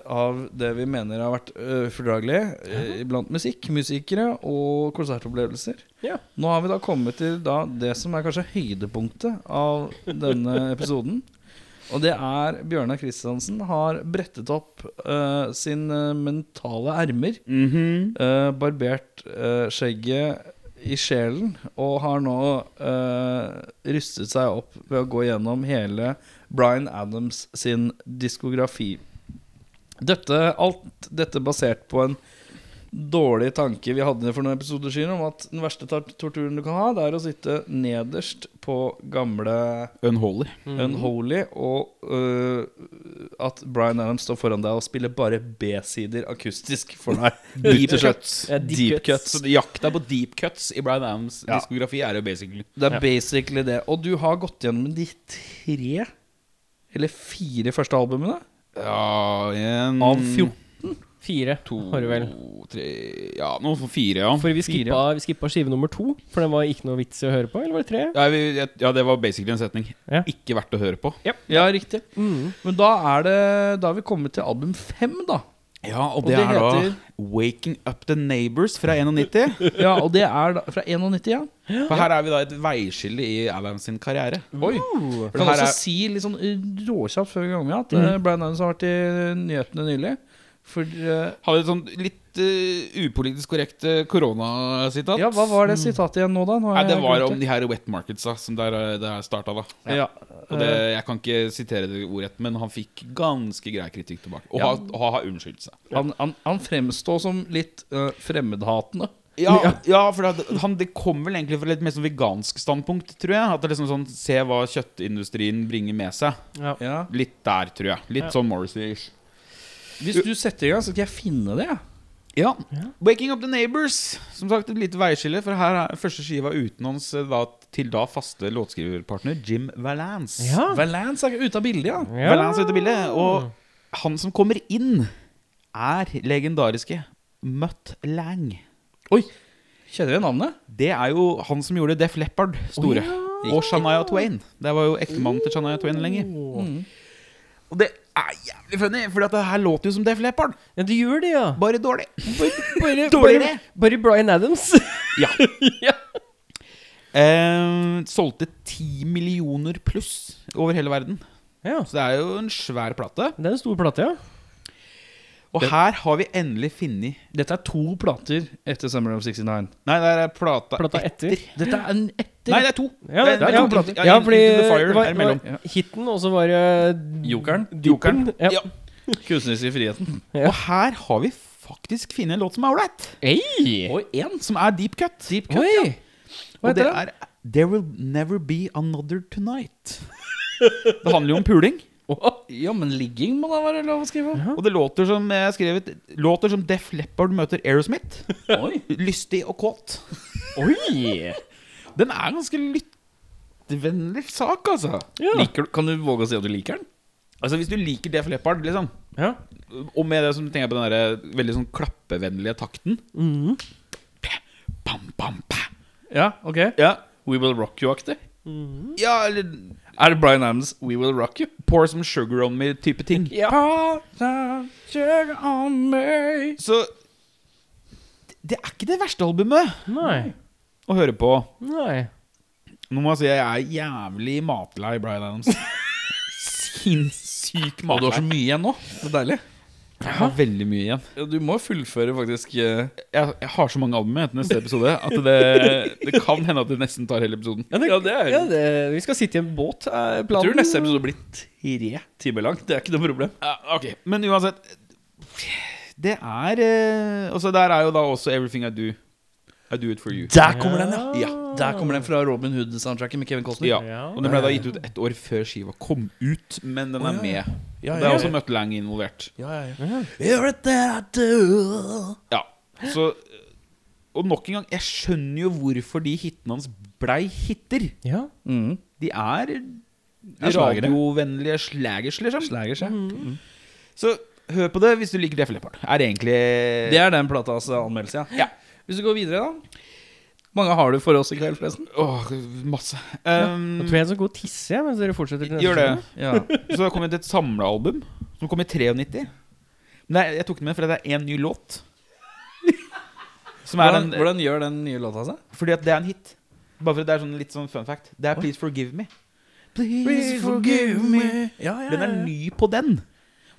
S2: av det vi mener har vært eh, ufordragelig eh, blant musikk, musikere og konsertopplevelser.
S1: Ja.
S2: Nå har vi da kommet til da det som er kanskje høydepunktet av denne episoden. Og det er Bjørnar Kristiansen har brettet opp eh, sin eh, mentale ermer.
S3: Mhm.
S2: eh, barbert eh, skjegget i sjelen. Og har nå eh, rustet seg opp ved å gå gjennom hele Bryan Adams sin diskografi. Dette, alt dette basert på en dårlig tanke vi hadde for noen episoder siden om at den verste tar- torturen du kan ha, det er å sitte nederst på gamle
S3: Unholy.
S2: Mm. Unholy, og øh, at Bryan Adams står foran deg og spiller bare B-sider akustisk for deg. Deep cuts.
S1: Ja,
S2: deep,
S1: deep
S2: cuts.
S3: Så jakta på deep cuts i Bryan Adams
S2: Ja.
S3: diskografi er jo basically
S2: Det er basically det. Og du har gått gjennom de tre eller fire første albumene
S3: Ja, en
S2: av 14.
S1: Fire har du vel.
S3: tre Ja, noe for fire, ja.
S1: For vi
S2: Fire,
S1: skippa, vi skippa skive nummer to, for den var ikke noe vits i å høre på. Eller var det tre?
S3: Ja, vi, ja, det var basically en setning.
S1: Ja.
S3: Ikke verdt å høre på.
S2: Ja, riktig. Men da er det Da har vi kommet til album fem, da.
S3: Ja, og
S2: det heter-
S3: da 'Waking Up The Neighbors' fra 91.
S2: Ja, Og det er da, fra 91, ja.
S3: For her er vi da et veiskille i Adams sin karriere.
S2: Oi.
S3: For
S1: Uh.
S2: Jeg kan
S3: her
S2: også
S3: er-
S2: si litt sånn uh, råkjapt før vi går i gang med at mm. Bryan Adams har vært i nyhetene nylig. For eh,
S3: Har vi et sånn litt eh, upolitisk korrekt eh, koronasitat?
S2: Ja, hva var det sitatet igjen nå, da? Nå har
S3: Nei, det
S2: jeg
S3: var
S2: glemt
S3: om de her wet marketsa som der, eh, det her starta, da.
S2: Ja.
S3: Og det, jeg kan ikke sitere det ordrett, men han fikk ganske grei kritikk tilbake. Og
S2: Ja.
S3: har- og har unnskyldt seg.
S2: Han, han, han fremstår som litt eh, fremmedhatende.
S3: Ja, ja for det, han, det kom vel egentlig fra litt mer sånn vegansk standpunkt, tror jeg. At det liksom sånn, Se hva kjøttindustrien bringer med seg.
S2: Ja.
S3: Litt der, tror jeg. Litt sånn Morrissey-ish.
S2: Hvis du setter i gang, så skal jeg finne det. jeg.
S3: Ja. 'Waking Up The Neighbors'. Som sagt, et lite veiskille. For her er første skiva uten hans eh, da, til da faste låtskriverpartner Jim Valance.
S2: Valance er ute av bildet, ja.
S1: Ja.
S3: Valance er ute av bildet. Og han som kommer inn, er legendariske Mutt Lang.
S2: Oi, kjenner vi navnet?
S3: Det er jo han som gjorde Def Leppard store. Og Shania Twain. Det var jo ektemannen til Shania Twain lenge. Mm. Og det er jævlig funny, for det her låter jo som Def Leppard,
S1: Ja, du gjør det, ja.
S3: bare dårlig.
S1: Bare, bare,
S3: Dårligere.
S1: bare Bryan Adams.
S3: Ja.
S1: Ja.
S3: Eh, solgte ti millioner pluss over hele verden.
S1: ja. altså.
S3: Så det er jo en svær plate.
S1: Det er en stor plate, ja.
S3: Og her har vi endelig funnet
S2: Dette er to plater etter Summer of 69.
S3: Nei, det er plata,
S1: Plata etter.
S2: Dette er en etter.
S3: Nei, det er to.
S1: Ja,
S3: det, er
S1: ja,
S3: to plater.
S1: ja, fordi
S3: Into the
S1: det
S3: Fire
S1: var,
S3: er
S1: det
S3: mellom.
S1: var hiten, og så var det
S2: Jokeren.
S1: Jokeren. Ja.
S3: Ja.
S2: Kunstnerisk i friheten.
S1: Ja.
S3: Og her har vi faktisk funnet en låt som er ålreit.
S1: Ei!
S2: Og én.
S3: Som er deep cut. Deep
S1: Oi!
S3: Hva
S2: heter
S3: det? Er, There will never be another tonight. Det handler jo om puling.
S2: Ja, men ligging må da være lov å skrive om.
S3: Og det låter som jeg har skrevet Låter som Def Leppard møter Aerosmith. Lystig og kåt.
S1: Oi!
S3: Den er ganske lytt Jentevennlig sak, altså.
S1: Ja.
S10: Liker du, kan du våge å si at du liker den?
S3: Altså Hvis du liker Def Leppard, liksom,
S1: Ja.
S3: og med det som tenker jeg på den der veldig sånn klappevennlige takten
S1: Mm.
S3: Pæ, Pam, pam, pæ.
S10: Ja, ok
S3: Ja.
S10: We Will Rock You-aktig?
S3: ja, eller
S10: Er det Bryan Adams We Will Rock You?
S3: pour some sugar on me-type ting. Så det er ikke det verste albumet
S1: Nei.
S3: å høre på.
S1: Nei.
S3: Nå må jeg si jeg er jævlig matlei Bryan Adams. Sinnssykt
S10: Og du
S3: matlei.
S10: har så mye igjen nå. Det er deilig.
S3: Jeg har veldig mye igjen.
S10: Ja, du må fullføre, faktisk. eh,
S3: Jeg, jeg har så mange album etter neste episode at det, det kan hende at det nesten tar hele episoden.
S1: Ja, det, ja,
S10: det er-
S1: Vi skal sitte i en båt, er
S10: Jeg tror
S1: planen.
S10: neste episode blir tre timer lang. Det er ikke noe problem.
S3: Ja, ok, Men uansett Det er eh, Altså, der er jo da også 'Everything I Do'. I do it for you.
S2: Der kommer den, ja.
S3: Ja.
S2: Der kommer den fra Robin Hood-soundtracken med Kevin Costner.
S3: ja.
S1: Ja.
S3: Og den ble da gitt ut ett år før skiva kom ut, men den er med.
S2: Ja,
S3: Det
S2: ja,
S3: er
S2: ja.
S3: også Mutt Lang involvert.
S2: Everything I do.
S3: Ja, så Og nok en gang, jeg skjønner jo hvorfor de hitene hans blei hiter.
S1: Ja.
S2: Mm.
S3: De er
S10: slagere.
S3: radiovennlige slagers, liksom.
S2: Slagers, ja. Mm.
S3: Så hør på det hvis du liker Def Leppard. Er det egentlig
S2: Det er den platas anmeldelse, ja.
S3: Ja.
S2: Hvis du går videre, da. Mange har du for oss i kveld, forresten.
S3: Åh, masse. Um,
S1: Jeg tror jeg skal gå og tisse jeg, mens dere fortsetter. til neste
S3: gjør det.
S1: episode.
S2: Ja.
S3: Så det har kommet et samlealbum som kom i 93. Men det er, jeg tok den med fordi det er én ny låt. Som er
S2: Hvordan,
S3: den,
S2: hvordan gjør den nye låta seg?
S3: fordi at det er en hit. Bare fordi det er sånn litt sånn fun fact. Det er 'Please Forgive Me'. Please forgive me
S2: Ja, ja,
S3: Den er ny på den.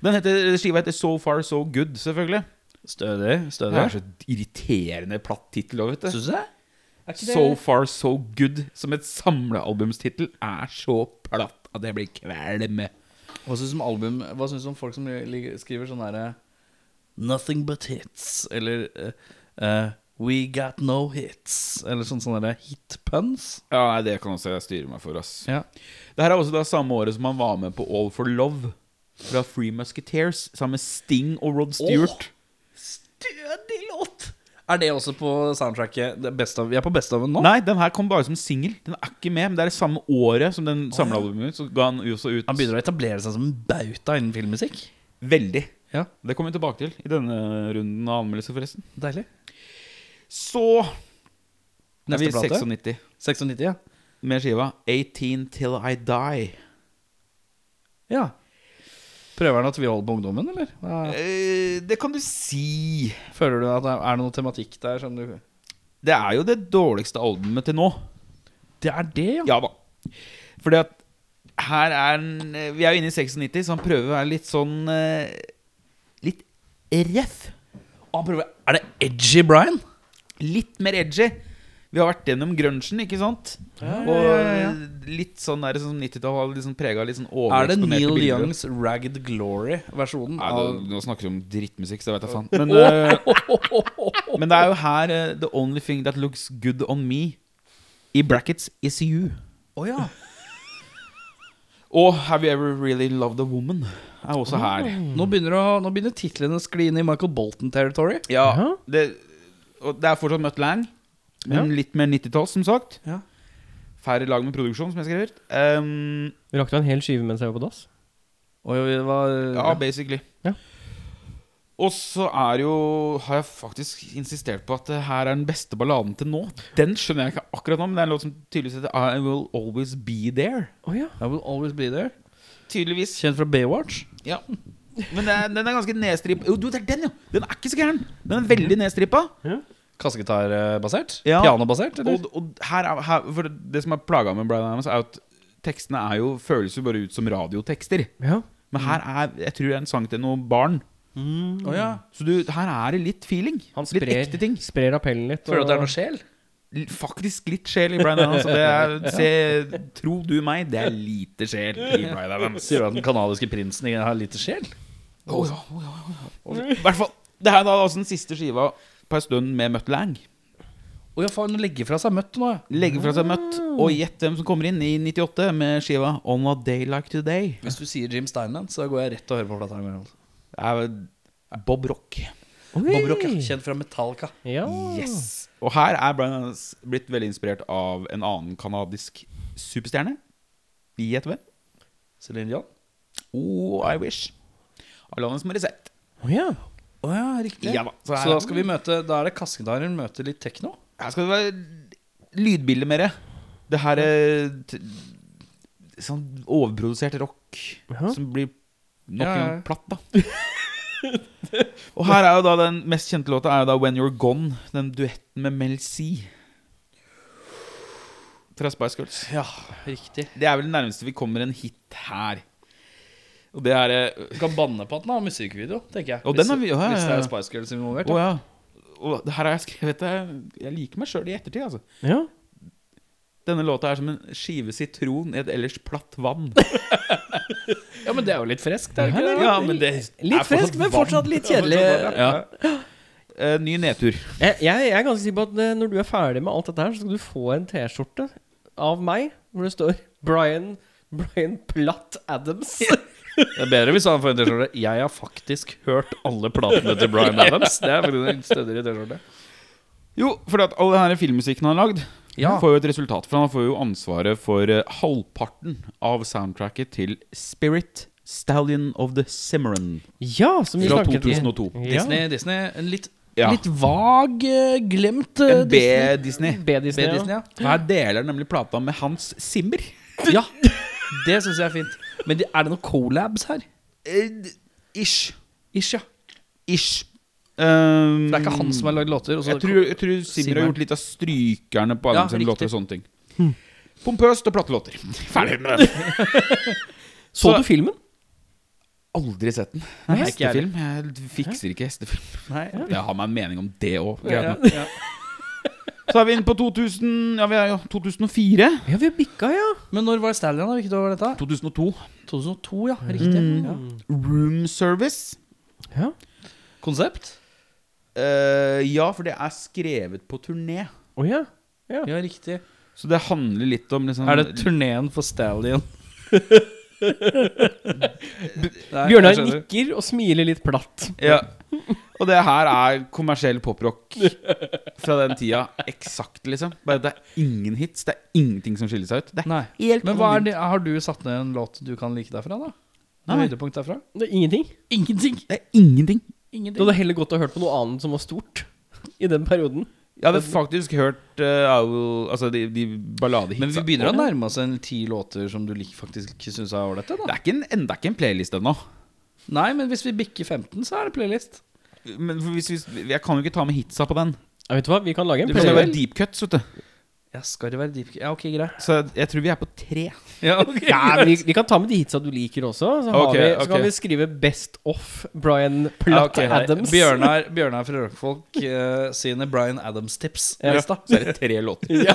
S3: Den heter, Skiva heter 'So Far So Good', selvfølgelig.
S10: Stødig.
S3: Det er
S10: stødig.
S3: så irriterende platt tittel òg, vet du.
S2: Syns du det?
S3: So Far So Good som et samlealbumstittel er så platt at jeg blir kvalm.
S2: Hva syns du om album Hva synes du om folk som li- skriver sånn herre Nothing but hits, eller eh, eh, We got no hits, eller sånn sånn derre hit puns.
S3: Ja, nei, det kan også jeg styre meg for, ass.
S2: Ja.
S3: Det her er også da samme året som han var med på All for Love fra Free Musketeers sammen med Sting og Rod Stewart.
S2: Stødig låt! Er det også på soundtracket? Det er best av, vi er på best av nå?
S3: Nei, den her kom bare som singel. Den er ikke med, men det er det samme året som den samlealbumet ut. Så ga han også ut
S2: Han begynner å etablere seg som en bauta innen filmmusikk.
S3: veldig.
S2: Ja.
S3: Det kommer vi tilbake til i denne runden av anmeldelser, forresten.
S2: Deilig.
S3: Så er vi
S2: Neste plate?
S3: 96
S2: 96, ja.
S3: med skiva 18 Till I Die.
S2: ja. Prøver han at vi holder på ungdommen, eller? Hva-
S3: Eh, det kan du si.
S2: Føler du at det er noe tematikk der som du
S3: Det er jo det dårligste albumet til nå.
S2: Det er det, ja.
S3: Ja da. Fordi at her er en, eh, Vi er jo inne i 96, så han prøver å være litt sånn eh, Litt røff.
S2: Og han prøver Er det Edgy Brian?
S3: Litt mer edgy. Vi har vært gjennom grunchen, ikke sant? Og eh, litt sånn der som 90-tallet var liksom prega av litt sånn
S2: Er det
S3: overeksponerte
S2: Neil
S3: bilder.
S2: Youngs Ragged Glory-versjonen
S3: Nei,
S2: av
S3: nå, nå snakker du om drittmusikk, så det vet jeg faen. Men, eh, men det er jo her eh, The only thing that looks good on me I brackets is you.
S2: Å ja.
S3: Og Have you ever really loved a woman? er også her.
S2: Nå begynner, å, nå begynner titlene å skli inn i Michael Bolton-territory.
S3: Ja,
S1: Jaha.
S3: det, og det er fortsatt Mutt Lang, men litt mer 90-talls, som sagt.
S2: Ja.
S3: Færre lag med produksjon, som jeg skrev. Um,
S1: Rakk du en hel skive mens jeg var på dass?
S2: Oi, oi, det var
S3: ja, basically.
S1: Ja.
S3: Og så er jo har jeg faktisk insistert på at det her er den beste balladen til nå. Den skjønner jeg ikke akkurat nå, men det er en låt som tydeligvis heter I Will Always Be There.
S1: Å ja.
S2: I Will Always Be There.
S3: Tydeligvis.
S2: Kjent fra Baywatch.
S3: Ja. Men det er, den er ganske nedstrippa. Jo, du, det er den, jo! Den er ikke så gæren. Den er
S2: Mm.
S3: veldig nedstrippa.
S2: Kassegitarbasert?
S3: Ja.
S2: Pianobasert? eller?
S3: Og, og her, er- her, for det som er plaga med Bryan Adams, er jo at tekstene er jo, føles jo bare ut som radiotekster.
S1: ja.
S3: Men her
S2: Mm.
S3: er jeg tror det er en sang til noen barn.
S2: Å ja.
S3: Så du, her er det litt feeling.
S1: Han
S3: litt
S1: sprer,
S3: ekte ting.
S1: sprer appellen litt.
S2: Føler du at det er
S1: og-
S2: noe sjel?
S3: L- Faktisk litt sjel i Bryan Adams. og Det er, se, tro du meg, det er lite sjel i Bryan Adams.
S2: Sier du at den kanadiske prinsen ikke har lite sjel?
S3: Å, ja, å, ja, å, ja. Og I hvert fall. Det her er da altså den siste skiva på en stund med Mutt Lang.
S2: Å ja, faen, hun legger fra seg møtt nå, ja.
S3: Legger fra seg Mutt,
S2: Ah.
S3: og gjett hvem som kommer inn i 98 med skiva On a Day Like Today.
S2: Hvis du sier Jim Steinland, så går jeg rett og hører på plata. her.
S3: Det er jo Bob Rock.
S1: Oi.
S2: Bob Rock, ja. kjent fra Metallica.
S1: Ja.
S3: Yes. Og her er Brian Adams blitt veldig inspirert av en annen kanadisk superstjerne. Gjett hvem?
S2: Celine Dion.
S3: Oh, I wish. Alanis Morissette.
S1: Å ja.
S2: Å ja, riktig.
S3: Ja da. Så
S2: Så
S3: her-
S2: da skal vi møte Da er det Kaskedaren møter litt tekno?
S3: Her skal det være lydbilde mer. Det her er t sånn overprodusert rock
S1: Ja.
S3: som blir nok
S2: Ja,
S3: en
S2: ja.
S3: gang platt, da. Og her er jo da den mest kjente låta er jo da When You're Gone, den duetten med Mel C. Fra Spice Girls.
S2: Ja, riktig.
S3: Det er vel det nærmeste vi kommer en hit her. Og det er eh,
S2: Du kan banne på at den har musikkvideo, tenker jeg.
S3: Å,
S2: Hvis-
S3: den har vi- å, ja, ja,
S2: Hvis det
S3: ja.
S2: er Spice Girls involvert.
S3: Å
S2: da.
S3: ja. Og det her har jeg skrevet det. Jeg liker meg sjøl i ettertid, altså.
S1: ja.
S3: Denne låta er som en skive sitron i et ellers platt vann.
S2: ja, men det er jo litt freskt, er det ikke det?
S3: Ja, men det er
S1: Litt frisk, men fortsatt litt kjedelig.
S3: Ja. Sånn Eh, ny nedtur.
S1: Jeg, jeg, jeg er ganske sikker på at eh, når du er ferdig med alt dette her, så skal du få en T-skjorte av meg hvor det står Brian Brian Platt Adams.
S2: Det er bedre hvis han får en T-skjorte. Jeg har faktisk hørt alle platene til Bryan Adams. Det er faktisk en stødigere T-skjorte.
S3: Jo, for at all denne filmmusikken han har lagd,
S2: Ja.
S3: han får jo et resultat. For han får jo ansvaret for eh, halvparten av soundtracket til Spirit, Stallion of the Cimarron
S1: Ja, som vi
S3: fra
S1: snakket i
S3: 2002.
S1: Disney.
S2: Disney, Disney en litt,
S3: Ja.
S2: litt vag, eh, glemt eh,
S3: En B-Disney.
S1: B-Disney.
S2: B-Disney,
S1: Ja.
S2: ja.
S3: Her deler han nemlig plata med Hans Zimmer.
S2: ja. Det syns jeg er fint. Men det- er det noen collabs her?
S3: Eh, Ish.
S2: Ish, ja.
S3: Ish. Um,
S2: Det er ikke han som har lagd låter. Og så
S3: Jeg tror, jeg tror Altså, Simmer har
S2: Simmer.
S3: gjort litt av strykerne på alle
S2: Ja,
S3: sine
S2: riktig.
S3: låter og sånne ting. Pompøst og plattelåter. Ferdig med den.
S1: Så
S3: Så-
S1: du filmen?
S3: Aldri sett den.
S2: Nei, ikke jeg
S3: hestefilm. Jeg fikser ikke hestefilm.
S2: Nei.
S3: Jeg har meg en mening om det òg.
S2: Ja, ja.
S3: Så er vi inne på 2000 Ja, vi er jo 2004.
S1: Ja, vi bikka, ja.
S2: Men når var Stallion? da? Hvilket år var dette?
S3: 2002.
S2: 2002, ja. Riktig. Ja.
S3: Mm. Room Service.
S1: ja.
S2: Konsept?
S3: Eh, ja, for det er skrevet på turné.
S1: Å ja.
S2: Ja, riktig.
S3: Så det handler litt om liksom,
S2: Er det turneen for Stallion? Nei,
S1: Bjørnar
S2: jeg skjønner.
S1: nikker og smiler litt platt.
S3: Ja. Og det her er kommersiell poprock fra den tida. Eksakt, liksom. Bare det er ingen hits. Det er ingenting som skiller seg ut. Det er
S2: Nei. Men hva er det, har du satt ned en låt du kan like derfra, da? Noe
S3: Nei.
S2: høydepunkt derfra?
S1: Det er ingenting.
S2: Ingenting.
S3: Det er ingenting.
S1: Du hadde heller godt å hørt på noe annet som var stort i den perioden.
S3: Jeg hadde faktisk hørt eh, I will, altså de, de balladehitsa.
S2: Men vi begynner å nærme oss en ti låter som du lik- faktisk ikke syns er ålreite.
S3: Det er ikke en, en- det er ikke en playlist ennå.
S2: Nei, men hvis vi bikker 15, så er det playlist.
S3: Men for hvis, hvis, jeg kan jo ikke ta med hitsa på den.
S1: Ja, vet du hva, vi kan lage en
S3: Det skal jo
S1: playlist.
S3: være deep cuts, vet du.
S2: Ja, skal det være deep Ja, ok, greit.
S3: Så jeg, jeg tror vi er på tre.
S2: Ja, ok.
S1: Ja, vi, vi kan ta med de hitsa du liker også. Så, har
S3: Ok,
S1: vi, så
S3: ok.
S1: kan vi skrive 'Best of Brian
S2: Ja,
S1: Platt
S2: ok.
S1: Adams'.
S2: Bjørnar, Bjørnar fra Rockfolk eh, sine Bryan Adams-tips.
S1: Ja.
S2: Lista.
S3: Så er det tre låter.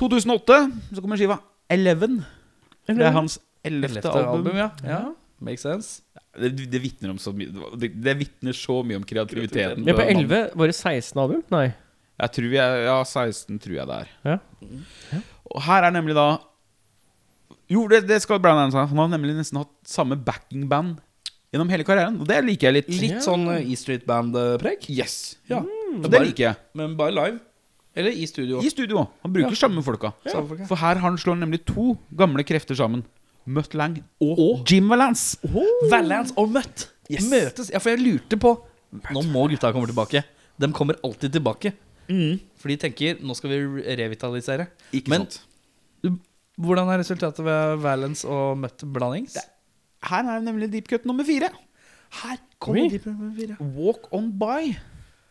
S3: 2008, så kommer skiva Eleven. Det er hans ellevte
S2: Ellevte
S3: album.
S2: album, ja. ja. Makes sense.
S3: Det, det vitner om så mye Det, det vitner så mye om kreativiteten.
S1: Vi er på
S3: til den mannen.
S1: 11. Var det 16 album? Nei.
S3: Jeg tror vi er Ja, 16 tror jeg det er.
S1: Ja.
S3: Og her er nemlig da Jo, det, det skal Brian Adams ha. Han har nemlig nesten hatt samme backingband gjennom hele karrieren. Og det liker jeg litt.
S2: Litt sånn eh, E Street Band-preg.
S3: Yes.
S2: Ja.
S3: Så det liker jeg.
S2: Men bare live. Eller i studio.
S3: I studio òg. Han bruker samme folka.
S2: Samme folka.
S3: For her har han slår nemlig to gamle krefter sammen. Mutt Lang og Jim Valance.
S2: Valance og Møtt møtes. Ja, for jeg lurte på Nå må gutta komme tilbake. De kommer alltid tilbake.
S3: Mm.
S2: For de tenker nå skal vi re- revitalisere.
S3: Ikke
S2: Men-
S3: sant.
S2: Hvordan er resultatet ved Valance og Møtt blandings?
S3: Her er nemlig deep cut nummer fire.
S2: Her kommer
S1: Oi.
S2: de på nummer fire.
S3: Walk On By.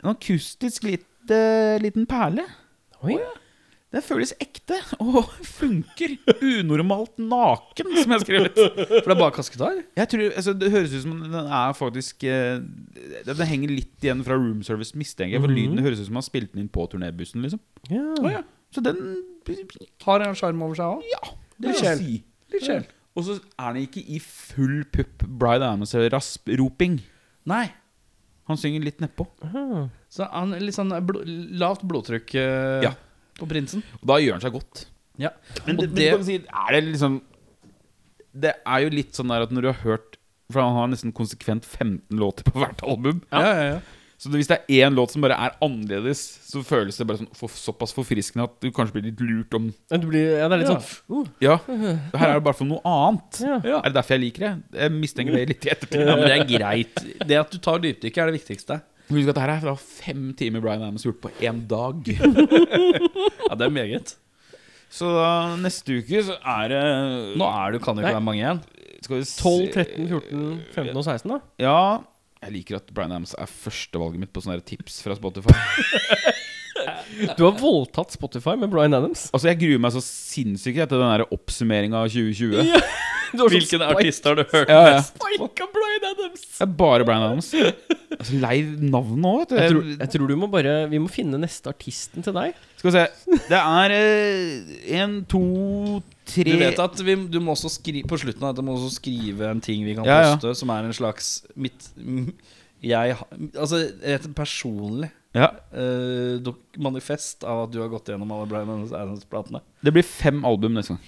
S3: En akustisk litt, eh, liten perle.
S1: Oi.
S3: Det føles ekte og funker. Unormalt naken, som jeg har skrevet.
S2: For det er bare kassegitar?
S3: Jeg tror, altså, det høres ut som den er faktisk eh, Den henger litt igjen fra Room Service, mistenker jeg. For lyden høres ut som han spilte den inn på turnébussen. liksom
S1: Ja.
S3: ja. Så den
S2: Har en sjarm over seg òg?
S3: Ja, det
S2: Litt
S3: vil jeg
S2: sjel.
S3: si.
S2: Litt sjel.
S3: Og så er den ikke i full pupp Bride Adams-rasp-roping.
S2: Nei.
S3: Han synger litt nedpå.
S2: Så han er litt sånn bl lavt blodtrykk eh,
S3: Ja.
S2: på prinsen.
S3: Og da gjør han seg godt.
S2: Ja.
S3: Men,
S2: Og
S3: det, men du kan si, er det liksom Det er jo litt sånn der at når du har hørt For han har nesten konsekvent 15 låter på hvert album.
S2: ja, ja, ja.
S3: Så det- hvis det er én låt som bare er annerledes, så føles det bare sånn for, såpass forfriskende at du kanskje blir litt lurt om
S1: Men Du blir, ja, det er litt
S3: Ja.
S1: sånn uh,
S3: Ja, her er det i hvert fall noe annet.
S1: Ja.
S3: Er det derfor jeg liker det? Jeg mistenker det litt i ettertid.
S2: Ja, men det er greit. Det at du tar dypdykket, er det viktigste.
S3: Husk at dette er fra fem timer Brian Adams gjort på én dag.
S2: Ja, det er meget.
S3: Så da, neste uke så er det
S11: Nå er du, kan det
S1: Nei.
S11: ikke være mange igjen.
S3: skal vi se-
S1: 12, 13, 14, 15 og 16, da.
S3: Ja Jeg liker at Brian Adams er førstevalget mitt på sånne her tips fra Spotify.
S1: Du har voldtatt Spotify med Bryan Adams.
S3: Altså Jeg gruer meg så sinnssykt etter den der oppsummeringa av 2020.
S2: sånn
S1: Hvilken
S11: artist har du hørt?
S3: Ja, ja.
S1: Spika Bryan Adams!
S3: Det er bare Brian Adams. Altså, lei navn nå, vet du.
S1: Jeg tror, jeg tror du må bare Vi må finne neste artisten til deg.
S3: Skal vi se. Det er én, to, tre
S2: Du vet at vi, du må også skrive På slutten av dette må du også skrive en ting vi kan
S3: Ja, ja.
S2: poste, som er en slags mitt m- Jeg ha- Altså et personlig
S3: Ja.
S2: eh, dok- manifest av at du har gått gjennom alle Bryan Adams-platene.
S3: Det blir fem album neste gang.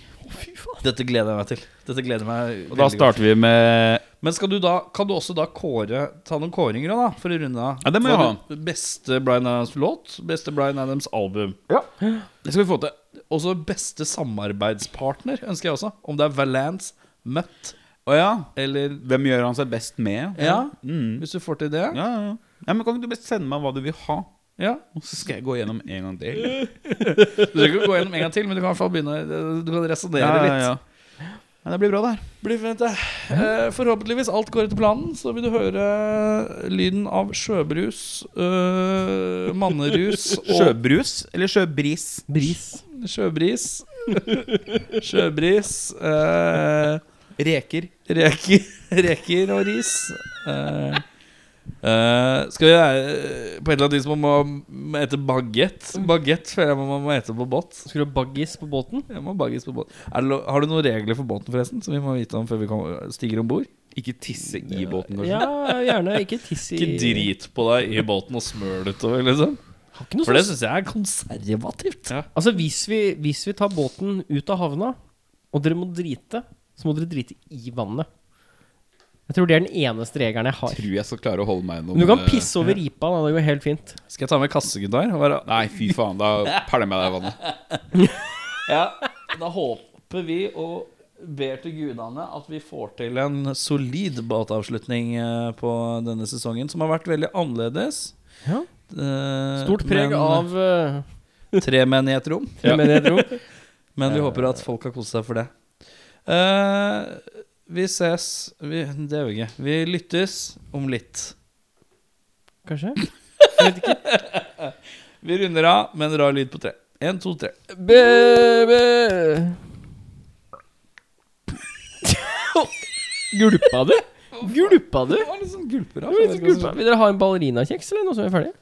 S2: Dette gleder jeg meg til. Dette gleder jeg meg
S3: Og da
S2: veldig godt.
S3: starter vi med
S2: Men skal du da, kan du også da kåre Ta noen kåringer da, da, for å runde av.
S3: Ja, det må jeg ha.
S2: For Beste Bryan Adams-låt, beste Bryan Adams-album.
S3: Det skal vi få til.
S2: Også beste samarbeidspartner ønsker jeg også. Om det er Valence, Mutt
S3: Å ja.
S2: eller
S3: Hvem gjør han seg best med?
S2: Ja,
S3: Mm.
S2: hvis du får til det.
S3: Ja, ja, ja. ja, men Kan ikke du best sende meg hva du vil ha,
S2: Ja.
S3: og så skal jeg gå gjennom en gang til?
S2: Du trenger ikke gå gjennom en gang til, men du kan i hvert fall begynne eh, Du kan resonnere litt.
S3: Ja, det blir bra, det her.
S2: Blir fint, det. Eh, Forhåpentligvis alt går etter planen, så vil du høre lyden av sjøbrus, eh, mannerus og
S3: Sjøbrus eller sjøbris?
S1: Bris.
S2: sjøbris. Sjøbris. eh,
S3: Reker.
S2: reker, reker og ris. Eh, eh, skal vi være eh, På et eller annet vis må man må ete bagett. Bagett føler jeg man må ete på båt.
S1: Skal du ha baggis på båten?
S2: Jeg må bagges på båt. Er det, lo- har du noen regler for båten, forresten? Som vi må vite om før vi kommer, stiger om bord?
S3: Ikke tisse i båten, kanskje.
S1: Ja, gjerne. Ikke tiss i
S2: Ikke drit på deg i båten og smør det utover, liksom.
S1: Har ikke noe sånn
S2: For det
S1: sånt.
S2: syns jeg er konservativt.
S1: Altså, hvis vi, hvis vi tar båten ut av havna, og dere må drite, så må dere drite i vannet. Jeg tror det er den eneste regelen jeg har.
S3: Tror jeg skal klare å holde meg
S1: Men
S3: gjennom
S1: du kan
S3: eh,
S1: pisse over ripa, da. Det går helt fint.
S2: Skal jeg ta med kassegitar? og være-
S3: Nei, fy faen, da pælmer jeg deg i vannet.
S2: Ja, da håper vi og ber til gudene at vi får til en solid båtavslutning eh, på denne sesongen, som har vært veldig annerledes.
S1: Ja.
S2: Eh,
S1: Stort preg
S2: men,
S1: av eh,
S2: Tre menn i et rom.
S1: tremenighetrom.
S2: Men vi håper at folk har kost seg for det. Eh, vi ses vi, Det gjør vi ikke. Vi lyttes om litt.
S1: Kanskje?
S2: Vi runder av med en rar lyd på tre. Én, to, tre.
S1: Baby Gulpa du? Gulpa du?
S2: Det var litt sånn gulper. sånn altså.
S1: sånn- Gulpa. Vil dere ha en ballerinakjeks eller noe som er ferdig?